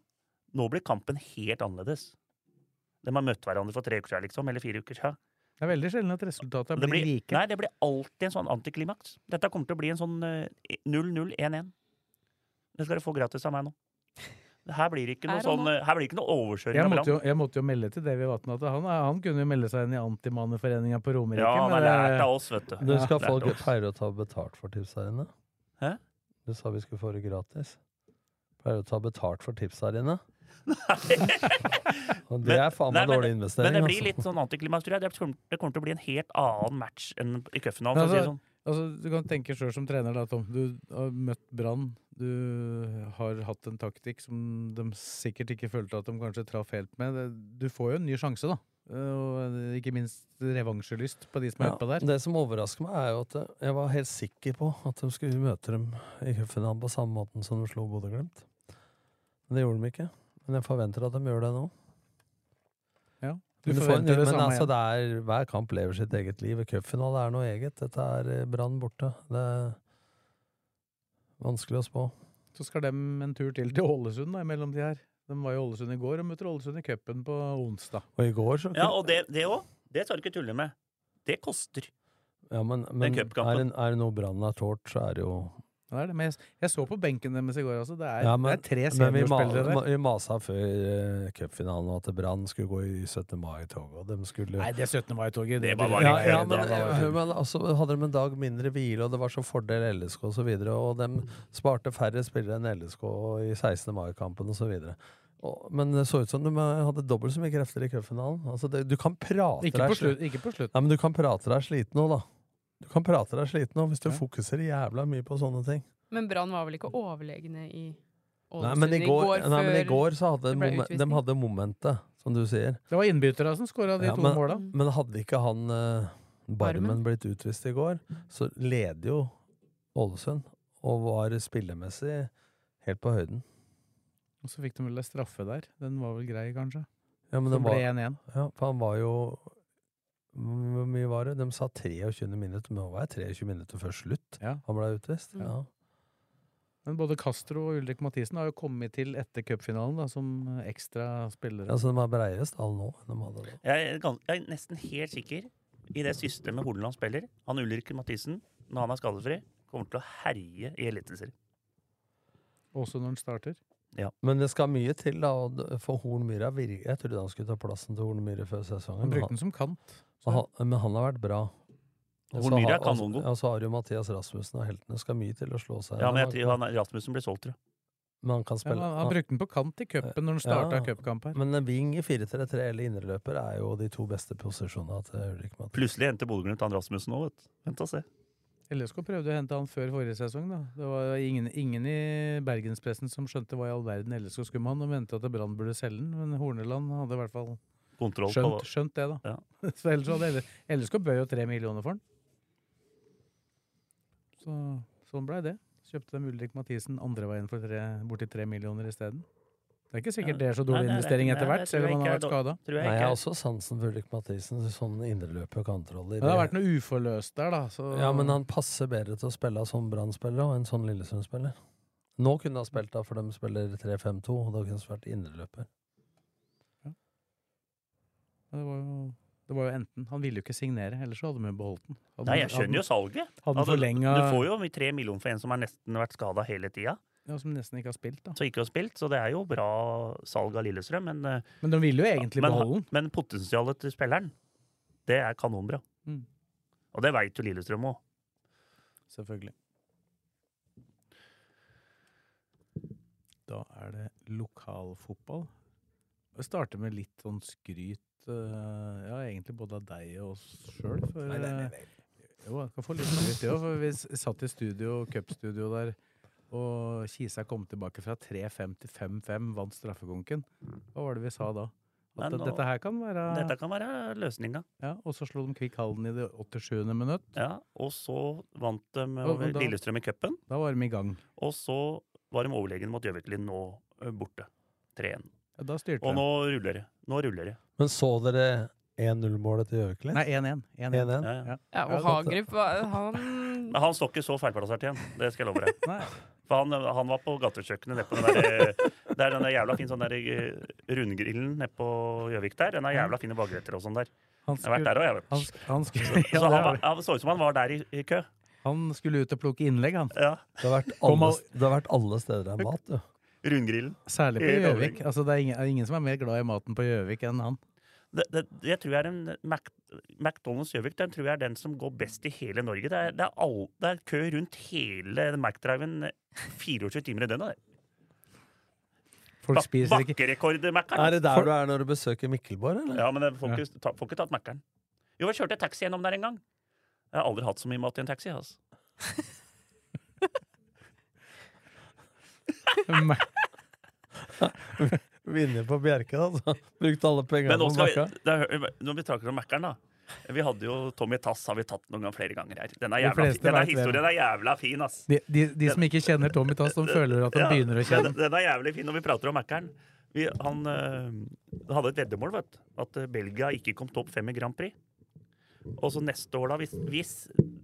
Speaker 3: Nå blir kampen helt annerledes. De har møtt hverandre for tre uker siden, liksom. Eller fire uker siden.
Speaker 1: Det er veldig sjelden at resultatet
Speaker 3: Det
Speaker 1: blir,
Speaker 3: blir,
Speaker 1: like.
Speaker 3: nei, det blir alltid en sånn antiklimaks. Dette kommer til å bli en sånn eh, 0-0-1-1. Det skal du få gratis av meg nå. Her blir det ikke noe,
Speaker 4: Er han
Speaker 3: sånn, eh, her blir det ikke noe overkjøring.
Speaker 1: Jeg
Speaker 3: av
Speaker 1: måtte,
Speaker 3: hverandre.
Speaker 1: jo, jeg måtte jo melde til Davy Vatn at han, er- han kunne jo melde seg inn i Antimanneforeninga på Romerike.
Speaker 3: ja, han er
Speaker 1: det-
Speaker 3: lært av oss, vet du.
Speaker 2: Du skal
Speaker 3: Lært
Speaker 2: folk
Speaker 3: av oss.
Speaker 2: pleier å ta betalt for tipsa dine.
Speaker 3: Hæ?
Speaker 2: Du sa vi skulle få det gratis. Pleier å ta betalt for tipsa dine. Og det
Speaker 3: Men-
Speaker 2: er faen
Speaker 3: nei,
Speaker 2: meg
Speaker 3: men-
Speaker 2: dårlig
Speaker 3: Men
Speaker 2: investering.
Speaker 3: det blir
Speaker 2: altså.
Speaker 3: litt sånn antiklimaks, tror jeg. Det kommer, det kommer til å bli en helt annen match enn i cupfinalen.
Speaker 1: Men
Speaker 3: for å si det
Speaker 1: altså-
Speaker 3: sånn.
Speaker 1: Altså, du kan tenke sjøl som trener, da, Tom. Du har møtt Brann. Du har hatt en taktikk som de sikkert ikke følte at de kanskje traff helt med. Det- Du får jo en ny sjanse, da. Eh, Og ikke minst revansjelyst på de som er
Speaker 2: Ja,
Speaker 1: utpå der.
Speaker 2: Det som overrasker meg, er jo at eh, jeg var helt sikker på at de skulle møte dem i cupfinalen på samme måten som de slo Bodø-Glimt. Men det gjorde de ikke. Men jeg forventer at de gjør det nå.
Speaker 1: Ja, du
Speaker 2: Men, du får,
Speaker 1: forventer det
Speaker 2: men
Speaker 1: samme igjen.
Speaker 2: altså, det er, hver kamp lever sitt eget liv. Cupfinale er noe eget. Dette er eh, Brann borte. Det er vanskelig å spå.
Speaker 1: Så skal dem en tur til til Ålesund da, imellom de her. De var i Ålesund i går og møter Ålesund i cupen på onsdag.
Speaker 2: Og i går så
Speaker 3: Ja, og det òg. Det, også, det skal du ikke tulle med. Det koster.
Speaker 2: Ja, men, men
Speaker 3: Den
Speaker 2: er,
Speaker 3: cupkampen.
Speaker 2: det- er det noe Brann har tålt, så er det jo
Speaker 1: Ja, Det er det. Men jeg, jeg så på benken deres i går, altså. Det er,
Speaker 2: Ja, men-
Speaker 1: det er tre
Speaker 2: Men vi, ma
Speaker 1: seniorspillere der.
Speaker 2: ma- vi masa før uh, cupfinalen om at Brann skulle gå i 17. mai-toget, og de skulle
Speaker 1: Nei, det 17. mai-toget
Speaker 3: Det var bare
Speaker 2: ja, ja,
Speaker 3: det
Speaker 2: men,
Speaker 3: var bare
Speaker 2: eh, men altså, hadde de en dag mindre hvile, og det var så fordel LSK osv., og, så videre, og de sparte færre spillere enn LSK i 16. mai-kampen osv. Men det så ut som de eh, hadde dobbelt så mye krefter i cupfinalen. Altså, det- du kan prate
Speaker 1: Ikke på
Speaker 2: deg sli-
Speaker 1: slutt. Ikke på slutt.
Speaker 2: Nei, men du kan prate deg sliten nå, da. Du kan prate deg sliten nå hvis du
Speaker 1: Ja.
Speaker 2: fokuserer jævla mye på sånne ting.
Speaker 4: Men Brann var vel ikke overlegne
Speaker 2: Nei,
Speaker 4: i Ålesund
Speaker 2: men i går, nei, men i
Speaker 4: før-
Speaker 2: går så hadde
Speaker 4: det ble
Speaker 2: momen- de
Speaker 4: utvisning.
Speaker 2: hadde momentet, som du sier.
Speaker 1: Det var innbytterne som skåra de
Speaker 2: Ja,
Speaker 1: to
Speaker 2: men-
Speaker 1: måla.
Speaker 2: Men hadde ikke han eh, Barmen
Speaker 4: Barmen?
Speaker 2: blitt utvist i går, så leder jo Ålesund, og var spillemessig helt på høyden.
Speaker 1: Og så fikk de vel en straffe der. Den var vel grei, kanskje.
Speaker 2: Ja, men
Speaker 1: Som ble
Speaker 2: det var,
Speaker 1: 1-1.
Speaker 2: ja, for han var jo Hvor mye var det? De sa 23 minutter, men nå var jeg 23 minutter før slutt.
Speaker 1: Ja.
Speaker 2: Han ble utvist.
Speaker 4: Mm.
Speaker 2: Ja.
Speaker 1: Men både Castro og Ulrik Mathisen har jo kommet til etter cupfinalen da, som eh, ekstra spillere.
Speaker 2: Altså, de har breiere stall nå enn de hadde da.
Speaker 3: Jeg er, gans- jeg er nesten helt sikker i det systemet Horneland spiller. Han Ulrik Mathisen, når han er skadefri, kommer til å herje i eliteserien.
Speaker 1: Også når han starter.
Speaker 2: Men det skal mye til, da, og d- for Hornmyra virker Jeg trodde han skulle ta plassen til Hornmyra før sesongen,
Speaker 1: Han
Speaker 2: men
Speaker 1: brukte
Speaker 2: han,
Speaker 1: den som kant.
Speaker 2: men han, men han har vært bra. Og så
Speaker 3: Hornmyra
Speaker 2: har-
Speaker 3: er kanongod.
Speaker 2: Og så- ja, så har jo Mathias Rasmussen og heltene skal mye til å slå seg
Speaker 3: Ja, men jeg
Speaker 2: igjennom.
Speaker 3: tror han Rasmussen blir solgt, tror jeg.
Speaker 2: Men han kan
Speaker 1: Ja,
Speaker 2: spille.
Speaker 1: han, han brukte den på kant i cupen når han starta
Speaker 2: Ja.
Speaker 1: cupkamp her.
Speaker 2: Men en wing i 4-3-3 eller indreløper er jo de to beste posisjonene til Ulrik Mathisen.
Speaker 3: Plutselig henter Bodø-Glimt han Rasmussen òg, vet du. Vent og se.
Speaker 1: LSK prøvde å hente han før forrige sesong. da. Det var ingen, ingen i bergenspressen som skjønte hva i all verden LSK skulle med han, og mente at Brann burde selge den. Men Horneland hadde i hvert fall
Speaker 3: Kontroll på
Speaker 1: skjønt, skjønt det, da.
Speaker 3: Ja.
Speaker 1: Så ellers hadde L- LSK bød jo tre millioner for den. Så sånn blei det. Kjøpte dem Ulrik Mathisen andre veien for tre, borti tre millioner isteden. Det er ikke sikkert det er så dårlig
Speaker 3: Nei, nei, det er
Speaker 1: investering
Speaker 3: ikke-
Speaker 1: etter
Speaker 3: nei,
Speaker 1: hvert,
Speaker 3: det
Speaker 1: selv
Speaker 3: tror
Speaker 1: om han har
Speaker 3: jeg
Speaker 1: vært
Speaker 3: ikke
Speaker 1: skada.
Speaker 3: Tror jeg
Speaker 2: Nei, jeg
Speaker 3: ikke.
Speaker 2: har
Speaker 1: altså,
Speaker 2: også sansen for Ulrik Mathisen. Sånn indreløper og kantrolle.
Speaker 1: Men det har vært noe uforløst der, da. Så
Speaker 2: Ja, men han passer bedre til å spille som Brann-spiller og en sånn Lillesund-spiller. Nå kunne han spilt da, for de spiller 3-5-2, og da kunne han vært indreløper.
Speaker 1: Men det, var jo, det var jo enten Han ville jo ikke signere, ellers så hadde de jo beholdt den. Hadde,
Speaker 3: Nei, jeg skjønner jo salget.
Speaker 1: Hadde
Speaker 3: Altså,
Speaker 1: han forlenga
Speaker 3: Du får jo mye tre millioner for en som har nesten vært skada hele tida.
Speaker 1: ja, Som nesten ikke har spilt, da.
Speaker 3: Så ikke har spilt, så det er jo bra salg av Lillestrøm. Men, eh,
Speaker 1: Men de ville jo egentlig
Speaker 3: men,
Speaker 1: beholde den.
Speaker 3: men potensialet til spilleren, det er kanonbra.
Speaker 1: Mm.
Speaker 3: Og det veit jo Lillestrøm òg.
Speaker 1: Selvfølgelig. Da er det lokalfotball. Vi starter med litt sånn skryt eh, Ja, egentlig både av deg og oss sjøl. Jo, jeg kan få litt skryt, det òg. For vi s- satt i studio, cupstudio der, og Kisa kom tilbake fra 3-5 til 5-5, vant straffekonken. Hva var det vi sa da? At
Speaker 3: Men
Speaker 1: det-
Speaker 3: nå-
Speaker 1: dette her kan være
Speaker 3: Dette kan være løsninga.
Speaker 1: ja, Og så slo de Kvikk Halden i det 87. minutt.
Speaker 3: Ja, og så vant de
Speaker 1: Og-
Speaker 3: over
Speaker 1: og da-
Speaker 3: Lillestrøm i cupen.
Speaker 1: Da var de i gang.
Speaker 3: Og så var de overlegne mot Gjøviklin nå eh, borte. 3-1.
Speaker 1: Ja, da styrte
Speaker 3: Og
Speaker 1: de.
Speaker 3: nå ruller det. Nå ruller det.
Speaker 2: Men så dere 1-0-målet til Gjøviklin?
Speaker 1: Nei, 1-1. 1-1.
Speaker 2: 1-1.
Speaker 3: Ja, ja.
Speaker 4: Ja, og Hagerup, var- han
Speaker 3: Men han står ikke så feilplassert igjen, det skal jeg love deg.
Speaker 1: Nei.
Speaker 3: For han, han var på gatekjøkkenet nede på den der, eh, der den der jævla fin sånn der eh, rundgrillen nede på Gjøvik der. Den har jævla fine bagretter og sånn der.
Speaker 1: Han
Speaker 3: Jeg har
Speaker 1: skulle,
Speaker 3: vært der òg, jeg. vet.
Speaker 1: han, sk- han, skulle, ja,
Speaker 3: Så
Speaker 1: det
Speaker 3: han,
Speaker 1: er
Speaker 3: var,
Speaker 1: det.
Speaker 3: han så ut som han var der i, i kø.
Speaker 1: han skulle ut og plukke innlegg, han.
Speaker 3: Ja.
Speaker 2: Det, har vært
Speaker 1: Kom
Speaker 2: alle,
Speaker 1: al-
Speaker 2: det har vært alle steder det er mat, du.
Speaker 3: Rundgrillen.
Speaker 1: Særlig på
Speaker 3: Helt
Speaker 1: Gjøvik. Altså, det er ingen, er ingen som er mer glad i maten på Gjøvik enn han.
Speaker 3: Det, det, jeg tror jeg er en Mac, McDonald's Gjøvik den tror jeg er den som går best i hele Norge. Det er, det er, all, det er kø rundt hele Mac-driven 24 timer i døgnet. det.
Speaker 1: Folk
Speaker 3: Bak-
Speaker 1: spiser ikke
Speaker 3: Bakkerekord-Mac-en.
Speaker 2: Er det der du er når du besøker Mikkelborg, eller?
Speaker 3: Ja, men jeg får ikke, ta, får ikke tatt Mækkern. Jo, jeg kjørte taxi gjennom der en gang. Jeg har aldri hatt så mye mat i en taxi. Altså.
Speaker 1: Mac.
Speaker 2: Vinner på Bjerke, altså. Brukte alle pengene
Speaker 3: Men nå
Speaker 2: på
Speaker 3: skal vi,
Speaker 2: bakka.
Speaker 3: da, når vi snakker om Mækkern, da. Vi hadde jo Tommy Tass har vi tatt noen ganger flere ganger her. Denne,
Speaker 1: De
Speaker 3: jævla,
Speaker 1: fleste
Speaker 3: fin- denne
Speaker 1: vet hvem.
Speaker 3: historien er jævla fin, ass.
Speaker 1: De, de, de som ikke kjenner Tommy Tass, de føler at han begynner å kjenne
Speaker 3: den, den er jævlig fin når vi prater om Mækkern. Vi, han øh, hadde et veddemål, vet du. At øh, Belgia ikke kom topp fem i Grand Prix. Og så neste år, da, hvis, hvis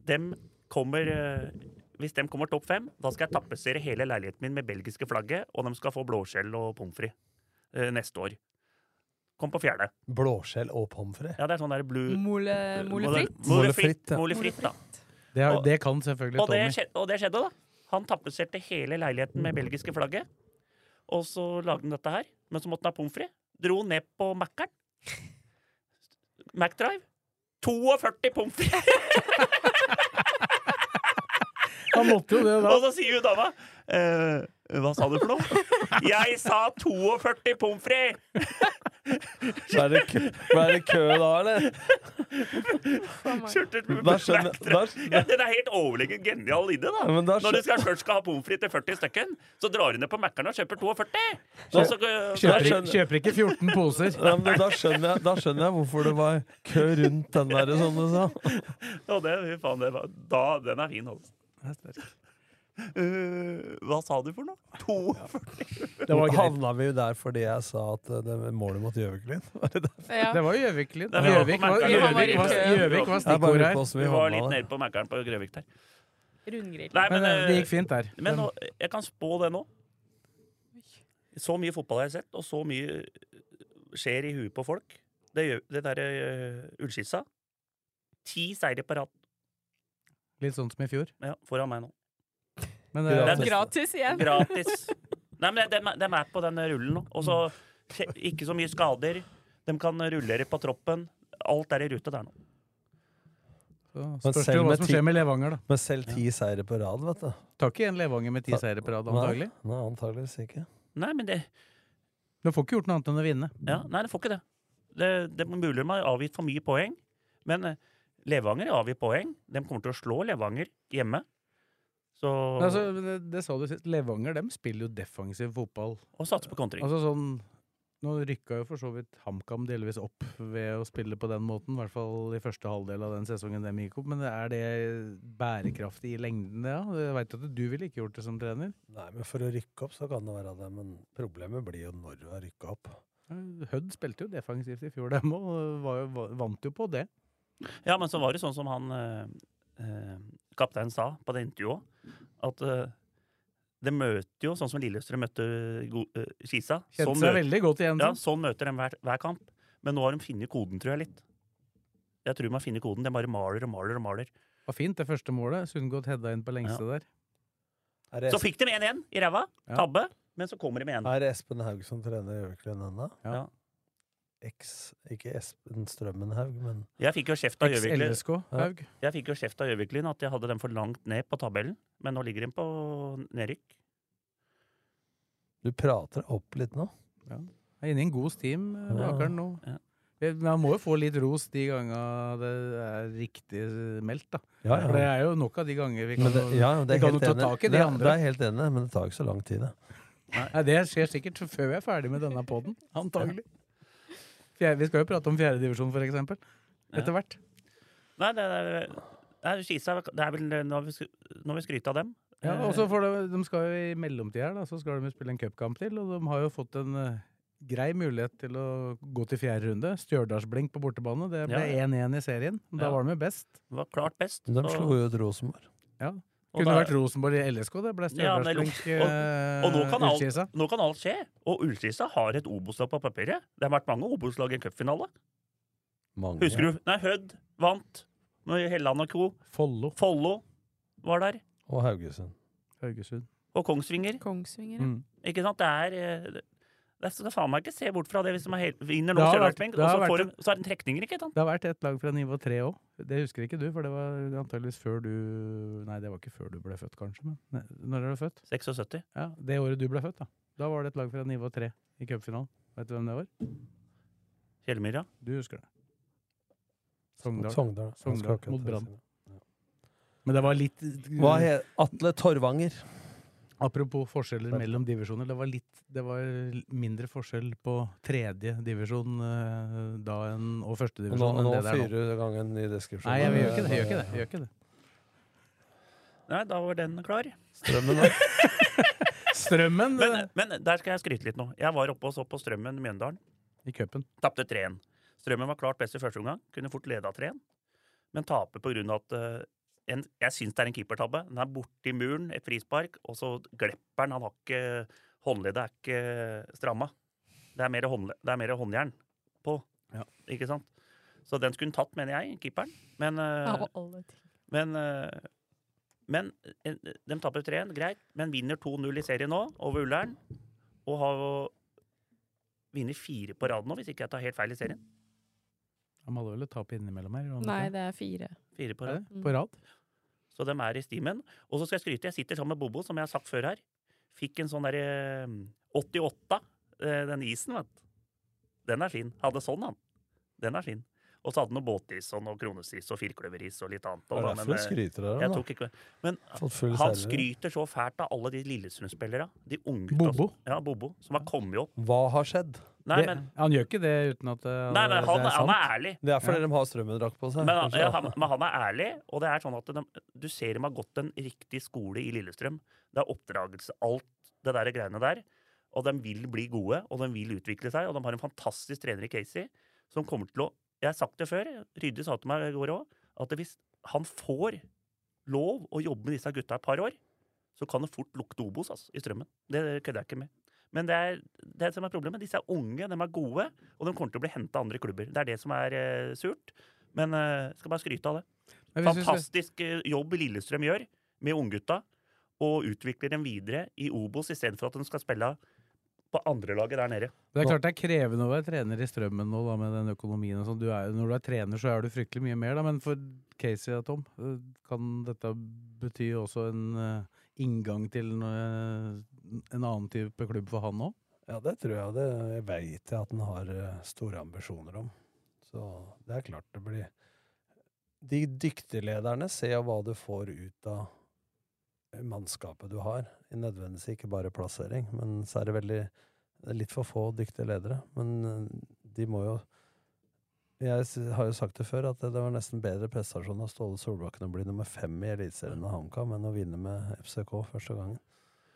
Speaker 3: dem kommer øh, hvis dem kommer topp fem, da skal jeg tapetsere hele leiligheten min med belgiske flagget, og de skal få blåskjell og pommes frites øh, neste år. Kom på fjerde.
Speaker 2: Blåskjell og pommes frites.
Speaker 3: Ja, det er sånn der blue
Speaker 4: Mole, Mm, eh, mole fritt.
Speaker 3: Mole
Speaker 2: Mole fritt,
Speaker 3: fritt,
Speaker 2: ja.
Speaker 3: mole fritt da.
Speaker 1: Det, har- det kan selvfølgelig
Speaker 3: Og det,
Speaker 1: Tommy.
Speaker 3: skjedde, og det skjedde, da. Han tapetserte hele leiligheten med belgiske flagget. Og så lagde han dette her. Men så måtte han ha pommes frites. Dro ned på Mækkern. McDrive. 42 pommes frites!
Speaker 1: Han måtte jo det da.
Speaker 3: Og så sier jo dama eh, Hva sa du for noe? Jeg sa 42 pommes frites!
Speaker 2: Så er det kø, er det kø da, eller?
Speaker 3: Kjørte ut med
Speaker 2: Da skjønner-
Speaker 3: McDrive.
Speaker 2: da skjønner-
Speaker 3: Ja, Den er helt overlegen genial idé, da.
Speaker 2: Ja, men da skjø-
Speaker 3: Når du skal, først skal ha pommes frites til 40 stykken, så drar du ned på Mækkern og kjøper 42! Og så,
Speaker 1: Kjøper,
Speaker 2: Jeg skjønner.
Speaker 1: ikke- kjøper ikke 14 poser.
Speaker 2: Ja, men da, skjønner jeg, da skjønner jeg hvorfor det var kø rundt den der, sånn som du sa.
Speaker 3: og det, fy faen, det var, da, den er fin, altså.
Speaker 1: Det er sterkt.
Speaker 3: Eh, hva sa du for noe? 42?
Speaker 1: Det var greit.
Speaker 2: Havna vi jo der fordi jeg sa at eh, det var målet mot Gjøviklyn var det der?
Speaker 4: Ja.
Speaker 1: Det var Gjøvik-lyd.
Speaker 3: Det var-
Speaker 1: Gjøvik var,
Speaker 3: Han
Speaker 4: var i
Speaker 1: Gjøvik var,
Speaker 4: kø.
Speaker 1: Gjøvik var
Speaker 2: Jeg bare
Speaker 1: stikkord
Speaker 2: lurer
Speaker 1: her.
Speaker 2: på hvordan
Speaker 3: Vi
Speaker 2: vi
Speaker 3: var
Speaker 2: havna
Speaker 3: litt
Speaker 2: der.
Speaker 3: nede på Mækkern på Grøvik der.
Speaker 4: Rundgrill.
Speaker 3: Nei, men,
Speaker 1: Men eh, det
Speaker 3: eh,
Speaker 1: gikk fint der.
Speaker 3: men nå, jeg kan spå det nå. Så mye fotball har jeg sett, og så mye eh, skjer i huet på folk. Det, gjør- det derre uh, ullskissa. Ti seire på rad
Speaker 1: Litt sånn som i fjor.
Speaker 3: ja, foran meg nå.
Speaker 1: Men
Speaker 2: Det
Speaker 1: eh,
Speaker 2: er-
Speaker 4: Gratis igjen.
Speaker 3: Gratis. Nei, men de, de er på den rullen nå. Og så skje- ikke så mye skader. De kan rullere på troppen. Alt er i rute der nå.
Speaker 1: så
Speaker 2: Men
Speaker 1: spørs det
Speaker 2: selv
Speaker 1: jo hva
Speaker 2: med
Speaker 1: som
Speaker 2: ti-
Speaker 1: skjer med Levanger, da.
Speaker 2: Men selv ti seire på rad, vet du.
Speaker 1: Tar ikke igjen Levanger med ti
Speaker 2: Ta-
Speaker 1: seire på rad,
Speaker 2: Nei,
Speaker 1: antagelig.
Speaker 2: Nei, antageligvis ikke.
Speaker 3: Nei, men det
Speaker 1: Du får ikke gjort noe annet enn å vinne.
Speaker 3: Ja, nei, det får ikke det. Det, det er mulig de har avgitt for mye poeng, men eh, Levanger har avgitt poeng. De kommer til å slå Levanger hjemme. Så,
Speaker 1: Men Altså, det, det sa du sist. Levanger dem spiller jo defensiv fotball.
Speaker 3: og satse på kontring.
Speaker 1: Altså sånn Nå rykka jo for så vidt HamKam delvis opp ved å spille på den måten, i hvert fall i første halvdel av den sesongen dem gikk opp, men er det bærekraftig i lengden, det? Ja? Jeg veit at du ville ikke gjort det som trener.
Speaker 2: Nei, men for å rykke opp så kan det være det, men problemet blir jo når du har rykka opp.
Speaker 1: Hødd spilte jo defensivt i fjor, dem òg, og var jo- va- vant jo på det. altså-
Speaker 3: Ja, men så var det sånn som han eh, eh, kapteinen sa på det intervjuet òg, at eh, det møter jo, sånn som Lillestrøm møtte Go eh, Kisa
Speaker 1: Kjente
Speaker 3: sånn
Speaker 1: seg
Speaker 3: møter,
Speaker 1: veldig godt igjen.
Speaker 3: ja,
Speaker 1: sånn.
Speaker 3: sånn møter de hver, hver kamp. Men nå har de funnet koden, tror jeg, litt. Jeg tror de har funnet koden. De bare maler og maler og maler.
Speaker 1: Var fint, det første målet. Sundgodt hedda inn på lengste der.
Speaker 2: Er det
Speaker 3: Så fikk de 1-1 i ræva.
Speaker 1: Ja.
Speaker 3: Tabbe. Men så kommer de med
Speaker 1: Mm.
Speaker 3: 1.
Speaker 2: Er det Espen Haug som trener Gjøviklund ennå?
Speaker 1: Ja.
Speaker 2: Eks, ikke Espen Strømmenhaug, men
Speaker 3: Jeg fikk jo kjeft av Gjøviklyn
Speaker 1: Eks-LSK, Haug.
Speaker 3: Jeg fikk jo kjeft av Gjøviklyn at jeg hadde dem for langt ned på tabellen. Men nå ligger de på nedrykk.
Speaker 2: du prater deg opp litt nå.
Speaker 1: Er inne i en god steam, eh,
Speaker 2: Ja.
Speaker 1: Blakeren nå.
Speaker 3: Ja.
Speaker 1: Vi- Men han må jo få litt ros de gangene det er riktig eh, meldt, da.
Speaker 2: Ja,
Speaker 1: For det er jo nok av de ganger vi kan
Speaker 2: Men det, ja, det
Speaker 1: vi
Speaker 2: er
Speaker 1: kan
Speaker 2: helt
Speaker 1: jo ta
Speaker 2: enig.
Speaker 1: tak i de
Speaker 2: det, er-
Speaker 1: andre.
Speaker 2: det er helt enig, men det tar ikke så lang tid, det.
Speaker 1: Nei, Det skjer sikkert før vi er ferdig med denne poden, antagelig. Fjerde, vi skal jo prate om fjerdedivisjon, for eksempel. Etter hvert.
Speaker 3: Nei, det er, det er, Skisa, det er vel når vi, sk- når vi skryter av dem.
Speaker 1: Ja, og så får de, de skal jo i mellomtida her, da, så skal de jo spille en cupkamp til, og de har jo fått en eh, grei mulighet til å gå til fjerde runde. Stjørdalsblink på bortebane. Det ble
Speaker 3: Ja.
Speaker 1: 1-1 i serien. Da
Speaker 3: Ja.
Speaker 1: var de jo best.
Speaker 3: Eh, var klart best.
Speaker 2: De
Speaker 3: og-
Speaker 2: slo jo ut Rosenborg.
Speaker 3: og
Speaker 1: Kunne
Speaker 3: da-
Speaker 1: vært Rosenborg i LSK, det ble
Speaker 3: Ja, men-
Speaker 1: Stjørdalsblink
Speaker 3: og- og nå kan
Speaker 1: eh,
Speaker 3: alt-
Speaker 1: Ullkisa.
Speaker 3: Nå kan alt skje. Og Ullskisa har et Obos-lag på papiret. Det har vært mange Obos-lag i en cupfinale.
Speaker 2: Mange.
Speaker 3: Husker du? Nei, Hødd vant. Med Helland og co.
Speaker 1: Follo,
Speaker 3: Follo var der.
Speaker 2: Og Haugesund.
Speaker 1: Haugesund.
Speaker 3: Og Kongsvinger.
Speaker 4: Kongsvinger.
Speaker 1: Mm.
Speaker 3: Ikke sant? Det er eh, det- det skal faen meg ikke se bort fra det hvis de er hel, vinner nå
Speaker 1: Det har vært-
Speaker 3: Stjørdalsblink,
Speaker 1: det har
Speaker 3: og så, får
Speaker 1: vært-
Speaker 3: de, så er det trekninger, ikke sant?
Speaker 1: Det har vært et lag fra nivå tre òg. Det husker ikke du, for det var antageligvis før du Nei, det var ikke før du ble født, kanskje. Men Nei, når er du født?
Speaker 3: 76.
Speaker 1: Ja, Det året du ble født, da. Da var det et lag fra nivå tre i cupfinalen. Vet du hvem det var?
Speaker 3: Kjellmyra.
Speaker 1: Du husker det. Sogndal.
Speaker 2: Sogndal.
Speaker 1: Sogndal
Speaker 2: Jeg skal ikke
Speaker 1: mot
Speaker 2: ta
Speaker 1: Brann.
Speaker 2: siden.
Speaker 1: Men det var litt eh,
Speaker 2: Hva het Atle Torvanger?
Speaker 1: Apropos forskjeller mellom divisjoner. Det var litt Det var mindre forskjell på tredje divisjon eh, da enn og første
Speaker 2: Nå,
Speaker 3: sånn,
Speaker 1: divisjon enn
Speaker 2: nå
Speaker 1: det det er nå.
Speaker 2: fyrer du i gang en ny deskripsjon.
Speaker 1: Nei, jeg gjør ikke det. Jeg gjør ikke det. Jeg gjør ikke det.
Speaker 3: Nei, da var den klar.
Speaker 2: Strømmen, da.
Speaker 1: Strømmen
Speaker 3: Men, men der skal jeg skryte litt nå. Jeg var oppe og så på Strømmen Mjøndalen.
Speaker 1: eh, i cupen.
Speaker 3: Tapte 3-1. Strømmen var klart best i første omgang. Kunne fort leda 3-1, men taper på grunn av at eh, en, Jeg syns det er en keepertabbe. Den er borti muren, et frispark, og så glepper den. Han har ikke Håndleddet er ikke stramma. Det er mer, håndle, det er mer håndjern på,
Speaker 1: Ja.
Speaker 3: ikke sant? Så den skulle han tatt, mener jeg, keeperen. Men, eh,
Speaker 4: Av alle ting.
Speaker 3: men, eh, men eh, de taper 3-1, greit, men vinner 2-0 i serien nå, over Ullern. Og har vinner fire på rad nå, hvis ikke jeg tar helt feil i serien.
Speaker 1: Han hadde vel et tap innimellom her? gjorde han
Speaker 4: Nei,
Speaker 1: ikke?
Speaker 4: det er fire.
Speaker 3: Fire på
Speaker 1: Er
Speaker 3: rad.
Speaker 1: det? På rad?
Speaker 3: Så de er i stimen. Og så skal jeg skryte, jeg sitter sammen med Bobo, som jeg har sagt før her. Fikk en sånn derre 88, eh, den isen, vet du. Den er fin. Hadde sånn, han. Den er fin. Og så hadde han noe båtis og noe kronesis og firkløveris og litt annet.
Speaker 2: Det
Speaker 3: Og
Speaker 2: er
Speaker 3: da,
Speaker 2: derfor
Speaker 3: men,
Speaker 2: du
Speaker 3: eh,
Speaker 2: skryter av
Speaker 3: jeg
Speaker 2: dem, da.
Speaker 3: tok ikke Men
Speaker 2: Fått full
Speaker 3: Han
Speaker 2: serve.
Speaker 3: skryter så fælt av alle de Lillestrøm-spillere. De unge gutta
Speaker 1: Bobo.
Speaker 3: som- Ja, Bobo, som har kommet opp.
Speaker 2: Hva har skjedd?
Speaker 3: Nei,
Speaker 1: Det-
Speaker 3: men,
Speaker 1: Han gjør ikke det uten at eh,
Speaker 3: nei, men han,
Speaker 1: det er sant.
Speaker 3: han er ærlig.
Speaker 2: Det er fordi de har strømmedrakt på seg.
Speaker 3: Men han,
Speaker 2: kanskje.
Speaker 3: ja, han, men han er ærlig, og det er sånn at de, du ser dem har gått en riktig skole i Lillestrøm. Det er oppdragelse, alt det der greiene der. Og de vil bli gode, og de vil utvikle seg. Og de har en fantastisk trener i Casey som kommer til å Jeg har sagt det før, Rydde sa til meg i går òg, at hvis han får lov å jobbe med disse gutta et par år, så kan det fort lukte Obos altså, i strømmen. Det kødder jeg ikke med. Men det er det som er problemet. Disse er unge, de er gode, og de kommer til å bli henta av andre klubber. Det er det som er eh, surt. Men eh, skal bare skryte av det.
Speaker 1: Men hvis vi skal-
Speaker 3: Fantastisk eh, jobb Lillestrøm gjør med unggutta, og utvikler dem videre i Obos istedenfor at de skal spille på andrelaget der nede.
Speaker 1: Det er klart det er krevende å være trener i strømmen nå, da, med den økonomien og sånn. Du er jo- Når du er trener, så er du fryktelig mye mer, da. Men for Casey og Tom, eh, kan dette bety også en eh, inngang til en, eh, en annen type klubb for han òg?
Speaker 2: Ja, det tror jeg. Det veit jeg at han har eh, store ambisjoner om. Så det er klart det blir De dyktige lederne ser hva du får ut av mannskapet du har. Nødvendigvis ikke bare plassering, men så er det veldig det er litt for få dyktige ledere. Men eh, de må jo Jeg s- har jo sagt det før, at det det var nesten bedre prestasjon av Ståle Solbakken å bli nummer fem i Eliteserien av HamKam enn å vinne med FCK første gangen.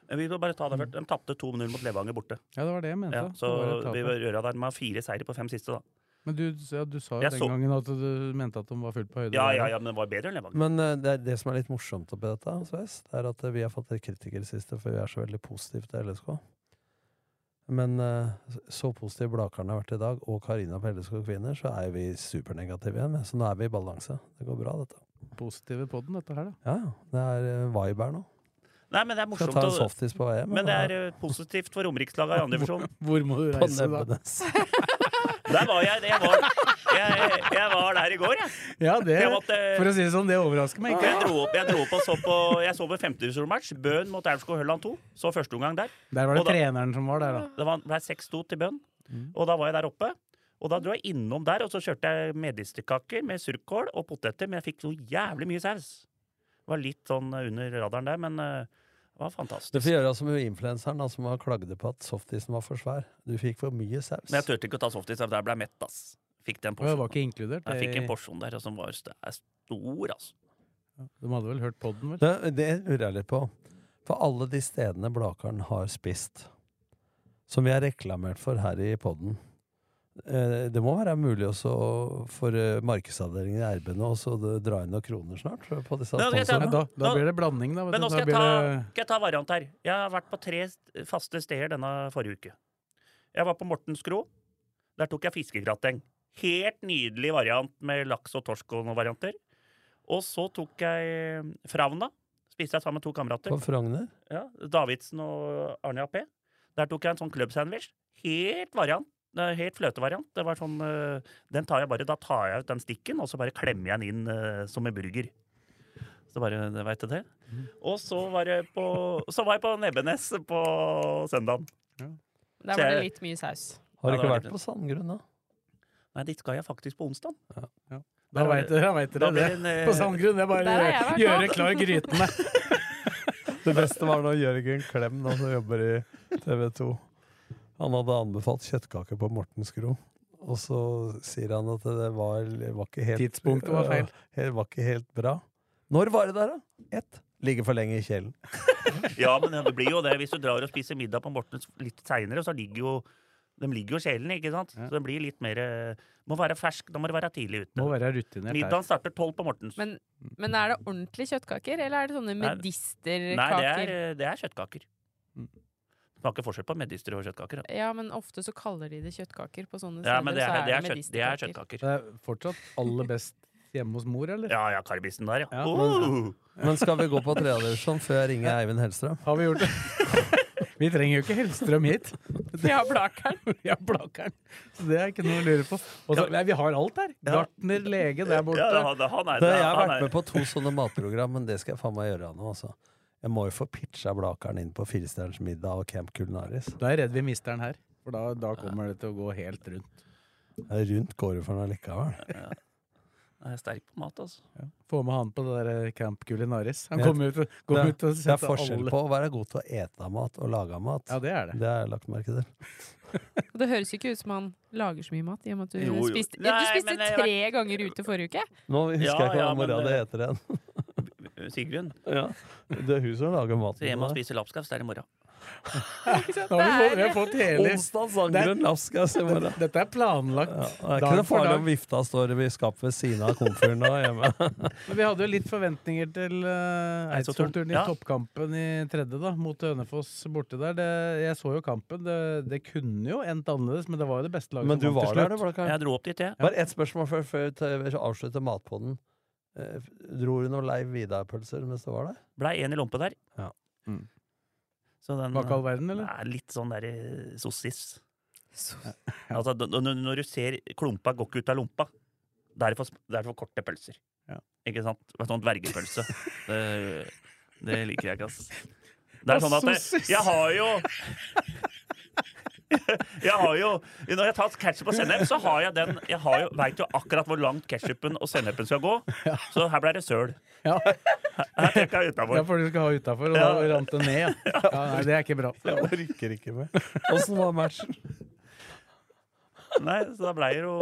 Speaker 3: Men Vi må bare ta det først. De tapte 2-0 mot Levanger borte.
Speaker 1: Ja, det var det jeg mente.
Speaker 3: Ja,
Speaker 1: Det
Speaker 3: så
Speaker 1: var et tap,
Speaker 3: vi
Speaker 1: ja.
Speaker 3: bør gjøre det. De har fire seire på fem siste, da.
Speaker 1: Men du, ja, du sa jo
Speaker 3: Jeg
Speaker 1: den
Speaker 3: så-
Speaker 1: gangen at du mente at de var fullt på høyde.
Speaker 3: Ja,
Speaker 1: der,
Speaker 3: ja, ja, men det var bedre enn Levanger.
Speaker 2: Men eh, det, er det som er litt morsomt oppi dette, Sves, det er at eh, vi har fått litt kritikk i det siste, for vi er så veldig positive til LSK. Men eh, så positive Blakaren har vært i dag, og Karina på LSK Kvinner, så er vi supernegative igjen. Så nå er vi i balanse. Det går bra, dette.
Speaker 1: Positive på den, dette her, da.
Speaker 2: Ja, ja. Det er eh, vibe her nå.
Speaker 3: Nei, men det er
Speaker 2: Skal
Speaker 3: morsomt.
Speaker 2: ta en
Speaker 3: å-
Speaker 2: softis på VM.
Speaker 3: Men det er eh, positivt for romerikslaget i andre divisjon.
Speaker 1: Hvor må du
Speaker 2: på
Speaker 1: reise, da?
Speaker 2: Nebbenes.
Speaker 3: Der var jeg, jeg var, jeg, jeg var der i går, jeg.
Speaker 1: Ja, det,
Speaker 3: Jeg måtte-
Speaker 1: for å si det sånn, det overrasker meg
Speaker 3: Jeg
Speaker 1: ikke.
Speaker 3: dro opp, jeg dro opp og så på Jeg så på femtedivisjonsmatch. Bøhn mot Aurskog Hølland 2. Så første omgang der.
Speaker 1: Der var det
Speaker 3: Og da-
Speaker 1: treneren som var der, da.
Speaker 3: Det var- ble 6-2 til Bøhn.
Speaker 1: Mm.
Speaker 3: Og da var jeg der oppe. Og da dro jeg innom der, og så kjørte jeg medisterkaker med surkål og poteter, men jeg fikk noe jævlig mye saus. Det var litt sånn under radaren der, men eh, det var
Speaker 2: Du
Speaker 3: fantastisk.
Speaker 2: får gjøre som influenseren da, som har klagde på at softisen var for svær. Du fikk for mye saus.
Speaker 3: Men jeg turte ikke å ta softis, for der ble jeg mett, ass. Fikk den
Speaker 1: Og jeg var
Speaker 3: porsjonen.
Speaker 1: ikke inkludert.
Speaker 3: Jeg fikk en
Speaker 1: Jeg-
Speaker 3: porsjon der og som var st- er stor, altså.
Speaker 1: De hadde vel hørt podden, vel?
Speaker 2: Det, det lurer jeg litt på. For alle de stedene Blakaren har spist, som vi har reklamert for her i podden eh, Det må være mulig også for eh, markedsavdelingen i RB nå også å dra inn noen kroner snart? på disse
Speaker 3: Nå skal jeg
Speaker 1: Ja,
Speaker 3: ta-
Speaker 2: sponsorene.
Speaker 1: da, da
Speaker 3: Nå-
Speaker 1: blir det blanding, da. vet
Speaker 3: Men
Speaker 1: du. Da
Speaker 3: nå skal jeg,
Speaker 1: blir
Speaker 3: ta,
Speaker 1: det-
Speaker 3: skal jeg ta variant her. Jeg har vært på tre st- faste steder denne forrige uke. Jeg var på Mortens Kro. Der tok jeg fiskegrateng. Helt nydelig variant med laks og torsk og noen varianter. Og så tok jeg eh, Fravna. Spiste jeg sammen med to kamerater.
Speaker 2: På Frogner?
Speaker 3: Ja, Davidsen og Arne AP. Der tok jeg en sånn klubbsandwich. Helt variant. eh, Helt fløtevariant. Det var sånn, eh, den tar jeg bare, da tar jeg ut den stikken, og så bare klemmer jeg den inn eh, som en burger. Så bare, det vet du det.
Speaker 1: Mm.
Speaker 3: Og så var, jeg på, så var jeg på Nebbenes på søndagen.
Speaker 4: Der var det litt mye saus.
Speaker 2: Har du
Speaker 3: Ja, det
Speaker 2: ikke
Speaker 3: var
Speaker 2: vært på Sandgrunn, da?
Speaker 3: Nei, dit skal jeg faktisk på onsdag.
Speaker 1: Da veit dere, da vet dere
Speaker 3: Da blir
Speaker 1: det.
Speaker 3: det en, eh,
Speaker 1: På samme grunn. Det er
Speaker 4: Der har
Speaker 1: bare å
Speaker 4: jeg vært,
Speaker 1: gjøre klar grytene.
Speaker 2: Det beste var når Jørgen Klem, da, som jobber i TV 2 Han hadde anbefalt kjøttkake på Mortens Gro. Og så sier han at det var, var ikke helt
Speaker 1: Tidspunktet var feil.
Speaker 2: Ja, Det var ikke helt bra. Når var det der, da? Ett. Ligger for lenge i kjelen.
Speaker 3: eh, Ja, men det blir jo det. Hvis du drar og spiser middag på Mortens litt seinere, så ligger jo de ligger jo i sjelen, ikke sant? Så det blir litt mer eh, Må være fersk. Da må du være tidlig ute.
Speaker 1: Må være rutinert der.
Speaker 3: Middagen starter tolv på Mortens.
Speaker 4: Men, men er det ordentlige kjøttkaker, eller er det sånne
Speaker 3: Nei, Nei, det
Speaker 4: medisterkaker?
Speaker 3: er, det er kjøttkaker. Smaker forskjell på medister og kjøttkaker. da.
Speaker 4: Ja, men ofte så kaller de det kjøttkaker på sånne
Speaker 3: Ja, men det er, det er,
Speaker 4: så
Speaker 3: kjøtt, det er
Speaker 4: medisterkaker.
Speaker 3: kjøttkaker.
Speaker 1: Det er fortsatt aller best hjemme hos mor, eller?
Speaker 3: Ja, ja, karbisen der, ja.
Speaker 1: Ja,
Speaker 3: oh!
Speaker 2: Men skal vi gå på tredjedivisjon før jeg ringer Eivind Hellstrøm?
Speaker 1: Har vi gjort det? Vi trenger jo ikke Hellstrøm hit.
Speaker 4: Vi har Blakeren.
Speaker 1: Vi har Blakeren. Så det er ikke noe å lure på. Og så- nei, vi har alt her. Gartner, lege der borte.
Speaker 3: ja det- han, han er,
Speaker 2: Det, jeg har
Speaker 3: han
Speaker 2: vært
Speaker 3: er,
Speaker 2: med på to sånne matprogram, men det skal jeg faen meg gjøre nå, altså. Jeg må jo få pitcha Blakeren inn på Firestjerners middag og Camp Culinaris.
Speaker 1: Da er jeg redd vi mister den her. For da, da kommer det til å gå helt rundt.
Speaker 2: Rundt går det for noe likevel.
Speaker 3: Jeg er sterk på mat, altså.
Speaker 1: Ja. Få med han på det der eh, Camp Culinaris. Han
Speaker 2: Men jeg-
Speaker 1: kommer ut, og-
Speaker 2: Det
Speaker 1: kommer
Speaker 2: er,
Speaker 1: ut og
Speaker 2: det er
Speaker 1: setter
Speaker 2: forskjell
Speaker 1: alle
Speaker 2: på å være god til å ete mat og lage mat.
Speaker 1: Ja, det er det.
Speaker 2: Det har jeg lagt merke til.
Speaker 4: Og det høres jo ikke ut som han lager så mye mat, i og med at du
Speaker 3: Jo, jo.
Speaker 4: spiste, ja,
Speaker 3: Nei,
Speaker 4: du spiste
Speaker 3: men eh, jeg har
Speaker 4: tre ganger ute forrige uke.
Speaker 2: Nå husker
Speaker 3: Ja,
Speaker 2: jeg ikke hva
Speaker 3: ja, men
Speaker 2: mora det
Speaker 3: det-
Speaker 2: heter igjen.
Speaker 3: Sigrun,
Speaker 2: Det er hun som lager
Speaker 3: så hjemme og
Speaker 2: maten.
Speaker 3: spiser lapskaus, det er i morgen.
Speaker 1: Nå har vi, fått, vi har fått hele
Speaker 2: Onsdag
Speaker 1: Det er-
Speaker 2: sangeren Lapskaus i morgen.
Speaker 1: Dette er planlagt.
Speaker 2: Ja, det er ikke
Speaker 1: dag
Speaker 2: noe
Speaker 1: for
Speaker 2: farlig
Speaker 1: dag.
Speaker 2: om vifta står i skapet ved siden av komfyren nå hjemme.
Speaker 1: Men vi hadde jo litt forventninger til uh,
Speaker 3: Eidsvoll-turen.
Speaker 1: Eidsvoll-turen i
Speaker 3: Ja.
Speaker 1: toppkampen i tredje, da, mot Hønefoss borte der. Det, jeg så jo kampen. Det, det kunne jo endt annerledes, men det var jo det beste laget
Speaker 2: Men du
Speaker 1: som
Speaker 2: var
Speaker 1: vant til
Speaker 2: der, du,
Speaker 1: slutt.
Speaker 2: var det ikke?
Speaker 3: Jeg dro opp dit, jeg.
Speaker 2: Bare ett spørsmål før, før jeg avslutter matpodden. Eh, Dro du noen Leiv Vidar-pølser mens du var der?
Speaker 3: Blei én i lompe der.
Speaker 2: Ja.
Speaker 1: Mm.
Speaker 3: Så den
Speaker 1: Var ikke all verden, eller?
Speaker 3: er litt sånn der eh, sossis. Altså, d- når, når du ser klumpa går ikke ut av lompa. Det er for, sm- det er for korte pølser.
Speaker 1: Ja.
Speaker 3: Ikke sant? Det er Sånn dvergepølse. det, det liker jeg ikke, ass. Det er sånn at jeg,
Speaker 1: Sossis.
Speaker 3: jeg har jo Jeg har jo Når jeg tar ketsjup og sennep, så har jeg den Jeg har jo, veit jo akkurat hvor langt ketsjupen og sennepen skal gå. Så her ble det søl.
Speaker 1: Ja.
Speaker 3: Her trekker jeg
Speaker 1: Ja,
Speaker 3: utafor.
Speaker 1: for du skal ha utafor, og
Speaker 3: Ja.
Speaker 1: da rant det ned. Ja. Ja, nei, det er ikke bra.
Speaker 2: Jeg orker ikke mer. Åssen var matchen?
Speaker 3: Nei, så da ble det jo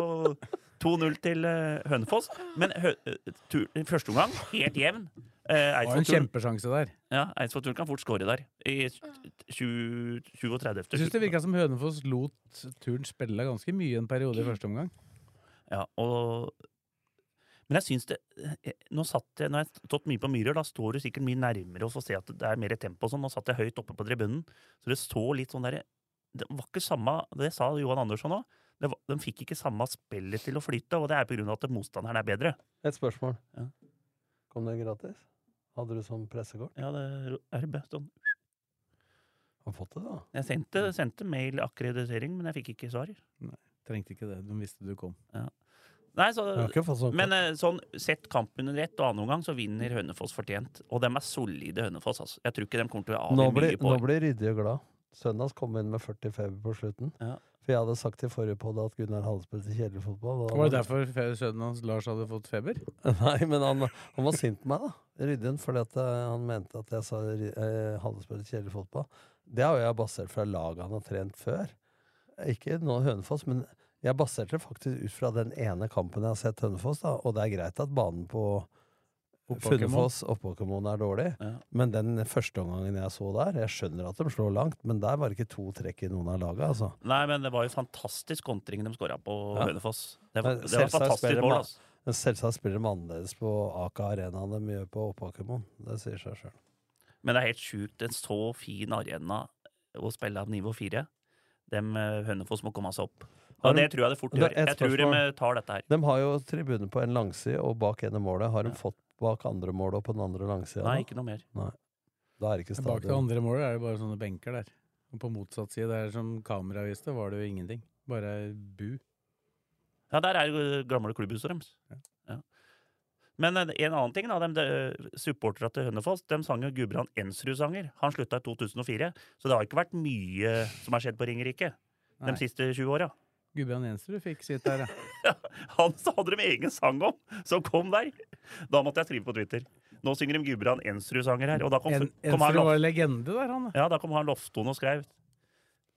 Speaker 3: 2-0 til eh, Hønefoss. Men hø eh, tur, i første omgang helt jevn. Eh,
Speaker 1: Det var en
Speaker 3: Eidsvoll-turen
Speaker 1: kjempesjanse der.
Speaker 3: ja, Eidsvoll-turen kan fort skåre der. I tju- 20 og 30.
Speaker 1: Jeg syns det virka som Hønefoss lot turen spille ganske mye en periode i første omgang.
Speaker 3: Ja, og... Men jeg syns det eh, Nå satt jeg, når jeg har stått mye på Myhrer, da står du sikkert mye nærmere og så ser jeg at det er mer tempo og sånn. Nå satt jeg høyt oppe på tribunen, så det så litt sånn derre Det var ikke samme Det sa Johan Andersson òg. De fikk ikke samme spillet til å flyte, og det er på grunn av at motstanderen er bedre.
Speaker 2: Et spørsmål.
Speaker 3: Ja.
Speaker 2: Kom det gratis? Hadde du sånn pressekort?
Speaker 3: Ja, det er RB. Sånn.
Speaker 2: Har fått det, da.
Speaker 3: Jeg sendte, sendte mail akkreditering, men jeg fikk ikke svar.
Speaker 1: Trengte ikke det. De visste du kom.
Speaker 3: Nei, så,
Speaker 2: Jeg har ikke fått sånn
Speaker 3: men eh, sånn, sett kampen under ett, og annen omgang så vinner Hønefoss fortjent. Og dem er solide, Hønefoss. Altså. Jeg tror ikke de kommer til å
Speaker 2: nå,
Speaker 3: avgi
Speaker 2: blir,
Speaker 3: mye
Speaker 2: nå
Speaker 3: poeng.
Speaker 2: blir Ryddig og glad. Søndags kom inn med 40 feber på slutten.
Speaker 3: Ja.
Speaker 2: For jeg hadde sagt i forrige podd at Gunnar hadde spilt i kjedelig fotball. og
Speaker 1: Var det
Speaker 2: han-
Speaker 1: derfor fe- sønnen hans Lars hadde fått feber?
Speaker 2: Nei, men han, han var sint på meg, da. Rydden, fordi at eh, han mente at jeg sa ri- eh, hadde spilt kjedelig fotball. Det har jo jeg basert fra laget han har trent før. Ikke nå Hønefoss, men jeg baserte det faktisk ut fra den ene kampen jeg har sett Hønefoss, da. Og det er greit at banen på
Speaker 1: Oppåkermoen.
Speaker 2: Funnefoss Oppåkermoen er dårlig,
Speaker 3: Ja.
Speaker 2: men den første omgangen jeg så der Jeg skjønner at de slår langt, men der var det ikke to trekk i noen av laga, altså.
Speaker 3: Nei, men det var jo fantastisk kontring de skåra på
Speaker 2: Ja.
Speaker 3: Hønefoss. Det var,
Speaker 2: Men
Speaker 3: det var
Speaker 2: selvsagt spiller
Speaker 3: fantastisk mål,
Speaker 2: man-
Speaker 3: altså.
Speaker 2: Men selvsagt spiller de annerledes på Aker Arena enn de gjør på Oppåkermoen. Det sier seg sjøl.
Speaker 3: Men det er helt sjukt. En så fin arena å spille av nivå fire. Dem eh, Hønefoss må komme seg opp.
Speaker 2: Har
Speaker 3: Ja,
Speaker 2: de-
Speaker 3: det tror jeg det fort
Speaker 2: Det er
Speaker 3: gjør.
Speaker 2: et
Speaker 3: Jeg tror de
Speaker 2: spørsmål.
Speaker 3: eh, tar dette her.
Speaker 2: De har jo tribune på en langside og bak ene målet. Har de
Speaker 3: Ja.
Speaker 2: fått bak andre målet og på den andre langsida? da?
Speaker 3: Nei, ikke noe mer.
Speaker 2: Da er det ikke
Speaker 1: Bak det
Speaker 2: stadion.
Speaker 1: andre målet er det bare sånne benker der. Og på motsatt side, der som kameraet viste, var det jo ingenting. Bare bu.
Speaker 3: Ja, der er jo eh, gamle klubbhuset deres.
Speaker 1: Ja.
Speaker 3: Ja. Men eh, en annen ting, da. dem, De, Supporterne til Hønefoss de sang jo Gudbrand Ensrud-sanger. Han slutta i 2004, så det har ikke vært mye som har skjedd på Ringerike
Speaker 1: Nei.
Speaker 3: de siste 20 åra.
Speaker 1: Gudbrand Jensrud fikk sitt der, ja.
Speaker 3: Han så hadde de egen sang om, som kom der! Da måtte jeg skrive på Twitter. Nå synger de Gudbrand Ensrud-sanger her. Og da kom,
Speaker 1: En,
Speaker 3: kom han
Speaker 1: Jensrud var
Speaker 3: loft,
Speaker 1: legende der, han. ja.
Speaker 3: ja, da kom han Lofton og skrev.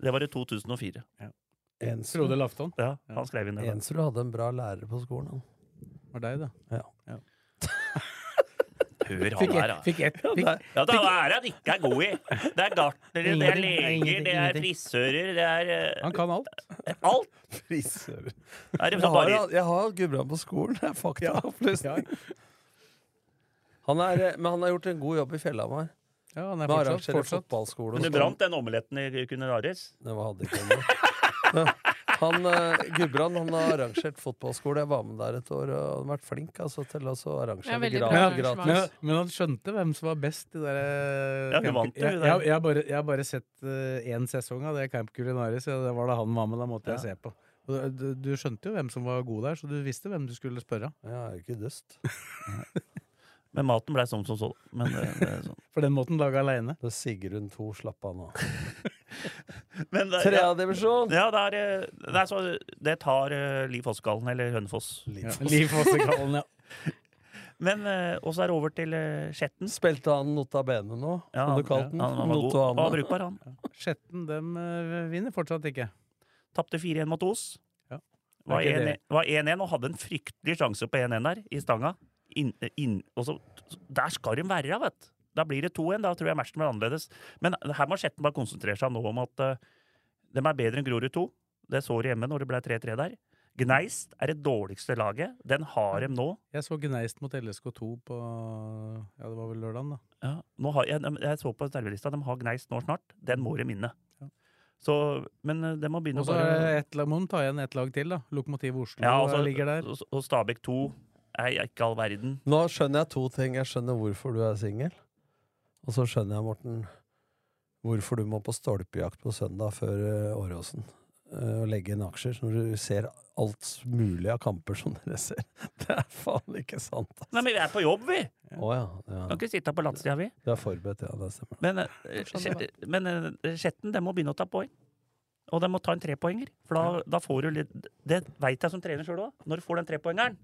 Speaker 3: Det var i 2004.
Speaker 1: Frode
Speaker 2: Ensrud
Speaker 1: Lafton
Speaker 3: Ja, han skrev inn det. da.
Speaker 2: Ensrud hadde en bra lærer på skolen.
Speaker 1: var
Speaker 2: Han.
Speaker 1: deg, da.
Speaker 3: Hør
Speaker 1: Fikk
Speaker 3: han
Speaker 1: ett.
Speaker 3: der, da.
Speaker 1: Fikk ett. Fikk,
Speaker 3: Ja, det er det han ikke er god i. Det er gartnere, det er
Speaker 1: Ingenting. Det er
Speaker 3: leger,
Speaker 1: ingenting,
Speaker 3: det er
Speaker 1: ingenting.
Speaker 3: frisører, det er eh,
Speaker 1: han kan alt.
Speaker 3: alt.
Speaker 2: Frisører.
Speaker 3: Er det
Speaker 2: Jeg
Speaker 3: så
Speaker 2: har,
Speaker 3: bare,
Speaker 2: hatt- jeg har hatt Gudbrand på skolen, det er
Speaker 1: Ja,
Speaker 2: faktaopplysning. Han er, eh, men han har gjort en god jobb i Fjellhamar.
Speaker 1: ja han er
Speaker 2: Med å
Speaker 1: fortsatt,
Speaker 2: arrangere
Speaker 1: fortsatt
Speaker 2: fotballskole. og
Speaker 3: men du
Speaker 2: sånn.
Speaker 3: brant den omeletten i Cuneraris?
Speaker 2: Det var hadde ikke om det. Han, eh, Gudbrand han har arrangert fotballskole. Jeg var med der et år, og han har vært flink altså, til å så
Speaker 4: Ja,
Speaker 2: arrangere
Speaker 4: veldig bra
Speaker 2: gra-
Speaker 4: arrangement.
Speaker 2: gratis.
Speaker 1: Men, men han skjønte hvem som var best i det der eh,
Speaker 3: Ja, du vant jo
Speaker 1: jeg,
Speaker 3: det.
Speaker 1: jeg, jeg, har bare, jeg har bare sett én sesong av det Camp Culinaris, og det var da han var med. Da måtte jeg se på. Og du, du skjønte jo hvem som var god der, så du visste hvem du skulle spørre.
Speaker 2: Jeg er jo ikke dust.
Speaker 3: Men maten blei sånn som så. Men, eh, det er sånn.
Speaker 1: For den måten lage aleine.
Speaker 2: Det er Sigrun 2, slapp av nå.
Speaker 3: men det, ja,
Speaker 2: Tredjedivisjon!
Speaker 3: ja, det, er, eh, det, er så, det tar eh, Liv Fosskallen eller Hønefoss.
Speaker 1: Ja, Liv Fossekallen, ja.
Speaker 3: Men eh, Og så er det over til eh, Skjetten.
Speaker 2: Spilte han Nota Bene nå,
Speaker 3: Ja,
Speaker 2: som du kalte den?
Speaker 3: ja, han var god.
Speaker 2: Notoane.
Speaker 3: Og brukbar, han.
Speaker 1: Skjetten dem eh, vinner fortsatt ikke.
Speaker 3: Tapte 4-1 mot Os.
Speaker 1: Ja.
Speaker 3: Var
Speaker 1: Er ikke
Speaker 3: 1-1
Speaker 1: det-
Speaker 3: var 1-1 og hadde en fryktelig sjanse på 1-1 der, i stanga. Inn, inn, og så, der skal de være, vet du. Da blir det 2-1. Da tror jeg matchen blir annerledes. Men her må Skjetten bare konsentrere seg nå om at eh, de er bedre enn Grorud 2. Det så de hjemme når det ble 3-3 der. Gneist er det dårligste laget. Den har de nå.
Speaker 1: Jeg så Gneist mot LSK2 på Ja, det var vel lørdagen, da.
Speaker 3: Ja. Nå har, jeg, jeg så på servelista, de har Gneist nå snart. Den må de vinne. Så, men eh, de må begynne
Speaker 1: Og så er det ett lag, må de ta igjen ett lag til, da. Lokomotiv Oslo eh,
Speaker 3: Ja, altså,
Speaker 1: ligger der.
Speaker 3: Og, og Stabæk 2 er ikke all verden.
Speaker 2: Nå skjønner jeg to ting. Jeg skjønner hvorfor du er singel. Og så skjønner jeg, Morten, hvorfor du må på stolpejakt på søndag før eh, Åråsen. eh, Og legge inn aksjer når du ser alt mulig av kamper som dere ser. Det er faen ikke sant,
Speaker 3: Nei,
Speaker 2: altså.
Speaker 3: men vi er på jobb, vi!
Speaker 2: Å ja,
Speaker 3: Kan
Speaker 2: ja.
Speaker 3: ikke sitte på latsida, vi.
Speaker 2: Du er forberedt, ja. Det stemmer.
Speaker 3: Men, eh,
Speaker 4: Skjønner
Speaker 3: Skjet- men eh, Skjetten, de må begynne å ta poeng. Og de må ta en trepoenger. For da, da får du litt Det veit jeg som trener sjøl òg. Når du får den trepoengeren,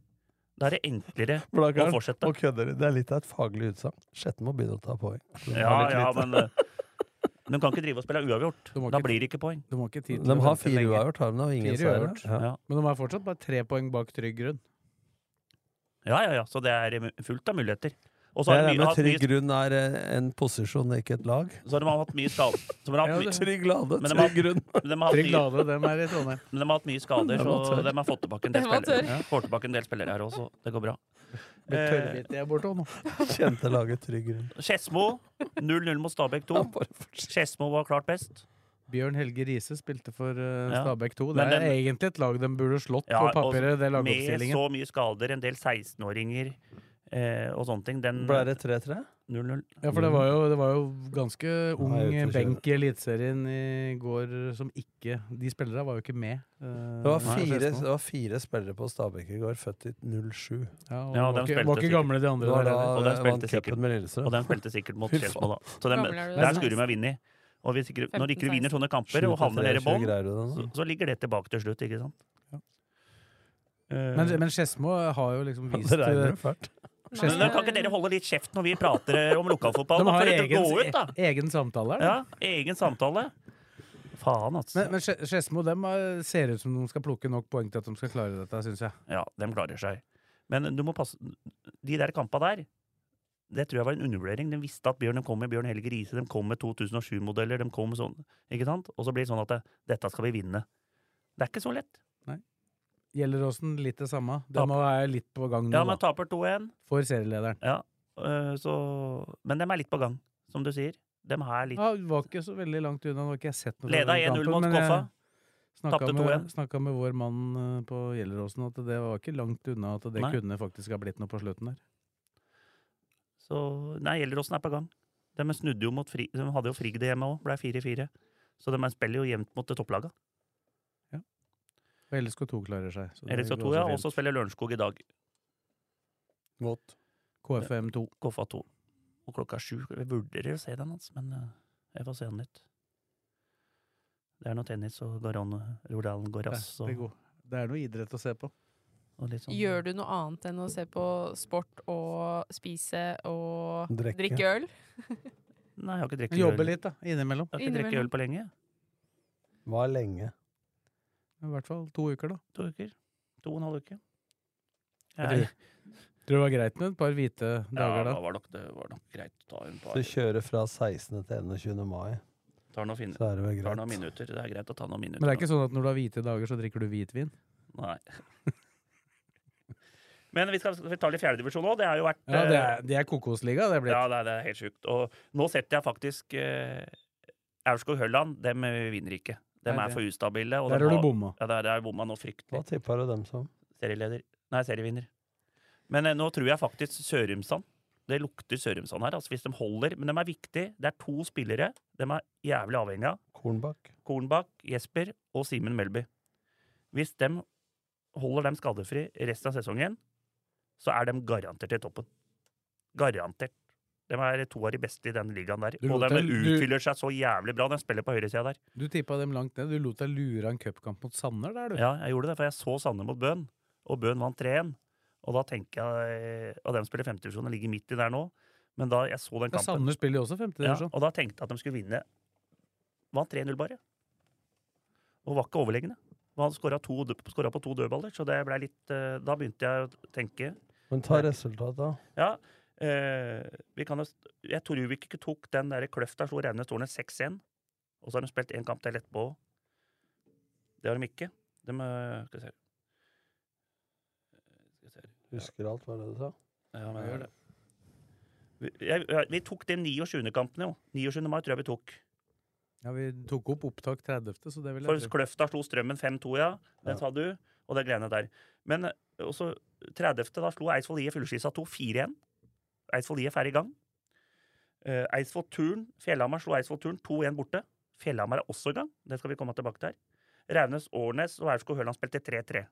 Speaker 3: da er det enklere å
Speaker 2: Blakkaren,
Speaker 3: fortsette.
Speaker 2: nå kødder du. Det er litt av et faglig utsagn. Sjette må begynne å ta poeng. Den
Speaker 3: Ja,
Speaker 2: har litt
Speaker 3: ja,
Speaker 2: lite.
Speaker 3: men eh, De kan ikke drive og spille uavgjort.
Speaker 1: De har
Speaker 3: Da
Speaker 1: ikke-
Speaker 3: blir det ikke poeng.
Speaker 1: De har ikke tid til å
Speaker 2: De har
Speaker 1: vente
Speaker 2: fire
Speaker 1: lenge.
Speaker 2: uavgjort, har de det? Og ingen
Speaker 1: Fire
Speaker 2: seier.
Speaker 1: uavgjort.
Speaker 2: Ja.
Speaker 3: Ja.
Speaker 1: Men de er fortsatt bare tre poeng bak trygg grunn.
Speaker 3: Ja, ja, ja. Så det er eh, fullt av muligheter. Og så
Speaker 2: Jeg
Speaker 3: har de
Speaker 2: regner
Speaker 3: mye-
Speaker 2: med
Speaker 3: hatt
Speaker 2: trygg
Speaker 3: mye-
Speaker 2: grunn er eh, en posisjon, ikke et lag.
Speaker 3: så har de hatt mye skader. Så de har hatt
Speaker 1: Ja,
Speaker 3: mye-
Speaker 1: det-
Speaker 2: Trygg lade,
Speaker 3: Men de
Speaker 2: trygg grunn.
Speaker 3: de har hatt
Speaker 1: Trygg
Speaker 3: mye-
Speaker 1: Lade, dem er i Trondheim.
Speaker 3: Men de har hatt mye skader,
Speaker 2: Den var
Speaker 3: så
Speaker 2: tørr.
Speaker 3: de har fått tilbake en del
Speaker 4: Den var
Speaker 3: spillere.
Speaker 4: tørr.
Speaker 3: Ja. Får tilbake en del spillere her også. Det går bra.
Speaker 1: Blir
Speaker 3: Eh,
Speaker 1: tørrbit jeg borte også nå.
Speaker 2: Kjente laget trygg grunn.
Speaker 3: Skedsmo 0-0 mot Stabæk
Speaker 2: Ja,
Speaker 3: 2.
Speaker 2: bare fortsett.
Speaker 3: Skedsmo var klart best.
Speaker 1: Bjørn Helge Riise spilte for eh,
Speaker 3: Ja.
Speaker 1: Stabæk 2. Det
Speaker 3: Men
Speaker 1: er
Speaker 3: den-
Speaker 1: egentlig et lag de burde slått
Speaker 3: Ja,
Speaker 1: på papiret, det
Speaker 3: Med
Speaker 1: lagoppstillingen.
Speaker 3: så mye skader, en del 16-åringer eh, og sånne ting. Den
Speaker 2: Ble det 3-3?
Speaker 3: 0-0.
Speaker 1: Ja, for det var jo, det var jo ganske ung
Speaker 2: Nei, jeg vet ikke.
Speaker 1: benk i Eliteserien i går som ikke De spillerne var jo ikke med. eh,
Speaker 2: Det var
Speaker 1: når
Speaker 2: fire,
Speaker 1: Skedsmo-
Speaker 2: det var fire spillere på Stabæk i går, født i 07.
Speaker 1: Ja, og
Speaker 3: Ja,
Speaker 1: de var
Speaker 3: de
Speaker 1: ikke,
Speaker 3: spilte
Speaker 1: var ikke
Speaker 3: sikkert.
Speaker 1: gamle, de
Speaker 2: Det
Speaker 1: andre.
Speaker 2: var
Speaker 1: der
Speaker 2: da
Speaker 1: heller.
Speaker 3: Og den
Speaker 2: eh,
Speaker 3: spilte
Speaker 2: vant
Speaker 3: sikkert.
Speaker 2: cupen med
Speaker 3: Og
Speaker 2: Lillestrøm.
Speaker 3: den spilte sikkert mot
Speaker 2: Fy faen.
Speaker 3: Skedsmo, da. Så dem,
Speaker 4: Gammel er du da?
Speaker 3: der skulle de ha vunnet. Og hvis ikke, når ikke du vinner sånne kamper og havner nede i
Speaker 2: 7-3,
Speaker 3: bånn,
Speaker 2: greier du
Speaker 3: så,
Speaker 2: det nå?
Speaker 3: så ligger det tilbake til slutt, ikke sant?
Speaker 1: Ja.
Speaker 3: Eh,
Speaker 1: Men, men Skedsmo har jo liksom vist
Speaker 2: Det regner jo fælt.
Speaker 3: Men da kan ikke dere holde litt kjeft når vi prater om lokalfotball?
Speaker 1: De
Speaker 3: Da
Speaker 1: har
Speaker 3: får dere
Speaker 1: egen, e-,
Speaker 3: gå ut, da!
Speaker 1: egen samtale. her, da.
Speaker 3: Ja, egen samtale. Faen, altså.
Speaker 1: Men, men Ske- Skedsmo dem er- ser ut som de skal plukke nok poeng til at de skal klare dette, syns jeg.
Speaker 3: Ja, dem klarer seg. Men du må passe De der kampa der, det tror jeg var en undervurdering. De visste at Bjørn de kom med Bjørn Helge Riise, de kom med 2007-modeller, de kom med sånn, ikke sant? Og så blir det sånn at det, dette skal vi vinne. Det er ikke så lett.
Speaker 1: Gjelleråsen litt det samme. De
Speaker 3: Tap.
Speaker 1: må være litt på gang nå,
Speaker 3: Ja, man
Speaker 1: da,
Speaker 3: taper 2-1,
Speaker 1: for serielederen.
Speaker 3: øh, så Men dem er litt på gang, som du sier. Dem her er litt
Speaker 1: Ja, var ikke så veldig langt unna. Nå har ikke jeg sett noe fra
Speaker 3: Leda
Speaker 1: den
Speaker 3: 1-0
Speaker 1: kampen,
Speaker 3: mot
Speaker 1: men eh,
Speaker 3: Koffa.
Speaker 1: jeg snakka
Speaker 3: Tapte
Speaker 1: med,
Speaker 3: 2-1.
Speaker 1: snakka med vår mann eh, på Gjelleråsen at det var ikke langt unna at det
Speaker 3: Nei.
Speaker 1: kunne faktisk ha blitt noe på slutten der.
Speaker 3: Så nei, Gjelleråsen er på gang. De snudde jo mot fri, De hadde jo Frigg det hjemme òg, ble 4-4. Så de spiller jo jevnt mot topplaga.
Speaker 1: Og LSK2 klarer seg. så det går
Speaker 3: LSK2,
Speaker 1: også
Speaker 3: ja.
Speaker 1: fint.
Speaker 3: Og så spiller Lørenskog i dag.
Speaker 2: Mot.
Speaker 1: KFM2.
Speaker 3: Koffa 2. Og klokka er sju. Jeg vurderer å se den hans, men eh, jeg får se den litt. Det er noe tennis og Garan Rodalen
Speaker 1: Ja,
Speaker 3: Goras
Speaker 1: det, er
Speaker 3: og,
Speaker 1: god. det er noe idrett å se på.
Speaker 3: og litt sånn.
Speaker 4: Gjør du noe annet enn å se på sport og spise og
Speaker 2: Drikke.
Speaker 4: drikke øl?
Speaker 3: Nei, jeg har ikke drukket
Speaker 1: Jobbe
Speaker 3: øl.
Speaker 1: litt, da. Innimellom.
Speaker 3: Jeg har ikke drukket
Speaker 4: Innimellom.
Speaker 3: øl på lenge.
Speaker 2: Var lenge.
Speaker 1: I hvert fall to uker, da.
Speaker 3: To uker. To og en halv uke.
Speaker 1: Jeg
Speaker 3: Jeg-
Speaker 1: Tror det var greit med et par hvite
Speaker 3: Ja,
Speaker 1: dager da.
Speaker 3: da var nok, det var nok greit. Ta en par,
Speaker 2: Så kjøre fra 16. til 21. mai,
Speaker 3: tar noen, fin,
Speaker 2: så er det vel
Speaker 3: tar noen
Speaker 2: greit.
Speaker 3: minutter. Det er greit å ta noen minutter.
Speaker 1: Men det er ikke sånn at når du har hvite dager, så drikker du hvitvin?
Speaker 3: Nei. Men vi skal vi tar litt fjerdedivisjon òg. Det har jo vært
Speaker 1: Ja, det
Speaker 3: eh,
Speaker 1: er, det er kokosliga, det er blitt.
Speaker 3: Ja, det er, det er helt sjukt. Og nå setter jeg faktisk eh, Aurskog-Hølland. Dem eh, vinner ikke. Dem
Speaker 1: Nei,
Speaker 3: er
Speaker 1: det-
Speaker 3: for ustabile. Og
Speaker 1: Der
Speaker 3: dem
Speaker 1: har du
Speaker 3: har-
Speaker 1: bomma.
Speaker 3: Ja, der er bomma nå fryktelig.
Speaker 2: Hva tippa du dem som?
Speaker 3: Serieleder. Nei, serievinner. Men eh, nå tror jeg faktisk Sørumsand. Det lukter Sørumsand her, altså hvis de holder. Men de er viktige. Det er to spillere. De er jævlig avhengig av.
Speaker 2: Kornbakk?
Speaker 3: Kornbakk, Jesper og Simen Melby. Hvis de holder dem skadefri resten av sesongen, så er de garantert til toppen. Garantert. De er to av de beste i den ligaen der.
Speaker 1: Du
Speaker 3: Og
Speaker 1: lot
Speaker 3: de
Speaker 1: dem- du-
Speaker 3: utfyller seg så jævlig bra. De spiller på høyresida der.
Speaker 1: Du tippa dem langt ned. Du lot deg lure av en cupkamp mot Sanner der, du.
Speaker 3: Ja, jeg gjorde det, for jeg så Sanne mot Bøhn, og Bøhn vant 3-1. Og da tenker jeg Og de spiller femtedivisjon og ligger midt i der nå. Men da jeg så den
Speaker 1: Ja,
Speaker 3: kampen
Speaker 1: Sandnes spiller jo også femte
Speaker 3: ja,
Speaker 1: divisjon.
Speaker 3: Og da tenkte jeg at de skulle vinne. Vant 3-0 bare. Og var ikke overlegne. Og Han skåra på to dødballer, så det ble litt eh, Da begynte jeg å tenke
Speaker 2: Men ta resultatet, da.
Speaker 3: Ja, eh, vi kan jo st- Jeg tror vi ikke tok den der kløfta, slo Raunes Tårnet 6-1. Og så har de spilt én kamp til etterpå. Det har de ikke. De, eh, skal vi se. Skal vi se.
Speaker 2: Husker alt, hva er det du sa?
Speaker 3: Ja, men jeg gjør det. Vi, jeg, jeg- vi tok de 29. kampene, jo. 29. mai tror jeg vi tok.
Speaker 1: Ja, vi tok opp opptak 30., så det vil
Speaker 3: For
Speaker 1: jeg tro.
Speaker 3: Kløfta slo Strømmen 5-2, ja. Den sa du. Og det greiene der. Men eh, også 30. da slo Eidsvoll IE Fugleskissa 2 4-1. Eidsvoll IF er i gang. Eh, Eidsvoll Turn, Fjellhamar slo Eidsvoll Turn 2-1 borte. Fjellhamar er også i gang. Det skal vi komme tilbake til. Raunes, Årnes og Aurskog Høland spilte 3-3.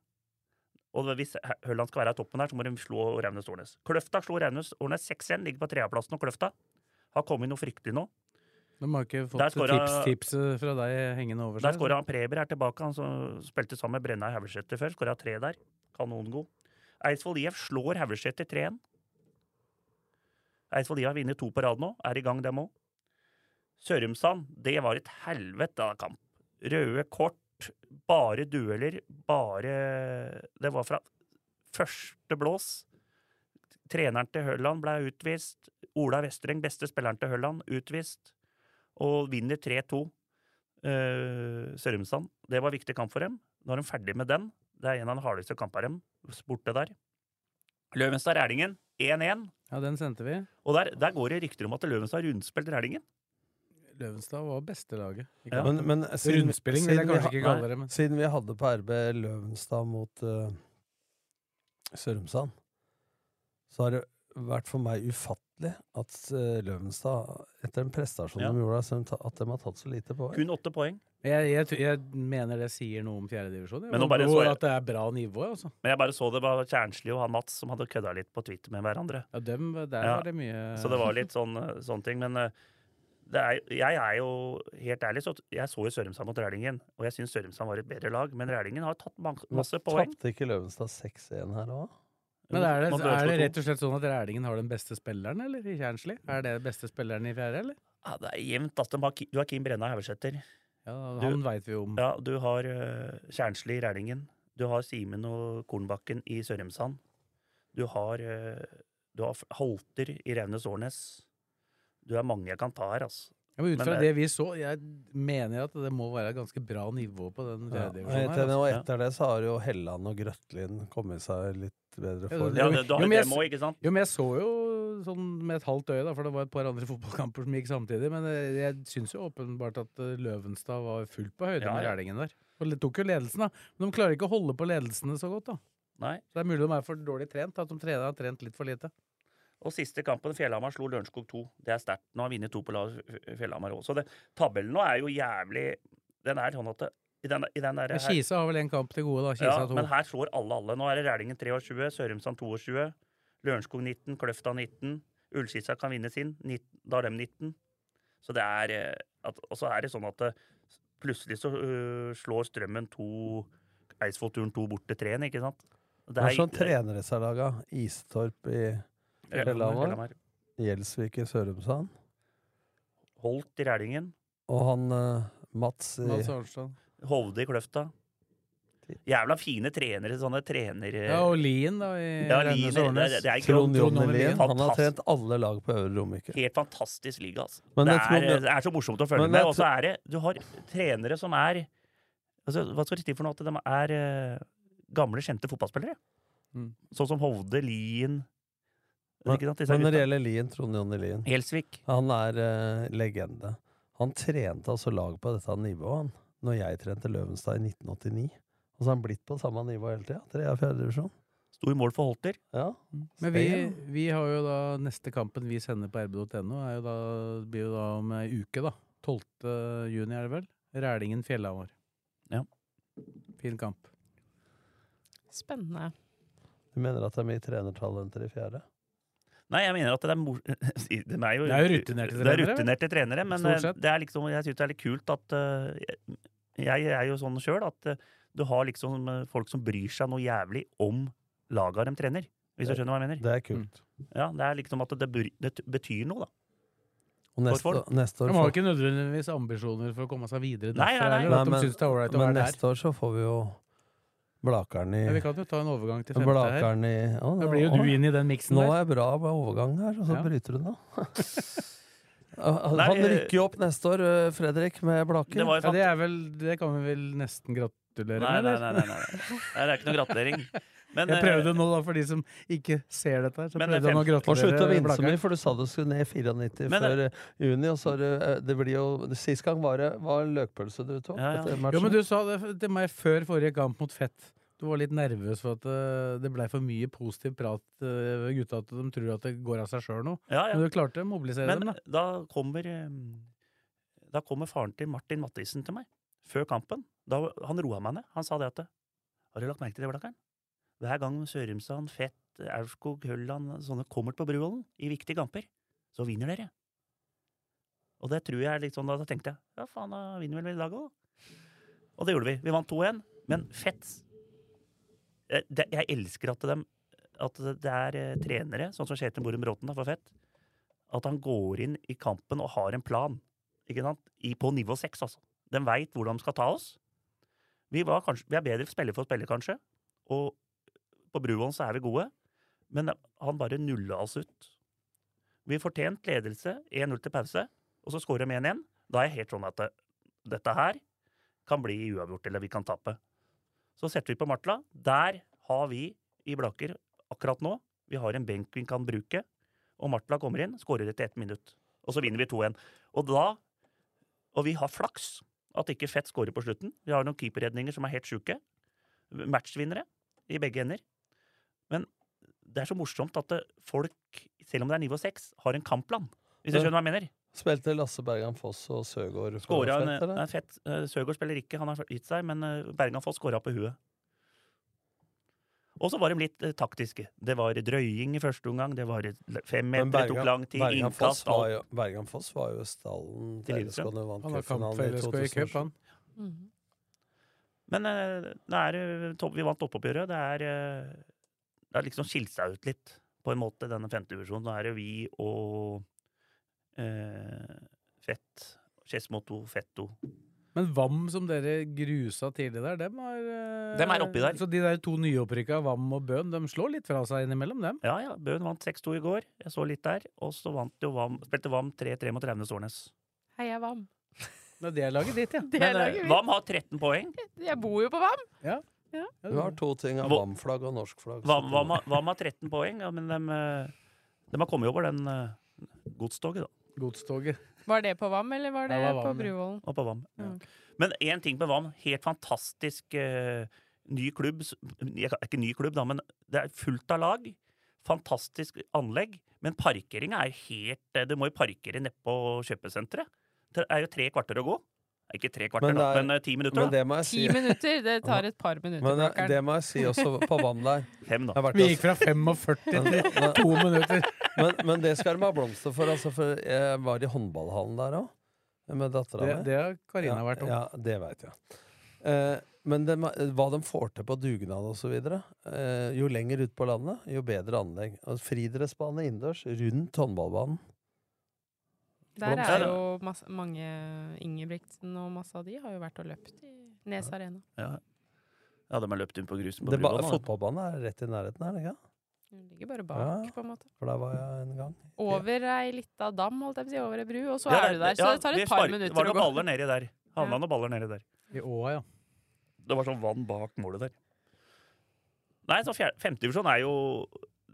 Speaker 3: Og hvis Hø- Høland skal være i toppen her, så må de slå Raunes Årnes. Kløfta slo Raunes Årnes 6-1, ligger på tredjeplassen. Og Kløfta har kommet noe fryktelig nå.
Speaker 1: De har ikke
Speaker 3: Der
Speaker 1: fått
Speaker 3: skåra-
Speaker 1: tips, tipset fra deg hengende over
Speaker 3: Der
Speaker 1: seg.
Speaker 3: skåra han Preber er tilbake, han som spilte sammen med Brenna i Haugleseter før. Skåra tre der. Kanongod. Eidsvoll IF slår Haugleseter 3-1. Eidsvoll IF har vunnet to på rad nå. Er i gang, dem òg. Sørumsand, det var et helvete av kamp. Røde kort, bare dueller, bare Det var fra første blås. Treneren til Hølland ble utvist. Ola Vestreng, beste spilleren til Hølland, utvist. Og vinner 3-2 uh, Sørumsand. Det var en viktig kamp for dem. Nå er de ferdig med den. Det er en av de hardeste kampene dem borte der. Løvenstad Rælingen 1-1.
Speaker 1: Ja, den sendte vi.
Speaker 3: Og der, der går det rykter om at Løvenstad har rundspilt Rælingen.
Speaker 1: Løvenstad var beste laget. i
Speaker 3: Ja.
Speaker 1: kampen.
Speaker 2: Men, men siden,
Speaker 1: Rundspilling vil jeg
Speaker 2: vi
Speaker 1: kanskje
Speaker 2: ha-
Speaker 1: ikke
Speaker 3: nei.
Speaker 1: kalle det, men
Speaker 2: Siden vi hadde på RB Løvenstad mot eh, Sørumsand, så har det vært for meg ufattelig at eh, Løvenstad, etter den prestasjonen
Speaker 3: Ja.
Speaker 2: de gjorde, så de ta- at de har tatt så lite poeng.
Speaker 3: Kun åtte poeng.
Speaker 1: jeg, jeg, tror- jeg mener det sier noe om fjerdedivisjon.
Speaker 3: Men nå bare så jeg-
Speaker 1: At det er bra nivå, altså.
Speaker 3: Men jeg bare så det var Kjernsli og han Mats som hadde kødda litt på Twitter med hverandre.
Speaker 1: Ja, dem, der
Speaker 3: Ja.
Speaker 1: var det mye
Speaker 3: Så det var litt sånn, eh, sånne ting. Men eh, det er, jeg er jo helt ærlig, så jeg så jo Sørumsand mot Rælingen. Og jeg syns Sørumsand var et bedre lag, men Rælingen har tatt man- masse poeng.
Speaker 2: Tapte ikke Løvenstad 6-1 her òg?
Speaker 1: Men er det,
Speaker 3: Mot
Speaker 1: er det
Speaker 3: Lørenskog to.
Speaker 1: rett og slett sånn at Rælingen har den beste spilleren, eller? I Kjernsli? Er det beste spilleren i fjerde, eller?
Speaker 3: Ja, det er jevnt. ass. De har Ki- Du har Kim Brenna Haugesæter.
Speaker 1: Ja,
Speaker 3: Du-
Speaker 1: han veit vi jo om.
Speaker 3: Ja, du har eh, Kjernsli i Rælingen. Du har Simen og Kornbakken i Sørumsand. Du har, eh, du har F- Holter i Raunes Årnes. Du er mange jeg kan ta her, altså.
Speaker 1: Ja, men ut
Speaker 3: men
Speaker 1: fra det
Speaker 3: det-
Speaker 1: vi så, jeg mener at det må være et ganske bra nivå på den fjerde
Speaker 2: Ja. Og
Speaker 1: divisjonen her.
Speaker 2: etter,
Speaker 1: altså.
Speaker 2: og etter det så har jo Helland og Grøtlin kommet seg litt bedre
Speaker 1: Ja,
Speaker 2: for.
Speaker 3: Ja, det, du har
Speaker 1: Jo,
Speaker 3: jo
Speaker 1: men jeg
Speaker 3: dem òg, ikke sant?
Speaker 1: Jo, men jeg så jo sånn med et halvt øye, da, for det var et par andre fotballkamper som gikk samtidig, men eh, jeg syns jo åpenbart at eh, Løvenstad var fullt på høyde
Speaker 3: Ja,
Speaker 1: med
Speaker 3: ja.
Speaker 1: Rælingen der. Og de tok jo ledelsen, da. Men de klarer ikke å holde på ledelsene så godt, da.
Speaker 3: Nei.
Speaker 1: Så det er mulig de er for dårlig trent, at de trener har trent litt for lite.
Speaker 3: Og siste kampen, Fjellhamar slo Lørenskog 2. Det er sterkt. Nå har vunnet to på lag, F- Fjellhamar òg. Så det, tabellen nå er jo jævlig Den er sånn at det, i den, i den der,
Speaker 1: Men Kisa har vel en kamp til gode, da. Kisa
Speaker 3: ja,
Speaker 1: to.
Speaker 3: Men her slår alle alle. Nå er det Rælingen 23, Sørumsand 22, Lørenskog 19, Kløfta 19. Ullskissa kan vinne sin. 19, da har de 19. Så det er eh, at, Og så er det sånn at det, plutselig så øh, slår Strømmen to Eidsvollturen to borte 3-en, ikke sant?
Speaker 2: Det er sånn trenere som har laga. Istorp i
Speaker 3: Ja,
Speaker 2: Fjellhamar.
Speaker 3: Fjellhamar.
Speaker 2: Gjelsvik i Sørumsand.
Speaker 3: Holt i Rælingen.
Speaker 2: Og han eh, Mats i
Speaker 1: Mads Arnstad.
Speaker 3: Hovde i Kløfta. Jævla fine trenere, sånne trener... eh,
Speaker 1: Ja, og Lien, da, i
Speaker 3: Ja, Lien,
Speaker 1: Rennes
Speaker 3: det-
Speaker 1: og Årnes.
Speaker 3: det- det er ikke-
Speaker 2: Trond
Speaker 1: Trond
Speaker 2: Jonny
Speaker 1: Jonny
Speaker 2: Lien. Han har
Speaker 3: Fantastisk.
Speaker 2: trent alle lag på Øvre Romerike.
Speaker 3: Helt fantastisk liga, altså.
Speaker 2: Men
Speaker 3: det,
Speaker 2: jeg tror
Speaker 3: er,
Speaker 2: det-
Speaker 3: det er så morsomt å følge
Speaker 2: Men
Speaker 3: med.
Speaker 2: jeg
Speaker 3: Og så er det Du har trenere som er altså, Hva skal jeg si for noe? At de er eh, gamle, kjente fotballspillere.
Speaker 1: Mm.
Speaker 3: Sånn som Hovde, Lien
Speaker 2: Men,
Speaker 3: ikke sant, disse
Speaker 2: men når det
Speaker 3: gutta.
Speaker 2: gjelder Lien, Trond Jonny Lien
Speaker 3: Gjelsvik.
Speaker 2: Han er eh, legende. Han trente altså lag på dette nivået, han. Når jeg trente Løvenstad i 1989. Og så har han blitt på samme nivå hele tida. Tredje og fjerde divisjon.
Speaker 3: Sto i mål for Holter.
Speaker 2: Ja.
Speaker 1: Men vi,
Speaker 2: Stay, ja.
Speaker 1: vi har jo da neste kampen vi sender på rb.no, er jo da, blir jo da om ei uke, da. 12. juni, er det vel? Rælingen Fjellhamar.
Speaker 3: Ja.
Speaker 1: Fin kamp.
Speaker 4: Spennende.
Speaker 2: Du mener at det er mye trenertalenter i fjerde?
Speaker 3: Nei, jeg mener at det er mor... De er jo,
Speaker 1: Det er jo rutinerte
Speaker 3: Det er
Speaker 1: trenere, vel?
Speaker 3: rutinerte trenere, men
Speaker 1: Stort
Speaker 3: eh,
Speaker 1: sett.
Speaker 3: det er liksom, jeg syns det er litt kult at eh, Jeg jeg er jo sånn sjøl at eh, du har liksom eh, folk som bryr seg noe jævlig om laga de trener. Hvis du skjønner hva jeg mener?
Speaker 2: Det er kult.
Speaker 3: Ja, Det er liksom at det, bur- det t- betyr noe, da.
Speaker 2: Og neste,
Speaker 3: Hvorfor?
Speaker 2: neste år
Speaker 1: De har
Speaker 2: får-
Speaker 1: jo ikke nødvendigvis ambisjoner for å komme seg videre derfra.
Speaker 3: Nei, nei, nei.
Speaker 1: Eller, at
Speaker 2: Nei, men-
Speaker 1: de synes det er all right å
Speaker 2: Men
Speaker 1: være der.
Speaker 2: neste år så får vi jo Blakeren i
Speaker 1: Ja, vi kan jo ta en overgang til femte her.
Speaker 2: Blakeren i å,
Speaker 1: Da blir jo
Speaker 2: å,
Speaker 1: du inn i den miksen
Speaker 2: Nå
Speaker 1: der.
Speaker 2: er jeg bra med overgang her, og så
Speaker 1: Ja.
Speaker 2: bryter du den av. Han
Speaker 3: Nei,
Speaker 2: han
Speaker 3: eh,
Speaker 2: rykker jo opp neste år, eh, Fredrik, med Blaker.
Speaker 3: Det var jo
Speaker 1: Ja,
Speaker 3: fant...
Speaker 1: det, er vel, det kan vi vel nesten gratulere
Speaker 3: nei,
Speaker 1: med.
Speaker 3: nei,
Speaker 1: eller?
Speaker 3: nei, nei, nei. nei, Det er ikke noe gratulering. Men, eh,
Speaker 1: Jeg prøvde nå, da, for de som ikke ser dette her. Så
Speaker 3: Men eh, det er
Speaker 1: prøvde jeg nå å
Speaker 2: Og slutt å
Speaker 1: gratulere
Speaker 2: vinse
Speaker 1: Blakkaren.
Speaker 2: mye, for du sa du skulle ned i 94
Speaker 3: Men,
Speaker 2: før eh, juni. Og så har du, eh, det blir jo, Sist gang var det var løkpølse du tok.
Speaker 3: Ja, ja.
Speaker 2: etter
Speaker 1: Jo,
Speaker 2: matchen.
Speaker 1: men du sa det f- til meg før forrige kamp mot Fett. Du var litt nervøs for at eh, det blei for mye positiv prat eh, ved gutta, at de tror at det går av seg sjøl nå.
Speaker 3: eh, ja, ja.
Speaker 1: Men du klarte å mobilisere
Speaker 3: Men
Speaker 1: dem, da.
Speaker 3: da kommer eh, Da kommer faren til Martin Mattisen til meg før kampen. Da, han roa meg ned. Han sa det at Har du lagt merke til det, Blakkern? Hver gang Sørumsand, Fett, Aurskog, Hølland sånne kommer på Bruvollen i viktige kamper, så vinner dere. Og det tror jeg er litt sånn, da, da tenkte jeg ja faen, da vinner vel vi i dag òg. Og det gjorde vi. Vi vant 2-1. Men Fett eh, det, Jeg elsker at, dem, at det det er eh, trenere, sånn som Kjetil Borum Bråten da, for Fett, at han går inn i kampen og har en plan. Ikke sant? I, på nivå seks, altså. De veit hvor de skal ta oss. Vi, var kanskje, vi er bedre spiller for spiller, kanskje. Og på Bruvollen så er vi gode. Men han bare nulla oss ut. Vi fortjente ledelse 1-0 til pause, og så scorer de 1-1. Da er jeg helt sånn at det, dette her kan bli uavgjort, eller vi kan tape. Så setter vi på Martla. Der har vi i Blaker akkurat nå Vi har en benk vi kan bruke og Martla kommer inn, skårer etter ett minutt. Og så vinner vi 2-1. Og da Og vi har flaks at ikke Fett skårer på slutten. Vi har noen keeperredninger som er helt sjuke. Matchvinnere i begge ender. Men det er så morsomt at det- folk, selv om det er nivå seks, har en kampplan. Hvis du
Speaker 2: Ja.
Speaker 3: skjønner hva jeg mener?
Speaker 2: Spilte Lasse Bergan Foss og Søgaard for
Speaker 3: Skåra
Speaker 2: Fett,
Speaker 3: en,
Speaker 2: eller?
Speaker 3: nei, Fett eh, Søgaard spiller ikke, han har gitt seg, men eh, Bergan Foss skåra på huet. Og så var de litt eh, taktiske. Det var drøying i første omgang, det var
Speaker 2: Men
Speaker 3: femmeter, det tok lang tid,
Speaker 2: Bergan Foss
Speaker 3: innkast, alt.
Speaker 2: var jo, Bergan Foss var jo i stallen
Speaker 3: Til
Speaker 2: til LSK
Speaker 3: Lillestrøm.
Speaker 2: når de vant
Speaker 1: Han har kamp
Speaker 2: cupfinalen
Speaker 1: for
Speaker 2: i
Speaker 1: LSK i cup,
Speaker 2: 2007.
Speaker 1: han.
Speaker 4: Mhm.
Speaker 3: Men eh, det er, eh, topp- vi vant toppoppgjøret. Det er, eh, det er liksom skilt seg ut litt, på en måte, denne femtedivisjonen. Nå er det vi og eh, Fett, Skedsmoto, Fetto.
Speaker 1: Men Vam, som dere grusa tidlig der, dem er eh,
Speaker 3: Dem er oppi der.
Speaker 1: Så de der to nyopprykka, Vam og Bøhn, de slår litt fra seg innimellom, dem.
Speaker 3: Ja, ja, Bøen vant 6-2 i går. Jeg så litt der. Og så vant jo Vam, spilte Vam 3-3 mot Raunes Årnes.
Speaker 4: Heia Vam.
Speaker 1: Nei, det er laget ditt, ja.
Speaker 4: Det
Speaker 3: Men
Speaker 4: er
Speaker 3: eh,
Speaker 4: laget mitt.
Speaker 3: Vam har 13 poeng.
Speaker 4: Jeg bor jo på Vam.
Speaker 1: Ja,
Speaker 2: Du har to ting av
Speaker 3: Hvor-
Speaker 2: VAM-flagg og norsk flagg. så
Speaker 3: Vam,
Speaker 2: det-
Speaker 3: Vam, har- Vam har 13 poeng, ja, men de, har kommet over den eh, godstoget, da.
Speaker 1: Godstoget.
Speaker 4: Var det på Vam, eller var det,
Speaker 1: Det var
Speaker 4: på
Speaker 1: Vam, ja.
Speaker 4: Bruvollen?
Speaker 3: Og på Vam.
Speaker 4: Ja.
Speaker 3: Men én ting med Vam. Helt fantastisk eh, ny klubb. s- jeg kan- Ikke ny klubb, da, men det er fullt av lag. Fantastisk anlegg. Men parkeringa er helt eh, Du må jo parkere nedpå kjøpesenteret. Det er jo tre kvarter å gå. Ikke tre kvarter,
Speaker 2: Men
Speaker 3: men,
Speaker 2: det
Speaker 3: da,
Speaker 2: er-
Speaker 3: men eh, ti minutter.
Speaker 2: Men
Speaker 3: da.
Speaker 2: det må jeg si,
Speaker 4: Ti minutter! Det tar et par minutter.
Speaker 2: men eh,
Speaker 4: Blakkaren.
Speaker 2: det må jeg si også på vann der.
Speaker 3: Fem,
Speaker 2: Jeg
Speaker 3: da.
Speaker 2: har vært
Speaker 1: Vi
Speaker 2: og-
Speaker 1: gikk fra 45 til
Speaker 2: men, men,
Speaker 1: to minutter.
Speaker 2: men, men det skal de ha blomster for, altså, for jeg var i håndballhallen der òg, med dattera
Speaker 1: Det,
Speaker 2: mi.
Speaker 1: det har Karina vært om.
Speaker 2: Ja, det veit jeg. Eh, men det, hva de får til på dugnad osv. Eh, jo lenger ut på landet, jo bedre anlegg. Og Friidrettsbane innendørs rundt håndballbanen.
Speaker 4: Der
Speaker 3: Ja,
Speaker 4: er
Speaker 3: da.
Speaker 4: jo masse, mange Ingebrigtsen og masse av de har jo vært og løpt i Nes Arena.
Speaker 3: Ja. ja, de har løpt inn på grusen på
Speaker 2: Det ba-
Speaker 3: Bruvoll. da.
Speaker 2: Fotballbanen er rett i nærheten her, ikke? sant?
Speaker 4: De ligger bare bak,
Speaker 2: Ja.
Speaker 4: på en måte.
Speaker 2: for der var jeg en gang.
Speaker 4: Over ei lita dam, holdt jeg på å si, over ei bru, og så
Speaker 3: Ja,
Speaker 4: er du der. Så
Speaker 3: ja,
Speaker 4: det tar
Speaker 3: vi
Speaker 4: et par
Speaker 3: spark- Var
Speaker 4: minutter
Speaker 3: det
Speaker 4: å
Speaker 3: noen
Speaker 4: gå.
Speaker 3: baller nedi der? Havna
Speaker 4: Ja.
Speaker 3: noen baller nedi der.
Speaker 1: I Åa, ja.
Speaker 3: Det var sånn vann bak målet der. Nei, så fjer- femtedivisjon er jo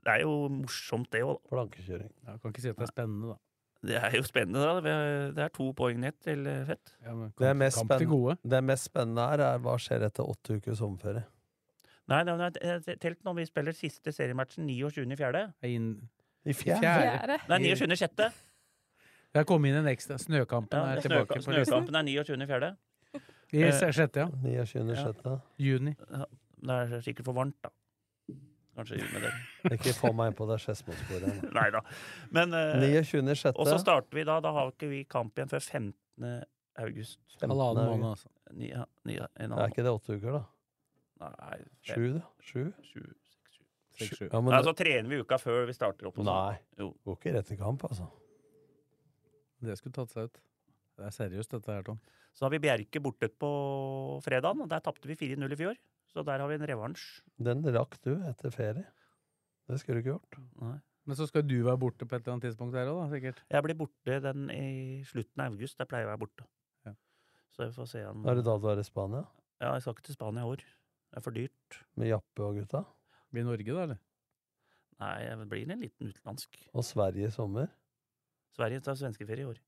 Speaker 3: Det er jo morsomt, det òg.
Speaker 2: Plankekjøring.
Speaker 1: ja. Kan ikke si at det er spennende, da.
Speaker 3: Det er jo spennende. da. Vi er- Det er to poeng ned til eh, Fett.
Speaker 1: Ja, men
Speaker 2: Det er
Speaker 1: kamp-
Speaker 2: mest
Speaker 1: kamp til
Speaker 2: spennende.
Speaker 1: gode.
Speaker 2: Det mest spennende her er hva skjer etter åtte ukers sommerferie.
Speaker 3: Nei, nei, nei t- telt når vi spiller siste seriematchen 29.4.
Speaker 1: Det er inn...
Speaker 2: I fjerde.
Speaker 1: Fjerde.
Speaker 4: Fjerde.
Speaker 3: Nei, 29.6.
Speaker 1: Det har kommet inn en ekstra. Snøkampen
Speaker 3: Ja,
Speaker 1: er
Speaker 3: snøka-
Speaker 1: tilbake på listen.
Speaker 3: snøkampen er 29.4.
Speaker 1: I
Speaker 3: Eh,
Speaker 1: se- sjette, ja.
Speaker 2: 29. sjette.
Speaker 1: Juni.
Speaker 3: Det er sikkert for varmt, da. Kanskje juni der.
Speaker 2: Ikke få meg inn på det Skedsmo-sporet. igjen, da.
Speaker 3: Nei da. Men eh,
Speaker 2: 29.
Speaker 3: Og så
Speaker 2: sjette.
Speaker 3: starter vi da. Da har ikke vi kamp igjen før 15. august.
Speaker 1: Halvannen måned, altså.
Speaker 3: Ni, ja, ni, en
Speaker 2: Det er
Speaker 3: annen.
Speaker 2: ikke det åtte uker, da.
Speaker 3: Nei, fem,
Speaker 2: Sju, da. Sju.
Speaker 3: sju, seks, sju.
Speaker 1: Seks-sju.
Speaker 2: Ja, men
Speaker 3: Nei,
Speaker 2: det
Speaker 3: så trener vi uka før vi starter opp. og sånn.
Speaker 2: Nei.
Speaker 3: Jo.
Speaker 2: går ikke rett i kamp, altså.
Speaker 1: Det skulle tatt seg ut. Det er seriøst, dette her, Tom.
Speaker 3: Så har vi Bjerke borte på fredagen, og der tapte vi 4-0 i fjor. Så der har vi en revansj.
Speaker 2: Den rakk du etter ferie. Det skulle du ikke gjort.
Speaker 1: Men så skal du være borte på et eller annet tidspunkt her òg, da, sikkert.
Speaker 3: Jeg blir borte den i slutten av august. Der pleier jeg å være borte.
Speaker 1: Ja.
Speaker 3: Så vi får se
Speaker 1: Mm.
Speaker 3: han
Speaker 2: Er det da du er i Spania?
Speaker 3: Ja, jeg skal ikke til Spania i år. Det er for dyrt.
Speaker 2: Med Jappe og gutta?
Speaker 1: Blir Norge, da, eller?
Speaker 3: Nei, jeg blir en liten utenlandsk.
Speaker 2: Og Sverige i sommer?
Speaker 3: Sverige tar svenskeferie i år.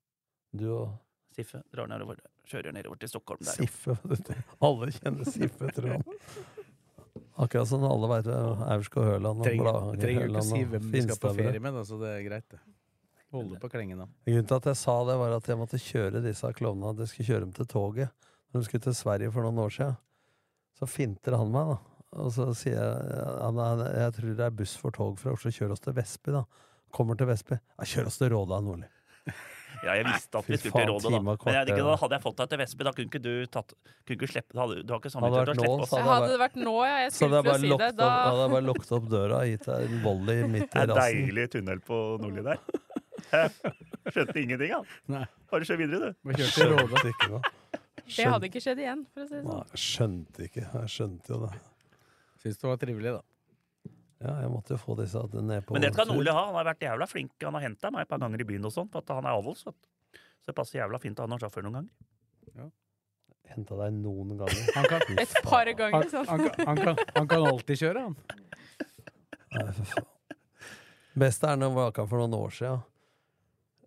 Speaker 2: Du og
Speaker 3: Siffe drar nedover, kjører nedover til Stockholm der.
Speaker 2: Siffe. vet du. Alle kjenner Siffe, tror jeg. Akkurat som alle veit hvem Aurskog Høland og
Speaker 1: Trenger,
Speaker 2: Blahanger
Speaker 1: trenger jo ikke
Speaker 2: Høland
Speaker 1: si
Speaker 2: og
Speaker 1: hvem du skal på
Speaker 2: Finstadbre.
Speaker 1: ferie med, da, så det er greit, det. Holde på klengen, da.
Speaker 2: Grunnen til at jeg sa det, var at jeg måtte kjøre disse klovnene. at Jeg skulle kjøre dem til toget. Når de skulle til Sverige for noen år siden, så finter han meg, da. Og så sier jeg ja, men jeg tror det er buss for tog fra Oslo. Kjør oss til Vestby, da. Kommer til Vestby. Ja, kjør oss til Råda, Nordli.
Speaker 3: Ja, jeg visste at
Speaker 2: Fy
Speaker 3: vi skulle til
Speaker 2: faen,
Speaker 3: Rådet, da.
Speaker 2: time og
Speaker 3: Men jeg,
Speaker 2: kvarter,
Speaker 3: da
Speaker 2: da.
Speaker 3: hadde jeg fått deg til Vestby, da kunne ikke du tatt kunne ikke slippe, hadde, Du har ikke
Speaker 2: Hadde
Speaker 3: samvittighet
Speaker 2: vært
Speaker 3: til å slippe
Speaker 2: lån,
Speaker 3: oss.
Speaker 2: sa
Speaker 4: Hadde, det vært nå, ja,
Speaker 2: Så
Speaker 4: jeg
Speaker 2: hadde jeg
Speaker 4: skulle til å
Speaker 2: bare
Speaker 4: si det,
Speaker 2: lukket
Speaker 4: da
Speaker 2: opp, hadde jeg bare lukket opp døra og gitt deg en volley midt
Speaker 3: Det
Speaker 2: i
Speaker 3: er
Speaker 2: rassen.
Speaker 3: deilig tunnel på Nordli der. Skjønte ingenting, han.
Speaker 1: Nei.
Speaker 3: Bare kjør videre, du.
Speaker 1: Må kjøre til Råde.
Speaker 2: Skjønte ikke noe.
Speaker 4: Det hadde ikke skjedd igjen, for å si det sånn.
Speaker 2: Nei, skjønte ikke. Jeg skjønte jo det.
Speaker 1: Syns det var trivelig, da.
Speaker 2: Ja, jeg måtte jo få disse ned på
Speaker 3: Men det skal
Speaker 2: tur.
Speaker 3: Nordli ha. Han har vært jævla flink. Han har henta meg et par ganger i byen og sånn, for at han er avholds. vet du. Så det passer jævla fint å ha noen sjåfør noen ganger.
Speaker 2: Henta deg noen ganger.
Speaker 1: Han kan,
Speaker 2: Fy
Speaker 4: Et par
Speaker 2: faen.
Speaker 1: han,
Speaker 4: ganger sånn.
Speaker 1: han, kan- han, kan, han kan alltid kjøre, han.
Speaker 2: Nei, for faen. Best er når Vakan for noen år siden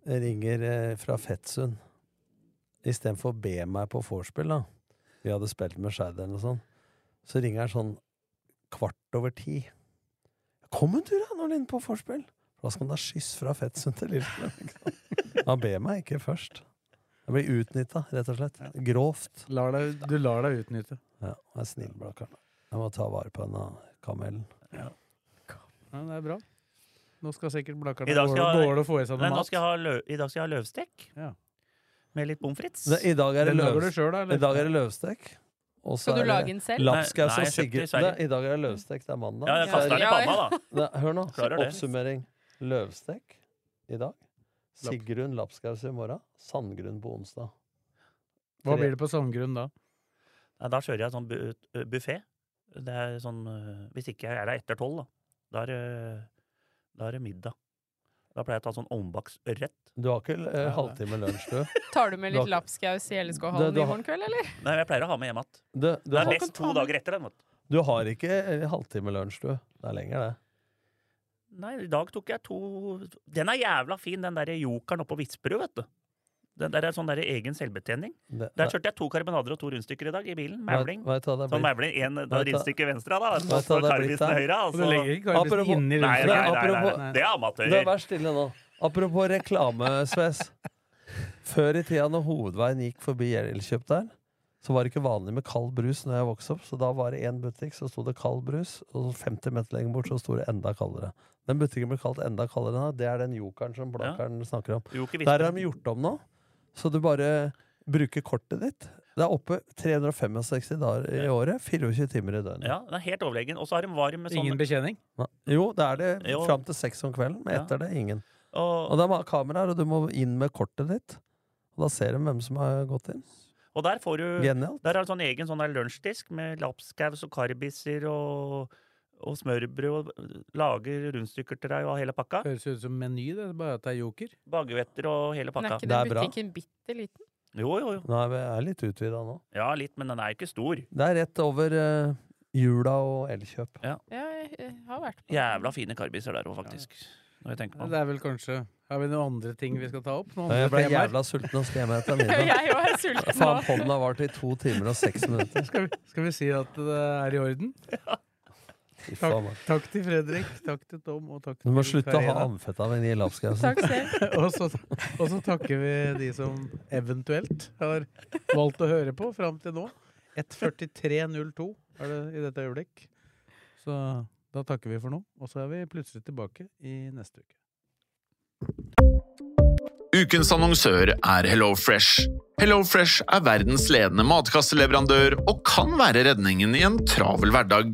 Speaker 2: Jeg ringer eh, fra Fettsund. Istedenfor å be meg på vorspiel, da. Vi hadde spilt med Shadderen og sånn. Så ringer han sånn kvart over ti. Kom en tur, da, når du er inne på vorspiel! Da skal han ha skyss fra Fettsund til Lillestrøm. ikke sant? Han ber meg ikke først. Jeg blir utnytta, rett og slett. Grovt.
Speaker 1: Lar deg, du lar deg utnytte.
Speaker 2: Ja, jeg er snill, Blakkaren. Jeg må ta vare på denne kamelen.
Speaker 1: Ja, det er bra. Nå skal sikkert Blakkaren
Speaker 3: I dag
Speaker 1: Går
Speaker 3: skal
Speaker 1: det-
Speaker 3: jeg-
Speaker 1: går det å få i seg noe
Speaker 3: Nei, nå
Speaker 1: mat?
Speaker 3: skal jeg ha lø- I dag skal jeg ha løvstek
Speaker 1: Ja.
Speaker 3: med litt pommes frites.
Speaker 2: Det- I dag er det
Speaker 1: Den lager
Speaker 2: løvstek.
Speaker 1: du sjøl, da?
Speaker 2: I dag
Speaker 1: Eller?
Speaker 2: er det løvstek. og så er
Speaker 4: Skal du lage
Speaker 2: det
Speaker 4: den selv?
Speaker 2: Lapskaus
Speaker 3: Nei,
Speaker 2: og
Speaker 3: jeg kjøpte i
Speaker 2: Sigurd.
Speaker 3: Sverige.
Speaker 2: Nei, I dag er det løvstek. Det er mandag.
Speaker 3: Ja, jeg kaster den i
Speaker 4: Ja, ja.
Speaker 3: panna, da.
Speaker 2: Nei, hør nå.
Speaker 3: Klarer det.
Speaker 2: Oppsummering. Løvstek i dag. Sigrun Lapskaus i morgen. Sandgrunn på onsdag.
Speaker 1: Hva blir det på sandgrunn da?
Speaker 3: Nei, da kjører jeg sånn bu buffé. Det er sånn øh, Hvis ikke jeg er der etter tolv, da. Da er, det- da er det middag. Da pleier jeg å ta sånn ombaks ørret.
Speaker 2: Du har ikke eh,
Speaker 1: Ja,
Speaker 2: halvtime lunsj, du.
Speaker 4: Tar du med litt
Speaker 2: Du har-
Speaker 4: lapskaus i
Speaker 2: Du-
Speaker 4: LSK-hallen
Speaker 2: du
Speaker 4: i
Speaker 2: har-
Speaker 4: morgen kveld, eller?
Speaker 3: Nei, jeg pleier å ha med hjem igjen.
Speaker 2: Du, du,
Speaker 3: Det er
Speaker 2: har,
Speaker 3: mest to dager etter den. vet du.
Speaker 2: du har ikke eh, halvtime lunsj, du. Det er lenger, det.
Speaker 3: Nei, i dag tok jeg to Den er jævla fin, den derre jokeren oppe på Vitsbrud, vet du. Den der er sånn der egen selvbetjening.
Speaker 2: det,
Speaker 3: Der kjørte jeg to karbonader og to rundstykker i dag i bilen. Mævling.
Speaker 2: Vet, vet du hva det
Speaker 3: Sånn
Speaker 2: blir?
Speaker 3: mævling, én
Speaker 2: hva-
Speaker 3: rundstykke venstre, da.
Speaker 2: hva-
Speaker 3: Og så
Speaker 2: hva- det er blitt
Speaker 3: karbisen
Speaker 2: der?
Speaker 3: høyre.
Speaker 1: Og du legger
Speaker 3: Altså.
Speaker 1: ikke karmisen
Speaker 2: Apropos-
Speaker 1: inni
Speaker 3: Nei, nei,
Speaker 1: rundstykken?
Speaker 3: nei, nei, nei,
Speaker 2: apropos-
Speaker 3: Det er
Speaker 2: Du,
Speaker 3: amatører.
Speaker 2: vær stille nå. Apropos reklame, Sves. Før i tida når hovedveien gikk forbi Elkjøp der, så var det ikke vanlig med kald brus når jeg vokste opp. Så da var det én butikk, så sto det kald brus, og 50 meter lenger bort så sto det enda kaldere. Den butikken ble kalt enda kaldere nå. Det er den jokeren som Blakkaren snakker om.
Speaker 3: Jo, ikke
Speaker 2: Der har
Speaker 3: Vitsbrud.
Speaker 2: de gjort om nå, så du bare bruker kortet ditt. Det er oppe 365 dager i året, 24 timer i døgnet.
Speaker 3: Ja, den er helt overlegen. Og så har de varm med sånn
Speaker 1: Ingen betjening?
Speaker 2: Jo, det er det
Speaker 3: Jo.
Speaker 2: fram til seks om kvelden, men
Speaker 3: Ja.
Speaker 2: etter det ingen.
Speaker 3: og,
Speaker 2: Og de har kameraer, og du må inn med kortet ditt. Og da ser de hvem som har gått inn.
Speaker 3: Og der får du
Speaker 4: Øh,
Speaker 2: Genialt.
Speaker 3: Der er det sånn egen sånn der lunsjdisk med lapskaus og karbiser og, og smørbrød. Og lager rundstykker til deg og hele pakka.
Speaker 1: Høres jo ut som Meny, det. Bare at det er joker.
Speaker 3: Bagevetter og hele
Speaker 4: Men er
Speaker 3: pakka.
Speaker 4: ikke
Speaker 2: Det er
Speaker 4: den
Speaker 2: bra.
Speaker 4: butikken bitte liten?
Speaker 3: Jo, jo, jo.
Speaker 2: Nei, vi er litt utvida nå.
Speaker 3: Ja, litt, men den er ikke stor.
Speaker 2: Det er rett over eh, jula og Elkjøp.
Speaker 4: Ja, jeg, jeg har vært på
Speaker 3: Jævla fine karbiser der òg, faktisk. Når jeg tenker på
Speaker 1: Det
Speaker 3: det.
Speaker 1: er vel kanskje Har vi noen andre ting vi skal ta opp? Noen
Speaker 2: Jeg ble
Speaker 1: andre temaer?
Speaker 2: jævla sulten og skal hjem og hente
Speaker 4: Ja,
Speaker 2: middag.
Speaker 4: jeg òg er sulten nå.
Speaker 2: Faen, podden har vart i to timer og seks minutter.
Speaker 1: Skal vi, skal vi si at det er i orden?
Speaker 2: Fy faen,
Speaker 1: Takk,
Speaker 2: man.
Speaker 1: takk til Fredrik, takk til Tom og takk
Speaker 2: Du
Speaker 1: til
Speaker 2: må slutte å ha
Speaker 1: Karina.
Speaker 2: amfetamin i lapskausen.
Speaker 4: Takk selv.
Speaker 1: og, så, og så takker vi de som eventuelt har valgt å høre på fram til nå. 1.43,02 er det i dette øyeblikk. Så da takker vi for nå, og så er vi plutselig tilbake i neste uke.
Speaker 5: Ukens annonsør er HelloFresh. HelloFresh er verdens ledende matkasseleverandør og kan være redningen i en travel hverdag.